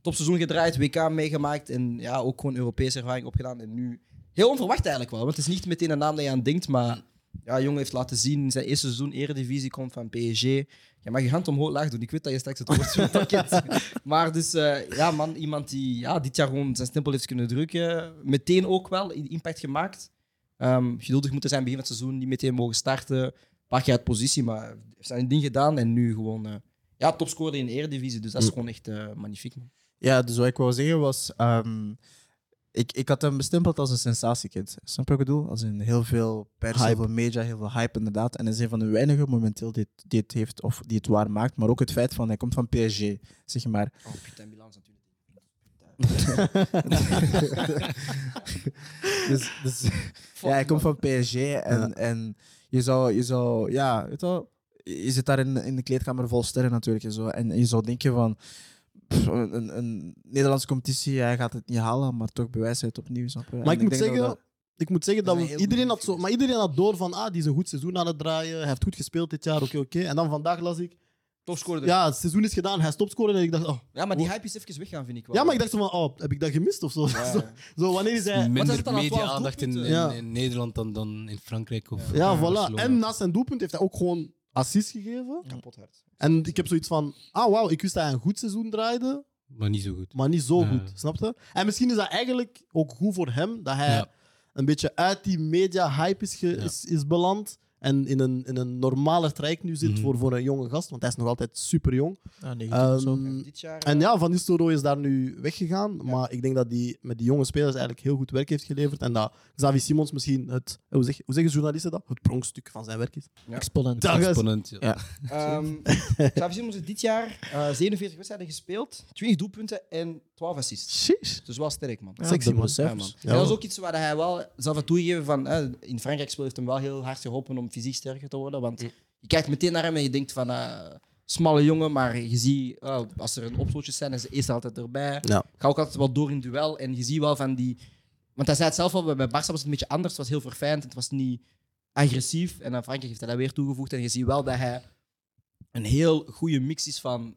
topseizoen gedraaid, WK meegemaakt en ja, ook gewoon Europese ervaring opgedaan. En nu heel onverwacht eigenlijk wel, want het is niet meteen een naam dat je aan denkt, maar ja, jongen heeft laten zien, in zijn eerste seizoen Eredivisie komt van PSG. Je mag je hand omhoog laag doen. Ik weet dat je straks het woord zo pakket. Maar dus, eh, ja man, iemand die ja, dit jaar gewoon zijn stempel heeft kunnen drukken. Meteen ook wel, i- impact gemaakt. Ehm, geduldig moeten zijn begin van het seizoen, niet meteen mogen starten. Een paar jaar uit positie, maar heeft zijn ding gedaan. En nu gewoon eh, ja, topscorer in de Eredivisie. Dus dat Mm. is gewoon echt eh, magnifiek. Man. Ja, dus wat ik wou zeggen was... ehm, ik, ik had hem bestempeld als een sensatiekind. Snap je wat ik bedoel? Als in heel veel pers, heel Hype. veel media, heel veel hype inderdaad. En hij is een van de weinigen momenteel die, het- die het heeft of die het waar maakt. Maar ook het feit van hij komt van PSG, zeg <laughs> maar. <laughs> Oh, Piet en Milan natuurlijk. Dus, dus, ja, hij komt van PSG en, en je zou, je zou ja, weet je, wel, je zit daar in, in de kleedkamer vol sterren natuurlijk en zo. En je zou denken van, pff, een, een, een Nederlandse competitie, hij gaat het niet halen, maar toch bewijst hij het opnieuw. Snap je? En Maar ik, moet denk dat zeggen, dat- ik moet zeggen Dat dat is een we, heel iedereen goede had zo, finish. maar iedereen had door van ah, die is een goed seizoen aan het draaien. Hij heeft goed gespeeld dit jaar, oké, oké. En dan vandaag las ik Topscorer. Ja. Ja, het seizoen is gedaan. Hij stopt scoren en ik dacht, oh. maar die hype is even weggaan, vind ik wel. Ja, maar ik dacht zo van, oh, heb ik dat gemist of zo? <laughs> zo, zo, wanneer is hij... dat is Minder dan aan media-aandacht in, 12 in, doelpunten. in Nederland dan, dan in Frankrijk of Ja, of voilà. Barcelona. En naast zijn doelpunt heeft hij ook gewoon assist gegeven. Kapot hard. En ik heb zoiets van, ah wauw, ik wist dat hij een goed seizoen draaide, Maar niet zo goed. maar niet zo Ja. goed, snap je? En misschien is dat eigenlijk ook goed voor hem, dat hij Ja. een beetje uit die media-hype is, ge- Ja. is, is beland en in een, in een normale traject nu zit Mhm. voor, voor een jonge gast, want hij is nog altijd super jong. Ja, 19 of zo. Dit jaar. Mm. eh, En ja, Van Nistelrooy is daar nu weggegaan. Maar ik denk dat hij met die jonge spelers eigenlijk heel goed werk heeft geleverd. En dat Xavi Simons misschien het, hoe, zeg, hoe zeggen journalisten dat? Het pronkstuk van zijn werk is. Exponent. Dag, guys. Exponent, ja. Ja. Ehm, Xavi Simons heeft dit jaar eh, 47 wedstrijden gespeeld, 20 doelpunten en 12 assists. Sheesh. Dus wel sterk, man. Sexy, dubbele man. Ja, man. En dat is ook iets waar hij wel zelf had toegegeven van. eh, in Frankrijk speel heeft hem wel heel hard geholpen om fysiek sterker te worden. Want je kijkt meteen naar hem en je denkt van. eh, smalle jongen, maar je ziet eh, als er een opstootjes zijn, is de eerste altijd erbij. Ja. Ga ook altijd wel door in het duel. En je ziet wel van die. Want hij zei het zelf al, bij Barça was het een beetje anders. Het was heel verfijnd, het was niet agressief. En aan Frankrijk heeft hij dat weer toegevoegd. En je ziet wel dat hij een heel goede mix is van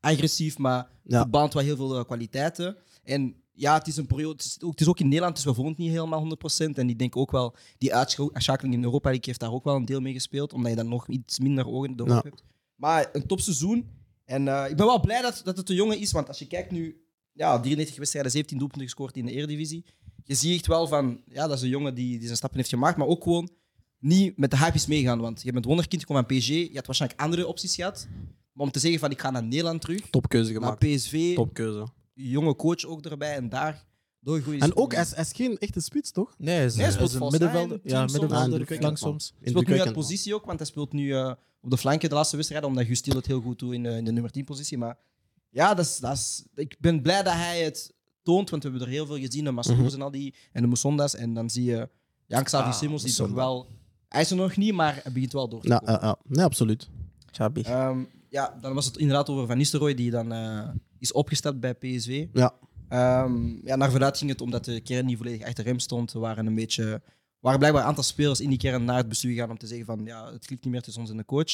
agressief, maar Ja. verband wel heel veel eh, kwaliteiten. En ja, het is een periode. Het is ook, het is ook in Nederland, dus we vonden het niet helemaal 100%. En ik denk ook wel, die uitschakeling in Europa League heeft daar ook wel een deel mee gespeeld, omdat je dan nog iets minder ogen door Ja. hebt. Maar een topseizoen. En eh, ik ben wel blij dat, dat het een jongen is, want als je kijkt nu, ja, 93 wedstrijden, 17 doelpunten gescoord in de Eredivisie. Je ziet echt wel van, ja, dat is een jongen die, die zijn stappen heeft gemaakt, maar ook gewoon niet met de hype is meegaan. Want je bent wonderkind, je komt aan PSG, je had waarschijnlijk andere opties gehad. Maar om te zeggen van, ik ga naar Nederland terug, Topkeuze naar gemaakt. PSV, Topkeuze. jonge coach ook erbij en daar doorgroeien. En ook, hij is, hij is geen echte spits, toch? Nee, hij is, Nee, hij hij is speelt een vals middenvelder. eind, Ja, soms middenvelder, onderkant, flank man. soms. Hij speelt nu uit Indrukwekkend, man. positie ook, want hij speelt nu eh, op de flanken de laatste wedstrijd, omdat Gustiel het heel goed doet in, eh, in de nummer 10 positie. Maar ja, dat is, dat is, ik ben blij dat hij het toont, want we hebben er heel veel gezien, de Maslows en al die, en de Musondas. En dan zie je Jan Xavi Mhm. Ah, Simmons, die Musonda. toch wel... Hij is er nog niet, maar hij begint wel door te Ja, komen. ja, ja. Nee, absoluut. Chabi. Ehm, ja, dan was het inderdaad over Van Nistelrooy, die dan eh, is opgestapt bij PSV. Ja. Ehm, ja, naar verluidt ging het omdat de kern niet volledig achter hem stond. Er waren, een beetje, er waren blijkbaar een aantal spelers in die kern naar het bestuur gegaan om te zeggen van ja, het klikt niet meer tussen ons en de coach.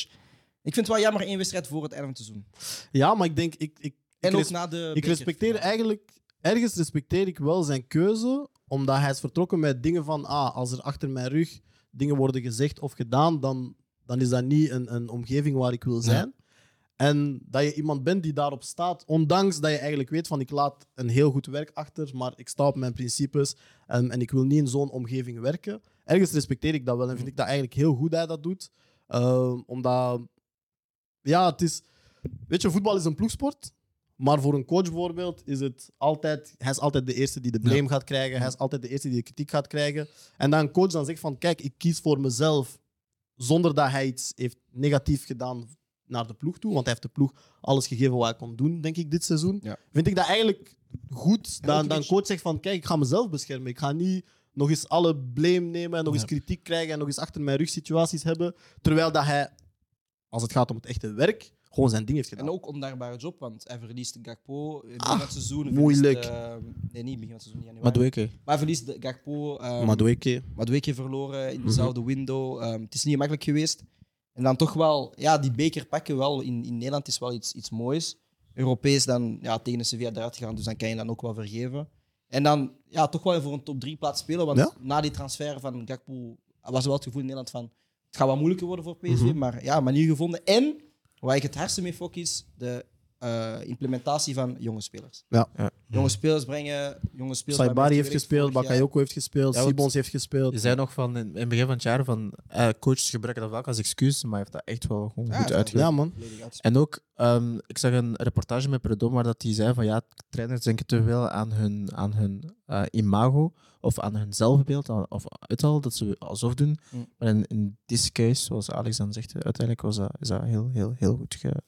Ik vind het wel jammer één wedstrijd voor het einde van het seizoen. Ja, maar ik denk... Ik, ik, ik En ook res- na de ik eh, beker. respecteer eigenlijk... Ergens respecteer ik wel zijn keuze, omdat hij is vertrokken met dingen van... Ah, als er achter mijn rug dingen worden gezegd of gedaan, dan, dan is dat niet een, een omgeving waar ik wil zijn. En dat je iemand bent die daarop staat, ondanks dat je eigenlijk weet van ik laat een heel goed werk achter, maar ik sta op mijn principes en, en ik wil niet in zo'n omgeving werken. Ergens respecteer ik dat wel en vind ik dat eigenlijk heel goed dat hij dat doet. Ehm, omdat, ja, het is, weet je, voetbal is een ploegsport. Maar voor een coach bijvoorbeeld is het altijd, hij is altijd de eerste die de blame gaat krijgen. Hij is altijd de eerste die de kritiek gaat krijgen. En dan een coach dan zegt van, kijk, ik kies voor mezelf zonder dat hij iets heeft negatief gedaan naar de ploeg toe. Want hij heeft de ploeg alles gegeven wat hij kon doen, denk ik, dit seizoen. Ja. Vind ik dat eigenlijk goed. ook Dan, een dan beetje- coach zegt van, kijk, ik ga mezelf beschermen. Ik ga niet nog eens alle blame nemen en nog eens kritiek krijgen en nog eens achter mijn rug situaties hebben. Terwijl dat hij, als het gaat om het echte werk, gewoon zijn ding heeft gedaan. En ook ondaarbare job, want hij verliest Gakpo in het begin Ah, van het seizoen. hij moeilijk. verliest, eh, nee, niet begin van het seizoen, januari. Madueke. Maar hij verliest de- Gakpo. ehm, Madueke. Madueke verloren Mhm. in dezelfde window. Ehm, het is niet gemakkelijk geweest. En dan toch wel, ja, die beker pakken wel in, in Nederland is wel iets, iets moois. Europees dan ja, tegen de Sevilla eruit gegaan, dus dan kan je dan ook wel vergeven. En dan ja, toch wel voor een top 3 plaats spelen, want Ja? na die transfer van Gakpo was er wel het gevoel in Nederland van het gaat wat moeilijker worden voor PSV, Mhm. maar ja, manier gevonden. En waar ik het hardste mee fok is, de eh, implementatie van jonge spelers. Ja. Jonge spelers brengen, jonge spelers... Saibari heeft gespeeld, Bakayoko heeft gespeeld, Ja, want- Sibons heeft gespeeld. Je zei nog van in in het begin van het jaar van eh, coaches gebruiken dat vaak als excuus, maar hij heeft dat echt wel gewoon Ja, goed ja. uitgelegd. Ja, man. En ook, ehm, ik zag een reportage met Predom waar dat die zei van ja, trainers denken te veel aan hun, aan hun eh, imago of aan hun zelfbeeld aan- of uital dat ze alsof doen. Mm. Maar in, in this case, zoals Alex dan zegt, eh, uiteindelijk was dat, is dat heel, heel, heel goed ge-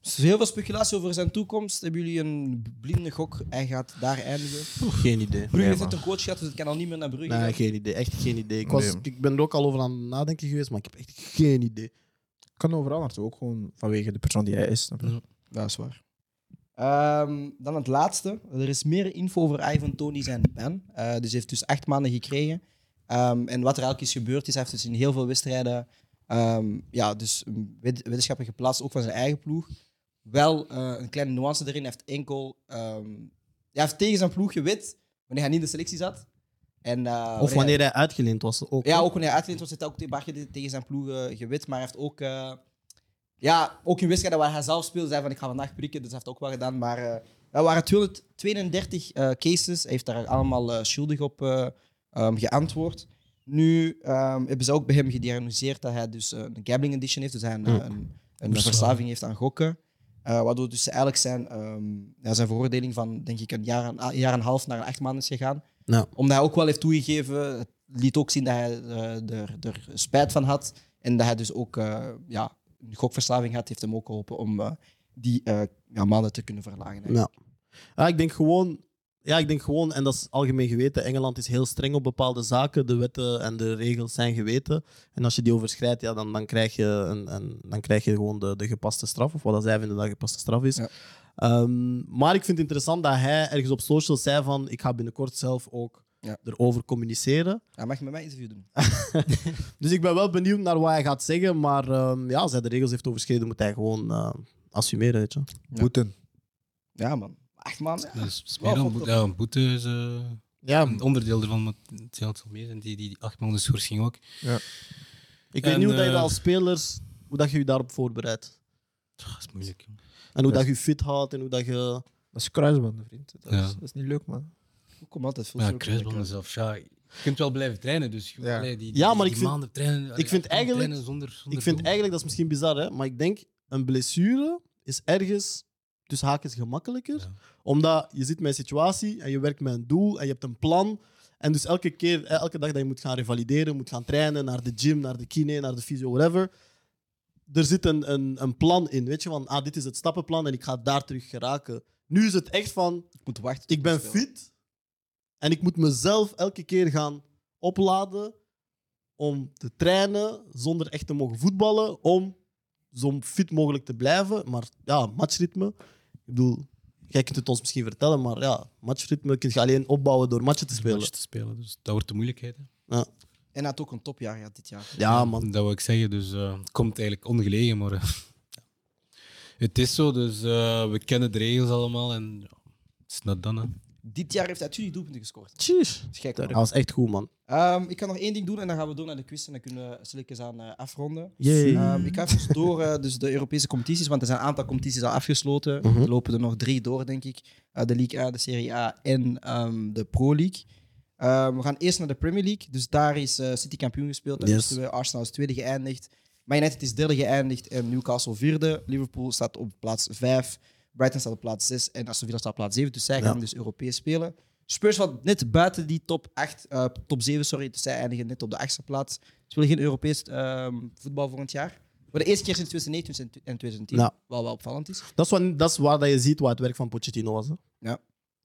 Er is Dus heel veel speculatie over zijn toekomst. Hebben jullie een blinde gok? Hij gaat daar eindigen. Geen idee. Brugge heeft net een coach gehad, dus het kan al niet meer naar Brugge. Nee, gaan. geen idee. Echt geen idee. Ik, Nee, was, man. ik ben er ook al over aan het nadenken geweest, maar ik heb echt geen idee. kan overal naartoe, ook gewoon vanwege de persoon die hij is. snap je? Dat is waar. Ehm, dan het laatste. Er is meer info over Ivan Tony zijn ban. Eh, dus hij heeft dus acht maanden gekregen. Ehm, en wat er eigenlijk is gebeurd is, hij heeft dus in heel veel wedstrijden Ehm, ja, dus een wet- wetenschapper geplaatst, ook van zijn eigen ploeg. Wel eh, een kleine nuance erin. Hij heeft enkel... ehm, hij heeft tegen zijn ploeg gewit wanneer hij niet in de selectie zat. En, eh, Of wanneer hij uitgeleend was. Ook, ja, ook wanneer hij uitgeleend was, heeft hij ook tegen, Barca de- tegen zijn ploeg eh, gewit. Maar hij heeft ook, eh, ja, ook in wedstrijden waar hij zelf speelde, zei van ik ga vandaag prikken. Dus hij heeft ook wel gedaan. Maar eh er waren 232 eh, cases. Hij heeft daar allemaal eh, schuldig op eh, ehm, geantwoord. Nu ehm, hebben ze ook bij hem gediagnoseerd dat hij dus eh, een gambling addiction heeft. Dus hij een, eh, een, een verslaving heeft aan gokken. Eh, waardoor dus eigenlijk zijn, ehm, ja, zijn veroordeling van denk ik een jaar, en- een jaar en een half naar een acht maanden is gegaan. Ja. Omdat hij ook wel heeft toegegeven, het liet ook zien dat hij eh, er, er spijt van had. En dat hij dus ook eh, ja, een gokverslaving had, heeft hem ook geholpen om eh, die eh, ja, maanden te kunnen verlagen. eigenlijk. Ja. Ja, Ah, ik denk gewoon. Ja, ik denk gewoon, en dat is algemeen geweten, Engeland is heel streng op bepaalde zaken. De wetten en de regels zijn geweten. En als je die overschrijdt, ja, dan, dan, krijg, je een, een- dan krijg je gewoon de, de gepaste straf. Of wat dat zij vinden dat gepaste straf is. Ja. Ehm, maar ik vind het interessant dat hij ergens op socials zei van... Ik ga binnenkort zelf ook Ja. erover communiceren. Hij mag met mij interview doen. Dus ik ben wel benieuwd naar wat hij gaat zeggen. Maar ehm, ja, als hij de regels heeft overschreden, moet hij gewoon eh, assumeren. Weet je. Boeten. Ja, man. Acht maanden. Dat is, is Wel meer dan fucked boete. up. Ja, een boete is eh, Ja, een onderdeel ervan, maar het zal het wel meer zijn. Die, die, die acht maanden schorsing ook. Ik weet En, niet hoe dat je eh, dat als spelers, hoe dat je je daarop voorbereidt. Dat is moeilijk. jong. En hoe dat je je fit houdt en hoe dat je... Dat is kruisbanden, vriend. Dat, Ja. is, dat is niet leuk, man. Ik kom altijd veel Maar ja, terug. kruisbanden zelf. Ja, je kunt wel blijven trainen, dus Ja. allee, die, Ja, die- maar die ik vind- maanden trainen. allee, vind acht maanden eigenlijk- trainen zonder, zonder Ik vind doel. eigenlijk, dat is misschien bizar, hè, maar ik denk, een blessure is ergens dus haakjes gemakkelijker. Ja. Omdat je zit met een situatie en je werkt met een doel en je hebt een plan. En dus elke keer, eh, elke dag dat je moet gaan revalideren, moet gaan trainen, naar de gym, naar de kine, naar de fysio, whatever. Er zit een, een, een plan in, weet je, van ah, dit is het stappenplan en ik ga daar terug geraken. Nu is het echt van, Ik moet wachten. tot ik ben speel. fit en ik moet mezelf elke keer gaan opladen om te trainen zonder echt te mogen voetballen, om zo fit mogelijk te blijven. Maar ja, matchritme, ik bedoel, jij kunt het ons misschien vertellen, maar ja, matchritme kun je alleen opbouwen door matchen te Matchen spelen. te spelen, dus dat wordt de moeilijkheid. hè. En hij had ook een topjaar gehad dit jaar. Ja, man. Dat wil ik zeggen, dus eh, het komt eigenlijk ongelegen, maar eh, <laughs> ja. het is zo, dus eh, we kennen de regels allemaal en ja, het is not done. hè. Dit jaar heeft hij 20 doelpunten gescoord. Tjus. Dat is gek, man. Dat was echt goed, man. Ehm, ik kan nog één ding doen en dan gaan we door naar de quiz en dan kunnen we stilletjes aan eh, afronden. Jee. Ehm, ik ga even <laughs> door eh, dus de Europese competities, want er zijn een aantal competities al afgesloten. Mhm. Er lopen er nog drie door, denk ik. Eh, de League A, de Serie A en ehm, de Pro League. Ehm, we gaan eerst naar de Premier League. Dus daar is eh, City kampioen gespeeld. Daar Yes. moesten we. Arsenal is tweede geëindigd. Man United is derde geëindigd en Newcastle vierde. Liverpool staat op plaats vijf. Brighton staat op plaats zes en Aston Villa staat op plaats zeven. Dus zij Ja. gaan dus Europees spelen. Spurs valt net buiten die top, 8, eh, top 7, sorry. Dus zij eindigen net op de achtste plaats. Ze willen geen Europees ehm, voetbal volgend jaar. Voor de eerste keer sinds 2009 en 2010. Ja. Wat wel opvallend is. Dat is, wat, dat is waar dat je ziet wat het werk van Pochettino was. Hè. Ja,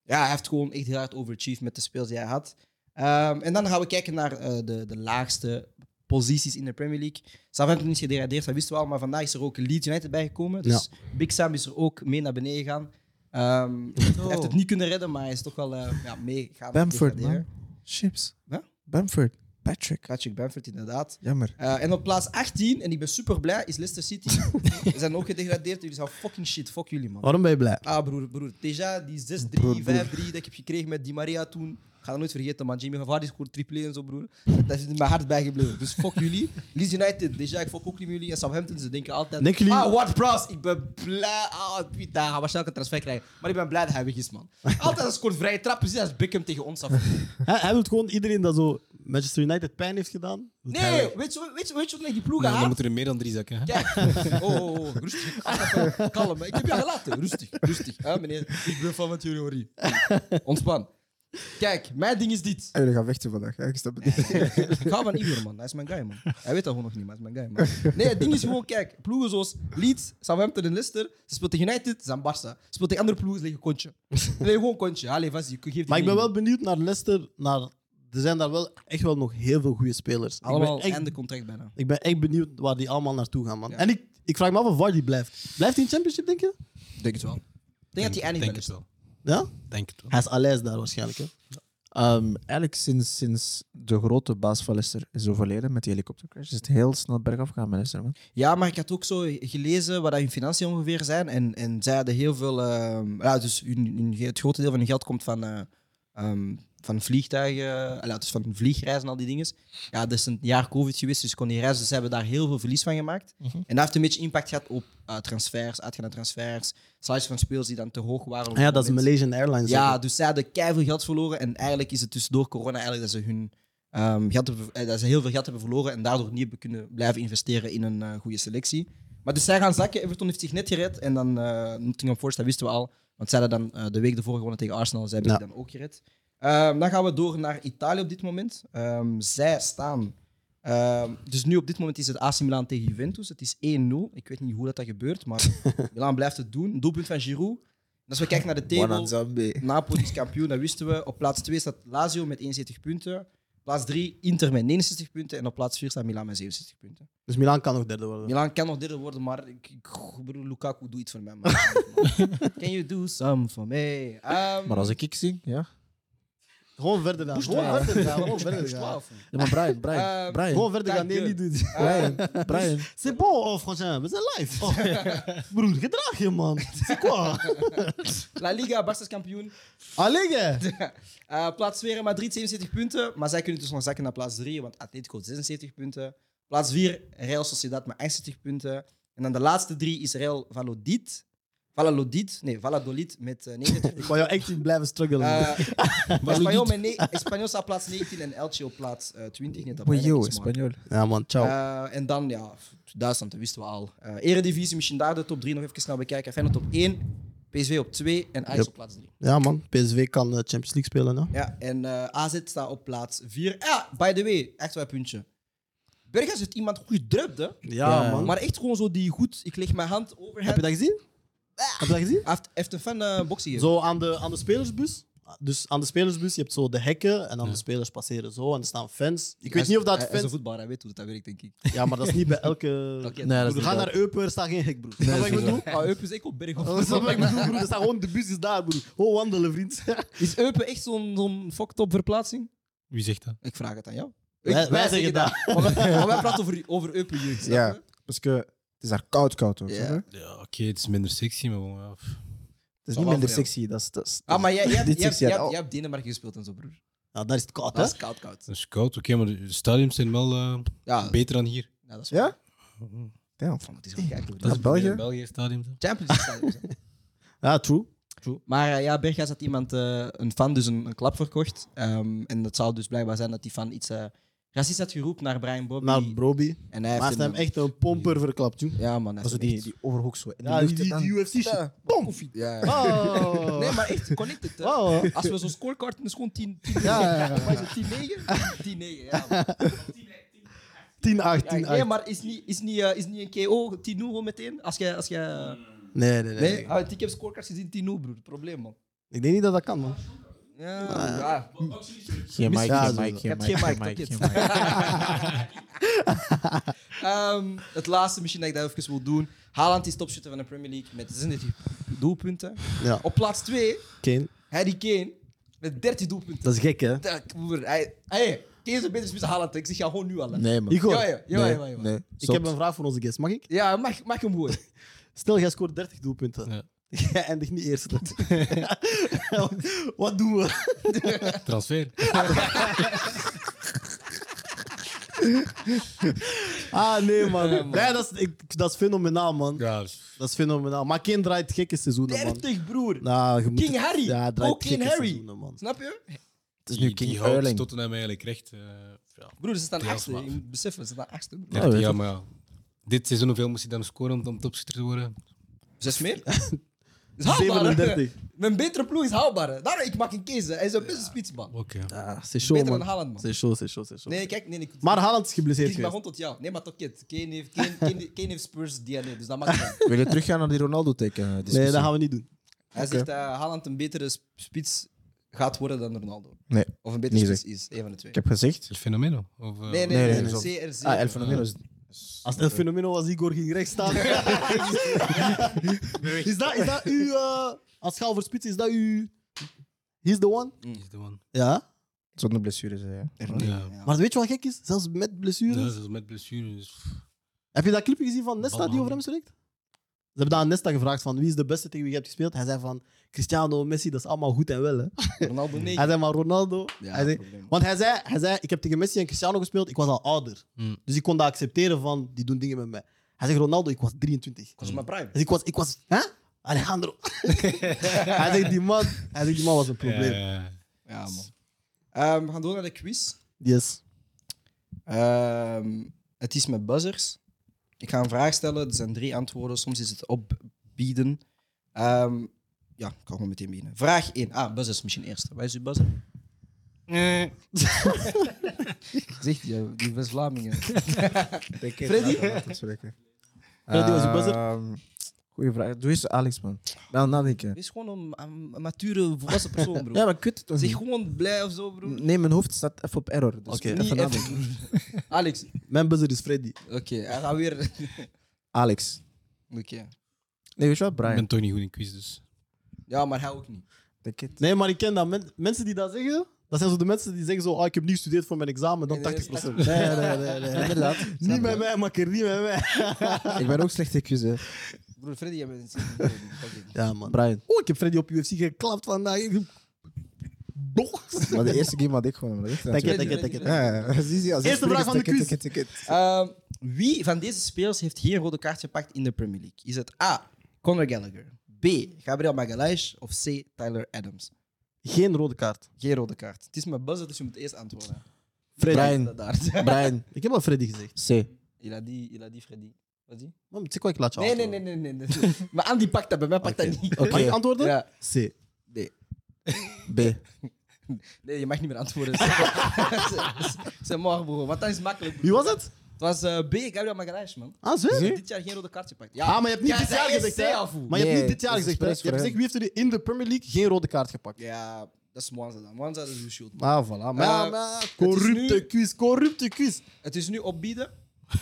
hij heeft gewoon echt heel hard overachieved met de speels die hij had. Ehm, en dan gaan we kijken naar eh, de, de laagste posities in de Premier League. Southampton is gedegradeerd, dat wisten we al. Maar vandaag is er ook Leeds United bijgekomen. Dus Big Sam is er ook mee naar beneden gegaan. Ehm, Hij heeft het niet kunnen redden, maar hij is toch wel eh ja, mee gaan Bamford, man. degraderen. Chips. Wat? Bamford. Patrick. Patrick Bamford, inderdaad. Jammer. Eh, en op plaats 18, en ik ben super blij, is Leicester <laughs> City. Ze zijn ook gedegradeerd. Jullie zijn fucking shit. Fuck jullie, man. Waarom ben je blij? Ah, broer, broer. Teja, die 6-3, 5-3 dat ik heb gekregen met Di Maria toen. Ik ga dat nooit vergeten, man. Jamie Vardy scoort triple en zo, broer. Dat is in mijn hart bijgebleven. Dus fuck jullie. Leeds United, Deja, ik fuck ook niet met jullie. En Southampton, ze denken altijd... Denken jullie- Ah, Ward Prowse, ik ben blij. Ah, Pita, hij gaat waarschijnlijk een transfer krijgen. Maar ik ben blij dat hij weg is, man. Altijd als scoort vrije trap, precies als Beckham tegen ons <laughs> af. Hij, hij wil gewoon iedereen dat zo Manchester United pijn heeft gedaan. wil hij Nee, weg. weet je, weet je, weet je wat ik die ploeg Dan, dan haat? moeten er meer dan drie zakken. hè. Kijk, oh, oh, oh, rustig. <laughs> Kalm, Kalm, ik heb jou gelaten. Rustig, rustig. Hè, meneer, ik ben van wat jullie horen. Ontspan. Kijk, mijn ding is dit. En jullie gaan vechten vandaag. hè? Ik snap het niet. Ik hou van Igor, man. Hij is mijn guy, man. Hij weet dat gewoon nog niet, maar hij is mijn guy, man. Nee, het ding is gewoon, kijk, ploegen zoals Leeds, Southampton en Leicester, ze speelt tegen United, ze zijn Barca. Ze speelt tegen andere ploegen, ze liggen kontje. Ze liggen gewoon kontje. Allee, vast, je geeft die Maar ik ben mee. wel benieuwd naar Leicester. Naar, er zijn daar wel echt wel nog heel veel goede spelers. Allemaal ik, ben echt, einde contract bijna. ik ben echt benieuwd waar die allemaal naartoe gaan, man. Ja. En ik, ik vraag me af of Vardy blijft. Blijft hij in Championship, denk je? Denk het wel. Ik denk dat hij eindigt bij denk het Leicester. wel. Ja? Denk het wel. Hij is Alex daar waarschijnlijk, hè? Ehm, eigenlijk sinds, sinds de grote baas van Leicester is overleden met die helikoptercrash, is het heel snel bergaf gegaan met Leicester. Man. Ja, maar ik had ook zo gelezen wat dat hun financiën ongeveer zijn. En, en zij hadden heel veel. ehm, ja, dus hun, hun- het grote deel van hun geld komt van, eh, ehm, van vliegtuigen, eh, ja, dus van vliegreizen en al die dingen. Ja, dat is een jaar COVID geweest, dus kon die reizen. Dus ze hebben daar heel veel verlies van gemaakt. Mhm. En dat heeft een beetje impact gehad op eh, transfers, uitgaande transfers, salaris van spelers die dan te hoog waren. op Ah ja, het dat is moment. Malaysian Airlines. Ja, dus zij hadden keihard geld verloren. En eigenlijk is het dus door corona eigenlijk dat ze hun ehm, geld hebben, eh, dat ze heel veel geld hebben verloren en daardoor niet hebben kunnen blijven investeren in een eh, goede selectie. Maar dus zij gaan zakken. Everton heeft zich net gered. En dan eh Nottingham Forest, dat wisten we al. Want zij hadden dan eh, de week ervoor gewonnen tegen Arsenal. Zij hebben Ja. zich dan ook gered. Ehm, dan gaan we door naar Italië op dit moment. Ehm, zij staan... ehm, dus nu op dit moment is het AC Milan tegen Juventus. Het is 1-0. Ik weet niet hoe dat, dat gebeurt, maar Milan blijft het doen. Doelpunt van Giroud. En als we kijken naar de table... Napoli is kampioen, dat wisten we. Op plaats 2 staat Lazio met 71 punten. Plaats 3 Inter met 69 punten. En op plaats 4 staat Milan met 67 punten. Dus Milan kan nog derde worden. Milan kan nog derde worden, maar ik, ik bedoel, Lukaku doet iets voor mij. man. Can you do some for me? Ehm, Maar als ik ik zing, ja. Gewoon verder dan. Gewoon Bourgeois. <laughs> verder gaan. Gewoon verder gaan. Twaalf. Ja, maar Brian, Brian, <laughs> Eh, Ehm, Brian, Gewoon verder gaan. Nee, Dank niet je. doen. <laughs> Brian, Ehm, Brian. C'est bon, oh, Franchin, we zijn live. Oh. <laughs> Broer, gedraag je, man. C'est quoi? La Liga, Barca is kampioen. Allee, Eh, plaats 2 Real Madrid 77 punten, maar zij kunnen dus nog zakken naar plaats 3, want Atletico 76 punten. Plaats 4 Real Sociedad met 68 punten. En dan de laatste drie is Real Valladolid. Valladolid, nee, Valladolid met eh, 39 <laughs> punten. Ik wou jou echt niet blijven struggelen. Eh, Espanyol, met ne- Espanyol staat plaats 19 en Elche op plaats eh, 20. Net dat bijna Ojo, niks maakt. Espanol. ja, man, ciao. Eh, en dan, ja, Duitsland, dat wisten we al. Eh, Eredivisie, misschien daar de top 3 nog even snel bekijken. Feyenoord op 1, PSV op 2 en Ajax Yep. op plaats 3. ja, man, PSV kan eh, Champions League spelen, hè? Ja, en eh, AZ staat op plaats 4. Ja, by the way, echt wel een puntje. Berghuis heeft iemand goed gedrupt, hè? Ja, man. Maar echt gewoon zo die goed, ik leg mijn hand over hem. Heb je dat gezien? Ah. Heb je dat gezien? Hij heeft, heeft een fan eh boxie gegeven. Zo aan de, aan de spelersbus. Dus aan de spelersbus, je hebt zo de hekken en dan de spelers passeren zo en er staan fans. Ik Hij weet is- niet of dat Hij is een fans... voetballer, hij weet hoe dat werkt, denk ik. Ja, maar dat is niet <laughs> bij elke... Oké, Nee, dat is Broer, niet ga waar. naar Eupen, er staat geen hek, broer. Snap wat ik bedoel? Ah, Eupen is ik op Berghof. Oh, <laughs> snap wat ik bedoel, broer? Er staat gewoon, de bus is daar, broer. Gewoon wandelen, vriend. Is Eupen echt zo'n zo'n fucked up verplaatsing? Wie zegt dat? Ik vraag het aan jou. Wij- Ik- wij zeggen Maar wij, <laughs> maar wij praten over, over Eupen jeugd. snap Ja. je? Parce que het is daar koud, koud hoor. Ja. snap je? Het Ja, oké, het is minder sexy, maar bon, ja. pff. Het is niet wel voor minder jou. sexy. Dat is, dat is, Ah, maar jij, jij, hebt- Dit jij, hebt- zegt jij, jij hebt- oh. al. jij hebt Denemarken gespeeld en zo, broer. Ja, daar is het koud, hè? Dat is koud, koud. dat is koud. Oké, maar de de stadiums zijn wel eh, Ah. Ja, beter dan hier. ja, dat is Ja? waar. Damn. Van, het is wel gek, broer. Dat is België? België stadium. hè. Champions League stadions, hè. Ja, true. Maar eh, ja, Berghuis had iemand, eh, een fan, dus een, een klap verkocht. Ehm, en dat zou dus blijkbaar zijn dat die fan iets eh racistisch had geroepen naar Brian Bobby. Naar Broby. en hij Maar hij heeft heeft hem een- echt een pomper verklapt, joh. Ja, man. hij Dat is heeft die, hem die overhoek zo. In de Ja, lucht die, en dan- die UFC shit. Bom! echt- Ja, ja. Oh. <laughs> Nee, maar echt connected. hè. Oh. Als we zo'n scorecard is gewoon 10 10 Ja, ja, ja. Wat is het, <laughs> 10-9? 10-9, ja. man. 10 8 Ja, 10 nee, 8 maar is niet, is niet, eh, is niet een KO 10 0 meteen? Als jij. Als jij Nee, nee, nee, Ah, want ik heb scorecards gezien 10 0 broer. Probleem, man. Ik denk niet dat dat kan, man. Ja, ja. Geen mic, Ja, geen zo- mic, Je geen hebt mic, geen geen mic, mic, toch, geen kids? mic. <laughs> Ehm, het laatste misschien dat ik dat even wil doen. Haaland is topschutter van de Premier League met 36 doelpunten. Ja. Op plaats 2, Kane. Harry Kane met 13 doelpunten. Dat is gek, hè? Dat, broer, hij, hey, Kane is een betere spits dan Haaland. Ik zeg jou gewoon nu al. hè. Nee, man. Igor, Ja, ja, ja, ja, ja. Nee, nee. ik heb een vraag voor onze guest. Mag ik? Ja, mag, mag hem horen. Stel, jij scoort 30 doelpunten. Ja. <laughs> Jij eindigt niet eerst. <laughs> Wat doen we? Transfer. Ah, nee, man. <laughs> Nee, dat, is, ik, dat is fenomenaal, man. Ja, dus- Dat is fenomenaal. Maar Kane draait gekke seizoenen, man. 30, broer. Nou, je moet King het- Harry. Ja, hij draait ook King gekke Harry. seizoenen, man. Snap je? Het is nu die, King die houdt Erling. Ah, Tottenham eigenlijk recht. eh ja. Broer, ze staan Deels, achtste. maar. Je moet beseffen, ze staan achtste. broer. Ja, weet ja, ik. maar ja. Dit seizoen, hoeveel moest hij dan scoren om, om topschutter te worden? Zes meer? Dat is haalbaar. hè. 37. Mijn betere ploeg is haalbaar. hè. Daarom, ik maak een keuze. Hij is een beste spitsman. Oké. Ah, c'est chaud, Beter dan man. Haaland, man. C'est chaud, c'est chaud, c'est chaud. Nee, kijk, nee, nee, ik... Maar Haaland is geblesseerd Kijk maar geweest. rond tot jou. Nee, maar toch, kid. Kane heeft, Kane, Kane, Kane heeft Spurs DNA, dus dat maakt niet uit. <laughs> Wil je teruggaan naar die Ronaldo-teken? eh, Nee, dat gaan we niet doen. Hij zegt dat Haaland een betere sp- spits gaat worden dan Ronaldo. Nee. Of een betere Niet spits is, een van de twee. Ik heb gezegd. El Fenomeno? Of, eh, Nee, nee, Nee, nee, nee. nee, zo. CR7. Ah, El Fenomeno is... Als El Fenomeno was, Igor ging rechts staan. <laughs> is, dat, is dat uw... eh, als je gaat over spits, is dat uw... He's the one? is de man. Ja. Zonder blessures, eh, hè, ja. Ja. Maar weet je wat gek is? Zelfs met blessures. Ja, zelfs met dus- blessures. Heb je dat clipje gezien van Nesta die Ballen. over hem spreekt? Ze hebben daar aan Nesta gevraagd van wie is de beste tegen wie je hebt gespeeld. Hij zei van Cristiano, Messi, dat is allemaal goed en wel. Hè. Ronaldo nee. Hij zei maar Ronaldo. Ja, hij zei, probleem. want hij zei, hij zei, ik heb tegen Messi en Cristiano gespeeld, ik was al ouder. Hmm. Dus ik kon dat accepteren van, die doen dingen met mij. Hij zegt Ronaldo, ik was 23. Dat is mijn <laughs> prime. Dus ik was, ik was, hè? <laughs> Alejandro. hij, zegt, die man, hij zegt, die man was een probleem. Ja. Ja, man. Ehm, we gaan door naar de quiz. Yes. Ehm, het is met buzzers. Ik ga een vraag stellen. Er zijn drie antwoorden. Soms is het opbieden. Ehm, ja, ik kan gewoon meteen beginnen. Vraag 1. Ah, buzzers misschien eerst. Waar is uw buzzer? <laughs> Zegt je, die West-Vlamingen. Freddy? <laughs> Freddy, was je buzzer? Ehm, Goeie vraag. Doe eens Alex, man. Nou, nadenken. Wees gewoon een, een mature, volwassen persoon, bro. Ja, maar ik weet het toch Zeg niet. gewoon blij of zo, bro. Nee, mijn hoofd staat even op error. Dus Oké. ik moet Niet even even- nadenken. Alex. Mijn buzzer is Freddy. Oké, hij gaat weer. <laughs> Oké. Alex. Nee, weet je wat? Ik Brian. ben toch niet goed in quiz, dus. Ja, maar hij ook niet. Denk het. Nee, maar ik ken dat. Men- mensen die dat zeggen, dat zijn zo de mensen die zeggen zo, ah, ik heb niet gestudeerd voor mijn examen, dan Nee, nee, 80%. nee, Nee, nee, nee. nee, Inderdaad. Niet met mij, makker, niet met mij. <laughs> Ik ben ook slecht in quiz, hè. Broer Freddy, jij bent <laughs> Ja, man. Brian. Oh, ik heb Freddy op UFC geklapt vandaag. Blok. Maar de eerste game had ik gewoon. maar dat is Dank je, natuurlijk- dank je, dank Ja, je. ja. Zie je, als ik Eerste spreek, vraag van de ticket, quiz. ticket, ticket. Ehm, wie van deze spelers heeft hier een rode kaart gepakt in de Premier League? Is het A. Conor Gallagher, B. Gabriel Magalhaes of C. Tyler Adams? Geen rode kaart. Geen rode kaart. Het is mijn buzzer, dus je moet eerst <laughs> antwoorden. Freddy. Brian. Daar. <laughs> Brian. Ik heb al Freddy gezegd. C. Il a dit, il a dit Freddy. Wat die? Man, het is ik laat je Nee, nee, antwoorden. nee, nee, nee. nee. maar Andy pakt dat, bij mij pakt dat niet. Mag ik antwoorden? Ja. C. Nee. B. nee, je mag niet meer <laughs> antwoorden. Zeg- Zeg maar, broer, want dat is makkelijk. broer. Wie was het? Het was eh, B. Gabriel Magalhaes, man. Ah, Ze ze? hebben dit jaar geen rode kaart gepakt. Ah, maar je hebt niet Ja, dit zij jaar is gezegd, hè? C af, hoe? Maar je hebt Nee, niet dit jaar dat is gezegd, hè? Je expres hebt voor hem. gezegd, wie heeft er die in de Premier League geen rode kaart gepakt? Ja, dat is Mwanza dan. Mwanza is uw schuld. Ah, voilà. Maar, ja, Eh, maar- het is corrupte nu- quiz, corrupte quiz. Het is nu opbieden. <laughs>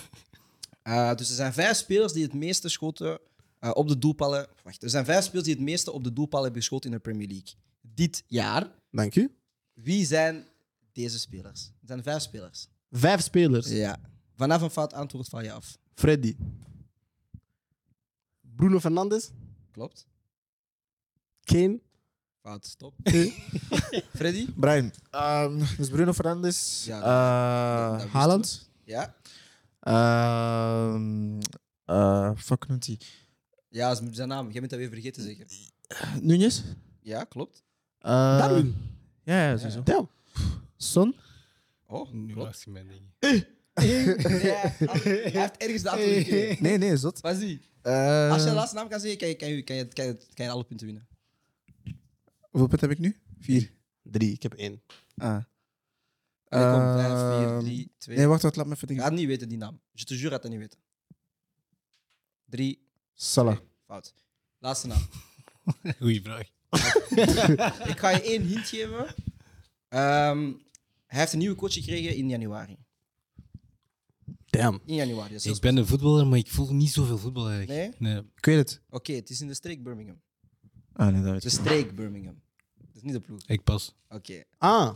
Eh, dus er zijn vijf spelers die het meeste schoten eh, op de doelpalen. Wacht, er zijn vijf spelers die het meeste op de doelpalen hebben geschoten in de Premier League. Dit jaar. Dank u. Wie zijn deze spelers? Er zijn vijf spelers. Vijf spelers. Ja. Vanaf een fout antwoord val je af. Freddy. Bruno Fernandes. Klopt. Kane. Fout, <laughs> stop. <laughs> Freddy? Brian. Ehm, dus Bruno Fernandes. Ja, eh dat- dat wist Haaland. Ja? Ehm, eh, fuck noemt hij. Ja, dat is zijn naam. Jij bent dat weer vergeten zeker. Nunes. Ja, klopt. Eh, Darwin. Ja, ja, sowieso. Damn. Son. Oh, <laughs> Nu klopt. laat ik mijn ding. Ja, hij heeft ergens de antwoord gegeven. Nee, nee, zot. Wat is die? Eh, Als je de laatste naam kan zeggen, kan je, kan je, kan je, kan je, kan je alle punten winnen. Hoeveel punten heb ik nu? Vier. Drie, ik heb één. Ah. Allee, kom, vijf, vier, Ehm, drie, twee. Nee, wacht, wacht, laat me even Je denken. gaat niet weten die naam. Je te jure gaat dat niet weten. Drie, Salah. fout. Laatste naam. <laughs> Goeie vraag. Ik ga je één hint geven. Ehm, hij heeft een nieuwe coach gekregen in januari. Damn. In januari, dat is heel Ik ben een voetballer, maar ik volg niet zoveel voetbal Nee? eigenlijk. Nee? Ik weet het. spe- Oké, het is in de streek Birmingham. Ah, nee, dat weet De ik. streek Birmingham. Dat is niet de ploeg. Ik pas. Oké, Ah.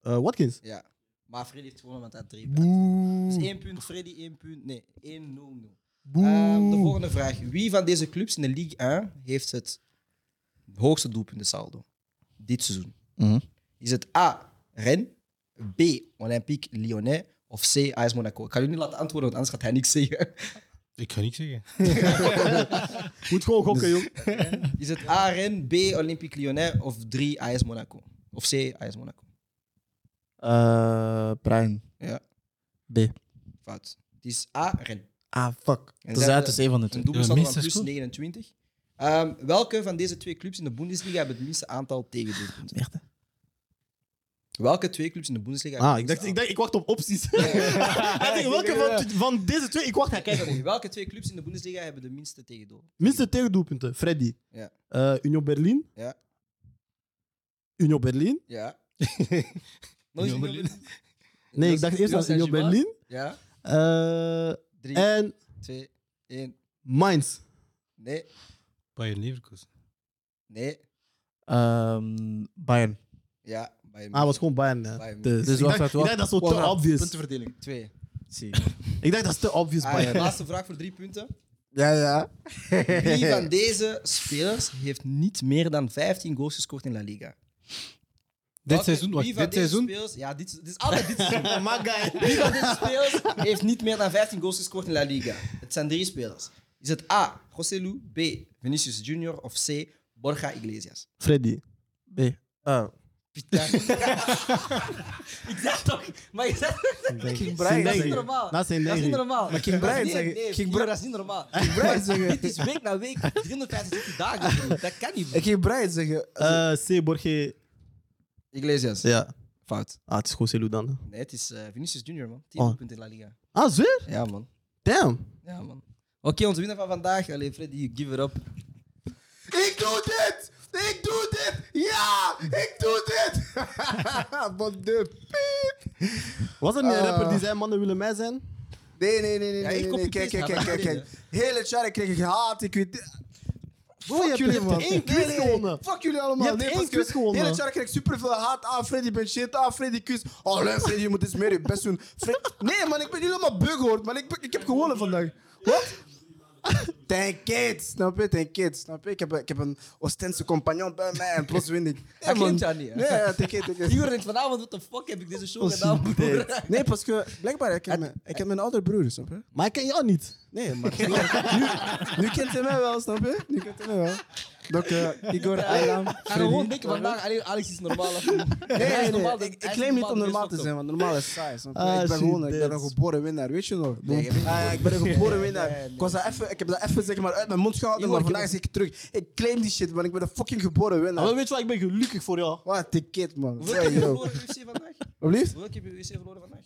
Eh, Watkins. ja. Maar Freddy heeft gewonnen met dat drie punten. Dus één punt, Freddy één punt. Nee, 1-0-0. Ehm, de volgende vraag. Wie van deze clubs in de Ligue 1 heeft het hoogste doelpuntensaldo dit seizoen? Mhm. Is het A, Rennes, B, Olympique Lyonnais of C, AS Monaco? Ik ga jullie niet laten antwoorden, want anders gaat hij niks zeggen. <laughs> Ik ga niks zeggen. Moet gewoon gokken, jong. Is het A, Rennes, B, Olympique Lyonnais of 3, AS Monaco? Of C, AS Monaco? Eh, Brian. Ja, B. fout. Het is A, Rennes. Ah, fuck. En Dat is zij uit, dat is één van de Een twee. doelpuntensaldo Ja, van minstens plus goed. 29. Ehm, welke van deze twee clubs in de Bundesliga hebben het minste aantal tegendoelpunten? Echt, hè? Welke twee clubs in de Bundesliga? Ah, ik dacht, ik dacht, ik wacht op opties. <laughs> Hij denkt, welke van, van deze twee? Ik wacht, hij kijkt. Kijk, welke twee clubs in de Bundesliga hebben de minste tegendoel? Minste tegendoelpunten. Freddy. Ja. Eh, Union Berlin. Ja. Union Berlin. <laughs> Ja. Union Union Berlin. Berlin. Nee, ik dacht eerst aan Union Berlin. Ja. Eh, Drie, en twee, één. Mainz. Nee, Bayern Leverkusen. nee. Ehm, Bayern. Ja, Bayern. Ah, was gewoon Bayern. hè. Bayern. Dus, Dus ik, wat- dacht, wat- ik dacht, dat is zo te wat- obvious. Puntenverdeling. Twee. Ik dacht, dat is te obvious Ah, Bayern. <laughs> laatste vraag voor drie <laughs> punten. Ja, ja. Wie van deze spelers heeft niet meer dan 15 goals gescoord in La Liga? Dit Welke- seizoen, wacht, wie van dit deze seizoen? Spelers, ja, dit, dit is altijd dit seizoen. Oh, Wie van deze spelers heeft niet meer dan 15 goals gescoord in La Liga? Het zijn drie spelers. Is het A, Roselu, B, Vinicius Junior of C, Borja Iglesias? Freddy. Nee. Ah. <laughs> Ik zeg toch, maar je zegt King dat is niet zeggen. normaal. Dat is een Dat is niet negri. normaal. Maar King Brian nee, zeggen- Nee, King King Brian- dat is niet normaal. Maar Dit is week na week, 365 dagen. broer. Dat kan niet. Ik ging Brian zeggen. Eh, C. Borgé. Iglesias. Ja. Fout. Ah, het is Joselu dan. hè. Nee, het is eh, Vinicius Junior, man. 10 Oh. punten in La Liga. Ah, zweer? Ja, man. Damn. Ja, man. Oké, onze winnaar van vandaag. Allee, Freddy, give it up. Ik doe dit! Ik doe dit! Ja! Ik doe dit! Wat de piep! Was er niet Eh. een Ah. rapper die zei mannen willen mij zijn? Nee, nee, nee, nee. Ja, nee, ik nee, kopie nee. paste, Kijk, kijk, kijk, maar kijk, dat kijk. Hele chat kreeg ik haat. Ik weet. Bro, je hebt- je hebt één quiz Nee, nee, nee. gewonnen. Fuck jullie allemaal. Je hebt één parce que quiz gewonnen. Hele jaar krijg ik superveel haat. Ah, Freddy, ben shit. Ah, Freddy, kus. Oh, nee, Freddy, je moet eens meer je best doen. Fred- Nee, man, ik ben niet helemaal bug hoor. Maar ik, ben- ik heb gewonnen vandaag. Wat? Thank kids, snap je? Thank kids, snap je? Ik heb, ik heb een Oostense compagnon bij mij en plots win ik. Hij man. kent jou niet, hè? Nee, ja, thank you, <laughs> thank you. Igor denkt vanavond, wat de fuck heb ik deze show gedaan, broer? Oh, Nee, parce que blijkbaar, ik heb, mijn, ik heb mijn oudere broer, snap je? Maar ik ken jou niet. Nee, <laughs> maar nu, nu kent hij mij wel, snap je? Nu kent hij mij wel. Donc, eh, Igor, Aylam, Ik ga gewoon denken vandaag, allee, Alex is normaal. hè. Hij Nee, is nee, normaal, nee. Ik, hij ik is claim niet om dus normaal te fuck zijn, want normaal is saai. snap je? Ah, ik ben shit, gewoon ik ben een dit. geboren winnaar, weet je nog? Nee, je Ah, bent ja, ik ben een <laughs> geboren winnaar. Ik, was daar even, ik heb dat even zeg maar, uit mijn mond gehouden, Jongen, maar ik vandaag zeg ik terug. Ik claim die shit, want ik ben een fucking geboren Nou, Maar winnaar. weet je wat, ik ben gelukkig voor jou. Wat een kid, man. Hoeveel heb je Yo. verloren UFC vandaag? Alsjeblieft? Hoeveel heb je UFC verloren vandaag?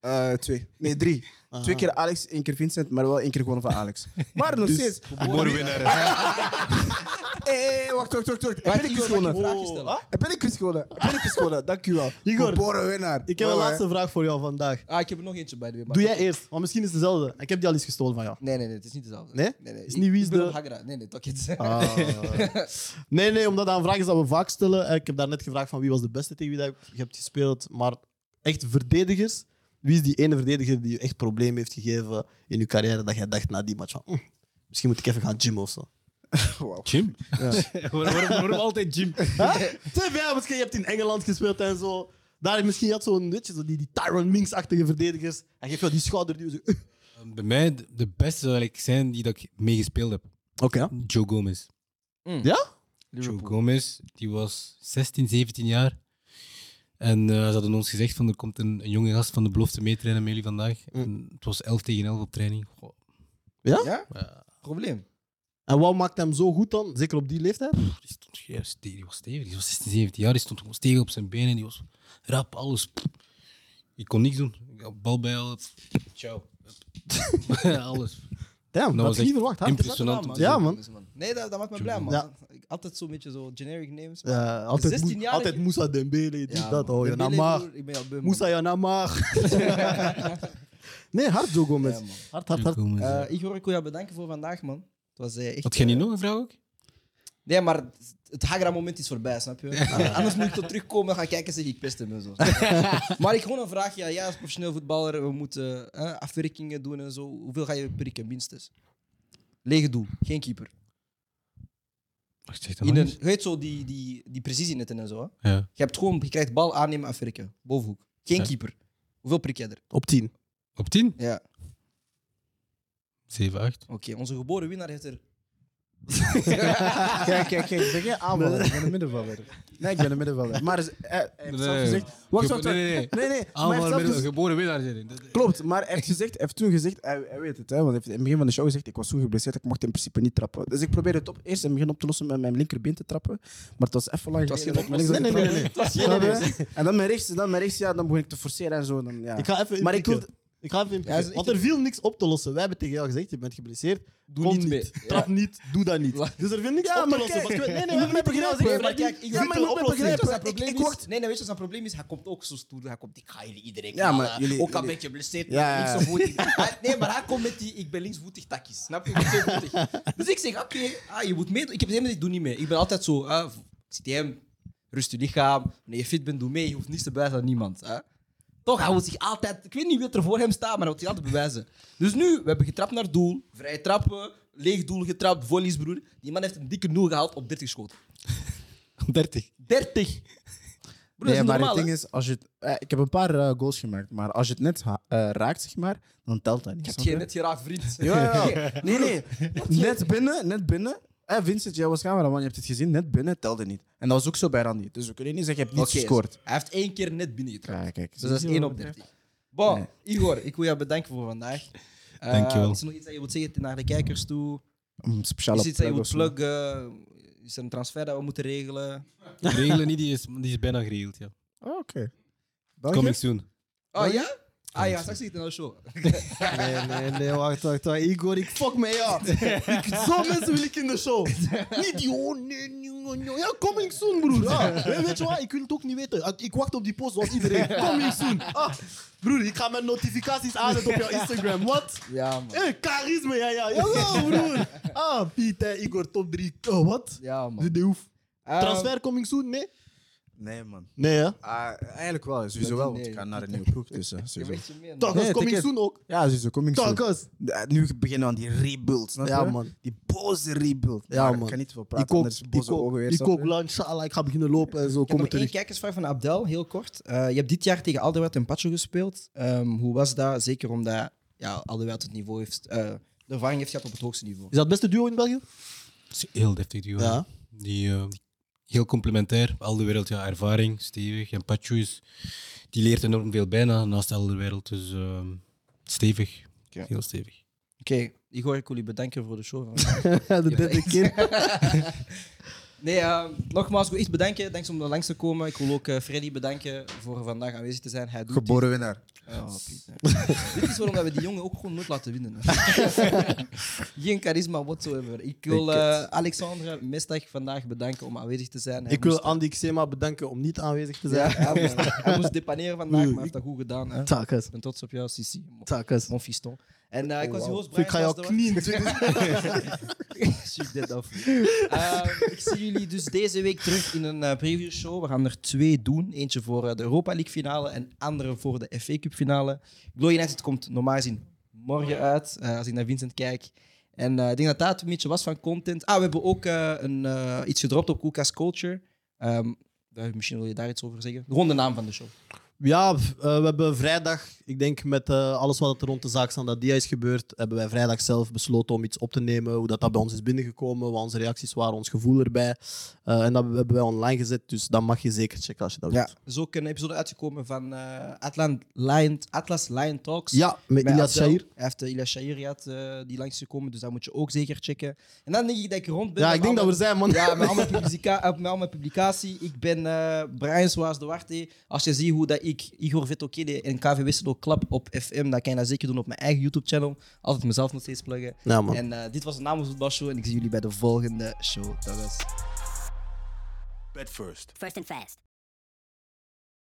Eh, twee. Nee, drie. Twee keer Alex, één keer Vincent, maar wel één keer gewoon van Alex. Maar nog steeds. Geboren winnaar. Hé, hé, hé, wacht, wacht, wacht. wacht. Heb Wacht, ik Igor, iets mag ik een gewonnen? Ah? vraagje stellen? Heb ik iets gewonnen? Heb ik iets gewonnen? Dank u wel. Igor, Geboren winnaar. Ik heb Wel, een hè. <laughs> laatste vraag voor jou vandaag. Ah, ik heb er nog eentje bij de way, maar- Doe jij eerst, want misschien is het dezelfde. Ik heb die al eens gestolen van jou. Nee, nee, nee, het is niet dezelfde. Nee? nee, Is Ik- niet wie is ik ben de- op Hagra. Nee, nee, toch iets. Ah. nee, nee, omdat dat een vraag is dat we vaak stellen. Eh, Ik heb daarnet gevraagd van wie was de beste tegen wie dat je hebt gespeeld. Maar echt verdedigers. Wie is die ene verdediger die je echt problemen heeft gegeven in je carrière dat jij dacht na die match van... "Mm, misschien moet ik even gaan gym of zo. Jim? <laughs> waarom, waarom altijd Jim? Zeg, ja, misschien je hebt in Engeland gespeeld en zo. Daar misschien had zo'n, weet je, zo die, die Tyron Minks-achtige verdedigers. Hij geeft jou die schouderduw. zo, "Uh." Ehm, Bij mij, de- de beste zou eigenlijk zijn die dat ik meegespeeld heb. Oké. ja. Joe Gomez. Ja? Joe Gomez, die was 16, 17 jaar. En eh, ze hadden ons gezegd van, er komt een, een jonge gast van de belofte meetrainen met jullie vandaag. En het was 11 tegen 11 op training. Goh, Ja? Probleem. En wat maakt hem zo goed dan? Zeker op die leeftijd? die, stond, ja, ste- die was stevig, die was 16, 17 jaar. Die stond gewoon stevig op zijn benen. Die was rap, alles. Ik kon niks doen. Ik had Bal bij al. <laughs> Ciao. alles. Damn, dat was had ik echt niet verwacht. hè? Impressionant. om te Ja, zien. man. Nee, dat, dat maakt me blij, man. Ja. Altijd zo'n beetje zo generic names. Ja, Eh, altijd, 16 Moe- jaar- altijd Moussa Dembele, dit, Ja, dat. man. Oh, Ik ben Janamar. broer, Ik ben al beu, man. Moussa Janamar. <laughs> nee, hard Joe Gomez. Ja, man. hard, hard, Joe hard. Gomez, ja. Eh, Igor, ik wil jou bedanken voor vandaag, man. Het was eh, echt... Had jij niet eh, nog een vraag ook? Nee, maar het- het Hagra-moment is voorbij, snap je? Eh, <laughs> Anders moet ik tot terugkomen en gaan kijken zeg ik pest hem en zo. <laughs> maar ik gewoon een vraag. Ja, jij als professioneel voetballer, we moeten eh, afwerkingen doen en zo. Hoeveel ga je prikken, minstens? Lege doel, geen keeper. Wacht, zeg dat In nog een, eens. je weet zo, die, die, die precisie netten en zo. Hè? Ja. Je, hebt gewoon, je krijgt bal aannemen, afwerken, bovenhoek. Geen Ja. keeper. Hoeveel prik jij er? Op 10. Op 10? Ja, 7, 8. oké. Onze geboren winnaar heeft er... Kijk, kijk, kijk. Ben jij aanvaller? Ik ben een middenvaller. Nee, ik ben een middenvaller. Maar eh, hij heeft zelf Nee. gezegd... Wacht, Ge- wacht, wacht. nee, nee, nee. nee, nee, maar hij heeft Aanval zelf Ah, met een gezegd- geboren winnaar zijn. Dat- Klopt, maar hij heeft, gezegd, hij heeft toen gezegd, hij, hij weet het, hè, want hij heeft in het begin van de show gezegd, ik was zo geblesseerd, ik mocht in principe niet trappen. Dus ik probeerde het op, eerst in het begin op te lossen met mijn linkerbeen te trappen, maar het was even lang was geleden dat ik geen mijn links oplossing. Nee, nee, nee, had getrapt. Snap je? En dan mijn rechts, dan mijn rechts, ja, dan begon ik te forceren en zo. Dan, ja. Ik ga even Maar ik inpikken. dus wil- Ik ga even inpikken. Ja, ze- Want er viel niks op te lossen. Wij hebben tegen jou gezegd, je bent geblesseerd. Doe niet mee. Trap niet, doe dat niet. Laat- Dus er viel niks Ja, op te maar lossen. kijk, want je- je moet me begrijpen, nee, hè, maar die- kijk, ik je wil moet me een ook oplossing. begrijpen. Weet je wat maar zijn probleem ik- ik is? wacht- Nee, nee, weet je wat zijn probleem is? Hij komt ook zo stoer. Hij komt, ik ga jullie iedereen Ja, knallen. maar jullie- Ook al jullie- ben je blesseerd, Ja, ja. niet zo goed. Hij- nee, maar hij komt met die, ik ben linksvoetig takjes. Snap je? Ik ben <laughs> tweevoetig. dus ik zeg, oké, ah, je moet meedoen. Ik heb helemaal gezegd, doe niet mee. Ik ben altijd zo, ah, ik zit hem rust je lichaam. Wanneer je fit bent, doe mee. Je hoeft niets te bewijzen aan niemand. Hè? Toch, hij wil zich altijd... Ik weet niet wie er voor hem staat, maar hij wil zich altijd bewijzen. Dus nu, we hebben getrapt naar doel. Vrije trappen, leeg doel getrapt, volleys, broer. Die man heeft een dikke nul gehaald op 30 <laughs> schoten. 30. 30! Broer, dat is nee, maar niet normaal, het ding hè? is, als je het- eh, ik heb een paar eh, goals gemaakt, maar als je het net ha- eh, raakt, zeg maar, dan telt dat niet. Ik heb snap je je? net geraakt, vriend. <laughs> Ja, ja. Nee, nee. Net binnen, net binnen. Eh, Vincent, jij was cameraman, je hebt het gezien. Net binnen telde niet. En dat was ook zo bij Randy. Dus we kunnen niet zeggen, je hebt niet Oké, gescoord. Hij heeft één keer net binnengetrapt. Ja, kijk. Dus dat is 1 op 30. Bon, Igor, ik wil jou bedanken voor vandaag. Eh, Dankjewel. Is er nog iets dat je wilt zeggen naar de kijkers toe? Een Mm, speciale Is er iets dat je plug wilt of zo. pluggen? Is er een transfer dat we moeten regelen? <laughs> Regelen niet, die is, die is bijna geregeld. Ja. Ah, Oké. België? Coming soon. Oh ja? Ah ja, straks zit het in de show. Nee, nee, <laughs> nee, wacht, wacht, wacht. Igor, ik fuck mee <laughs> af. Ik- Zo'n mensen wil ik in de show. Niet die, oh nee, nee, nee, nee. Ja, coming soon, broer. Ah, we- weet je wat, ik wil het ook niet weten. Ah, Ik wacht op die post zoals <laughs> iedereen. Coming soon. Ah, broer, ik ga mijn notificaties aanzetten op jouw Instagram. Wat? <laughs> Ja, man. Hé, hey, charisme, Eh, ja, ja. Jawel, broer. <laughs> Ah, Piet, hè, Igor, top 3. wat? Ja, man. De de hoef. Ehm, Transfer coming soon, nee? Nee, man. Nee, hè? Ah, eigenlijk wel. Sowieso Dat- wel, want nee. ik ga naar een nieuwe ploeg. Dus, eh, <laughs> Je sowieso. weet je meer, man. Talkers Nee, coming ticket. soon ook. Ja, sowieso. Coming soon. Talkers. Eh, Nu beginnen we aan die rebuild, snap Ja, je? man. Die boze rebuild. Ja, Maar man. Ik ga niet te veel Ik praten, ook, anders ik boze ook, ogen weer. ik snap ook, je? la, inshallah, ik ga beginnen lopen en zo. Ik heb Kom nog er terug. één kijkersvraag van Abdel, heel kort. Eh, je hebt dit jaar tegen Alderweireld en Pacho gespeeld. Ehm, hoe was dat? Zeker omdat ja, Alderweireld het niveau heeft... eh, de ervaring heeft gehad op het hoogste niveau. Is dat het beste duo in België? Het is heel deftig, duo. Ja. Die, eh, heel complementair. Al de wereld, ja, ervaring, stevig. En Pachu is, die leert enorm veel bijna naast al de wereld. Dus ehm, stevig. Ja. Heel stevig. Oké, Igor, ik wil je bedanken voor de show. <laughs> Van de derde keer. <laughs> Nee, eh, nogmaals, ik wil echt bedanken. Thanks om er langs te komen. Ik wil ook eh, Freddy bedanken voor vandaag aanwezig te zijn. Hij doet Geboren winnaar. dit. Oh, Pieter. dit is waarom dat we die jongen ook gewoon nooit laten winnen. <laughs> Geen charisma whatsoever. Ik wil eh Alexandra Mestag vandaag bedanken om aanwezig te zijn. Hij Ik wil moest- Andy Xema bedanken om niet aanwezig te ja, zijn. hij, moest, hij moest depaneren vandaag, maar hij heeft dat goed gedaan. Hè. Ik Takas, ben trots op jou, Sissi. takas. Mon fiston. En eh, ik was je host, Brian. Oh, Ik ga jouw Vastdorp. knieën <laughs> Shoot dit af. Eh, ik zie jullie dus deze week terug in een eh, preview show. We gaan er twee doen. Eentje voor eh, de Europa League finale en andere voor de FA Cup finale. Glow United komt normaal gezien morgen uit, eh, als ik naar Vincent kijk. En eh, ik denk dat dat een beetje was van content. Ah, we hebben ook eh, een, eh, iets gedropt op Koelkast Culture. Ehm, daar, misschien wil je daar iets over zeggen. Gewoon de naam van de show. Ja, eh, we hebben vrijdag, ik denk met eh, alles wat er rond de zaak staat dat die is gebeurd, hebben wij vrijdag zelf besloten om iets op te nemen, hoe dat, dat bij ons is binnengekomen, wat onze reacties waren, ons gevoel erbij. Eh, en dat hebben wij online gezet, dus dat mag je zeker checken als je dat Ja. wilt. Er is ook een episode uitgekomen van eh, Atlan Lion, Atlas Lion Talks. Ja, met Bij Ilias Abdel. Shair. Hij heeft uh, Ilias Shair gehad, eh, die langs gekomen, dus dat moet je ook zeker checken. En dan denk ik dat ik rond ben. Ja, met ik denk dat alle- we er zijn, man. Ja, met al mijn, <laughs> publica- eh, met al mijn publicatie. Ik ben eh Brian Soares Duarte. Als je ziet hoe dat ik Igor Vetokede en KV Wissel ook klap op FM, dan kan je dat zeker doen op mijn eigen YouTube-channel. Altijd mezelf nog steeds pluggen. Ja, man. En eh, dit was de Namens Voetbal Show en ik zie jullie bij de volgende show. Dat was... Bet first. First and fast.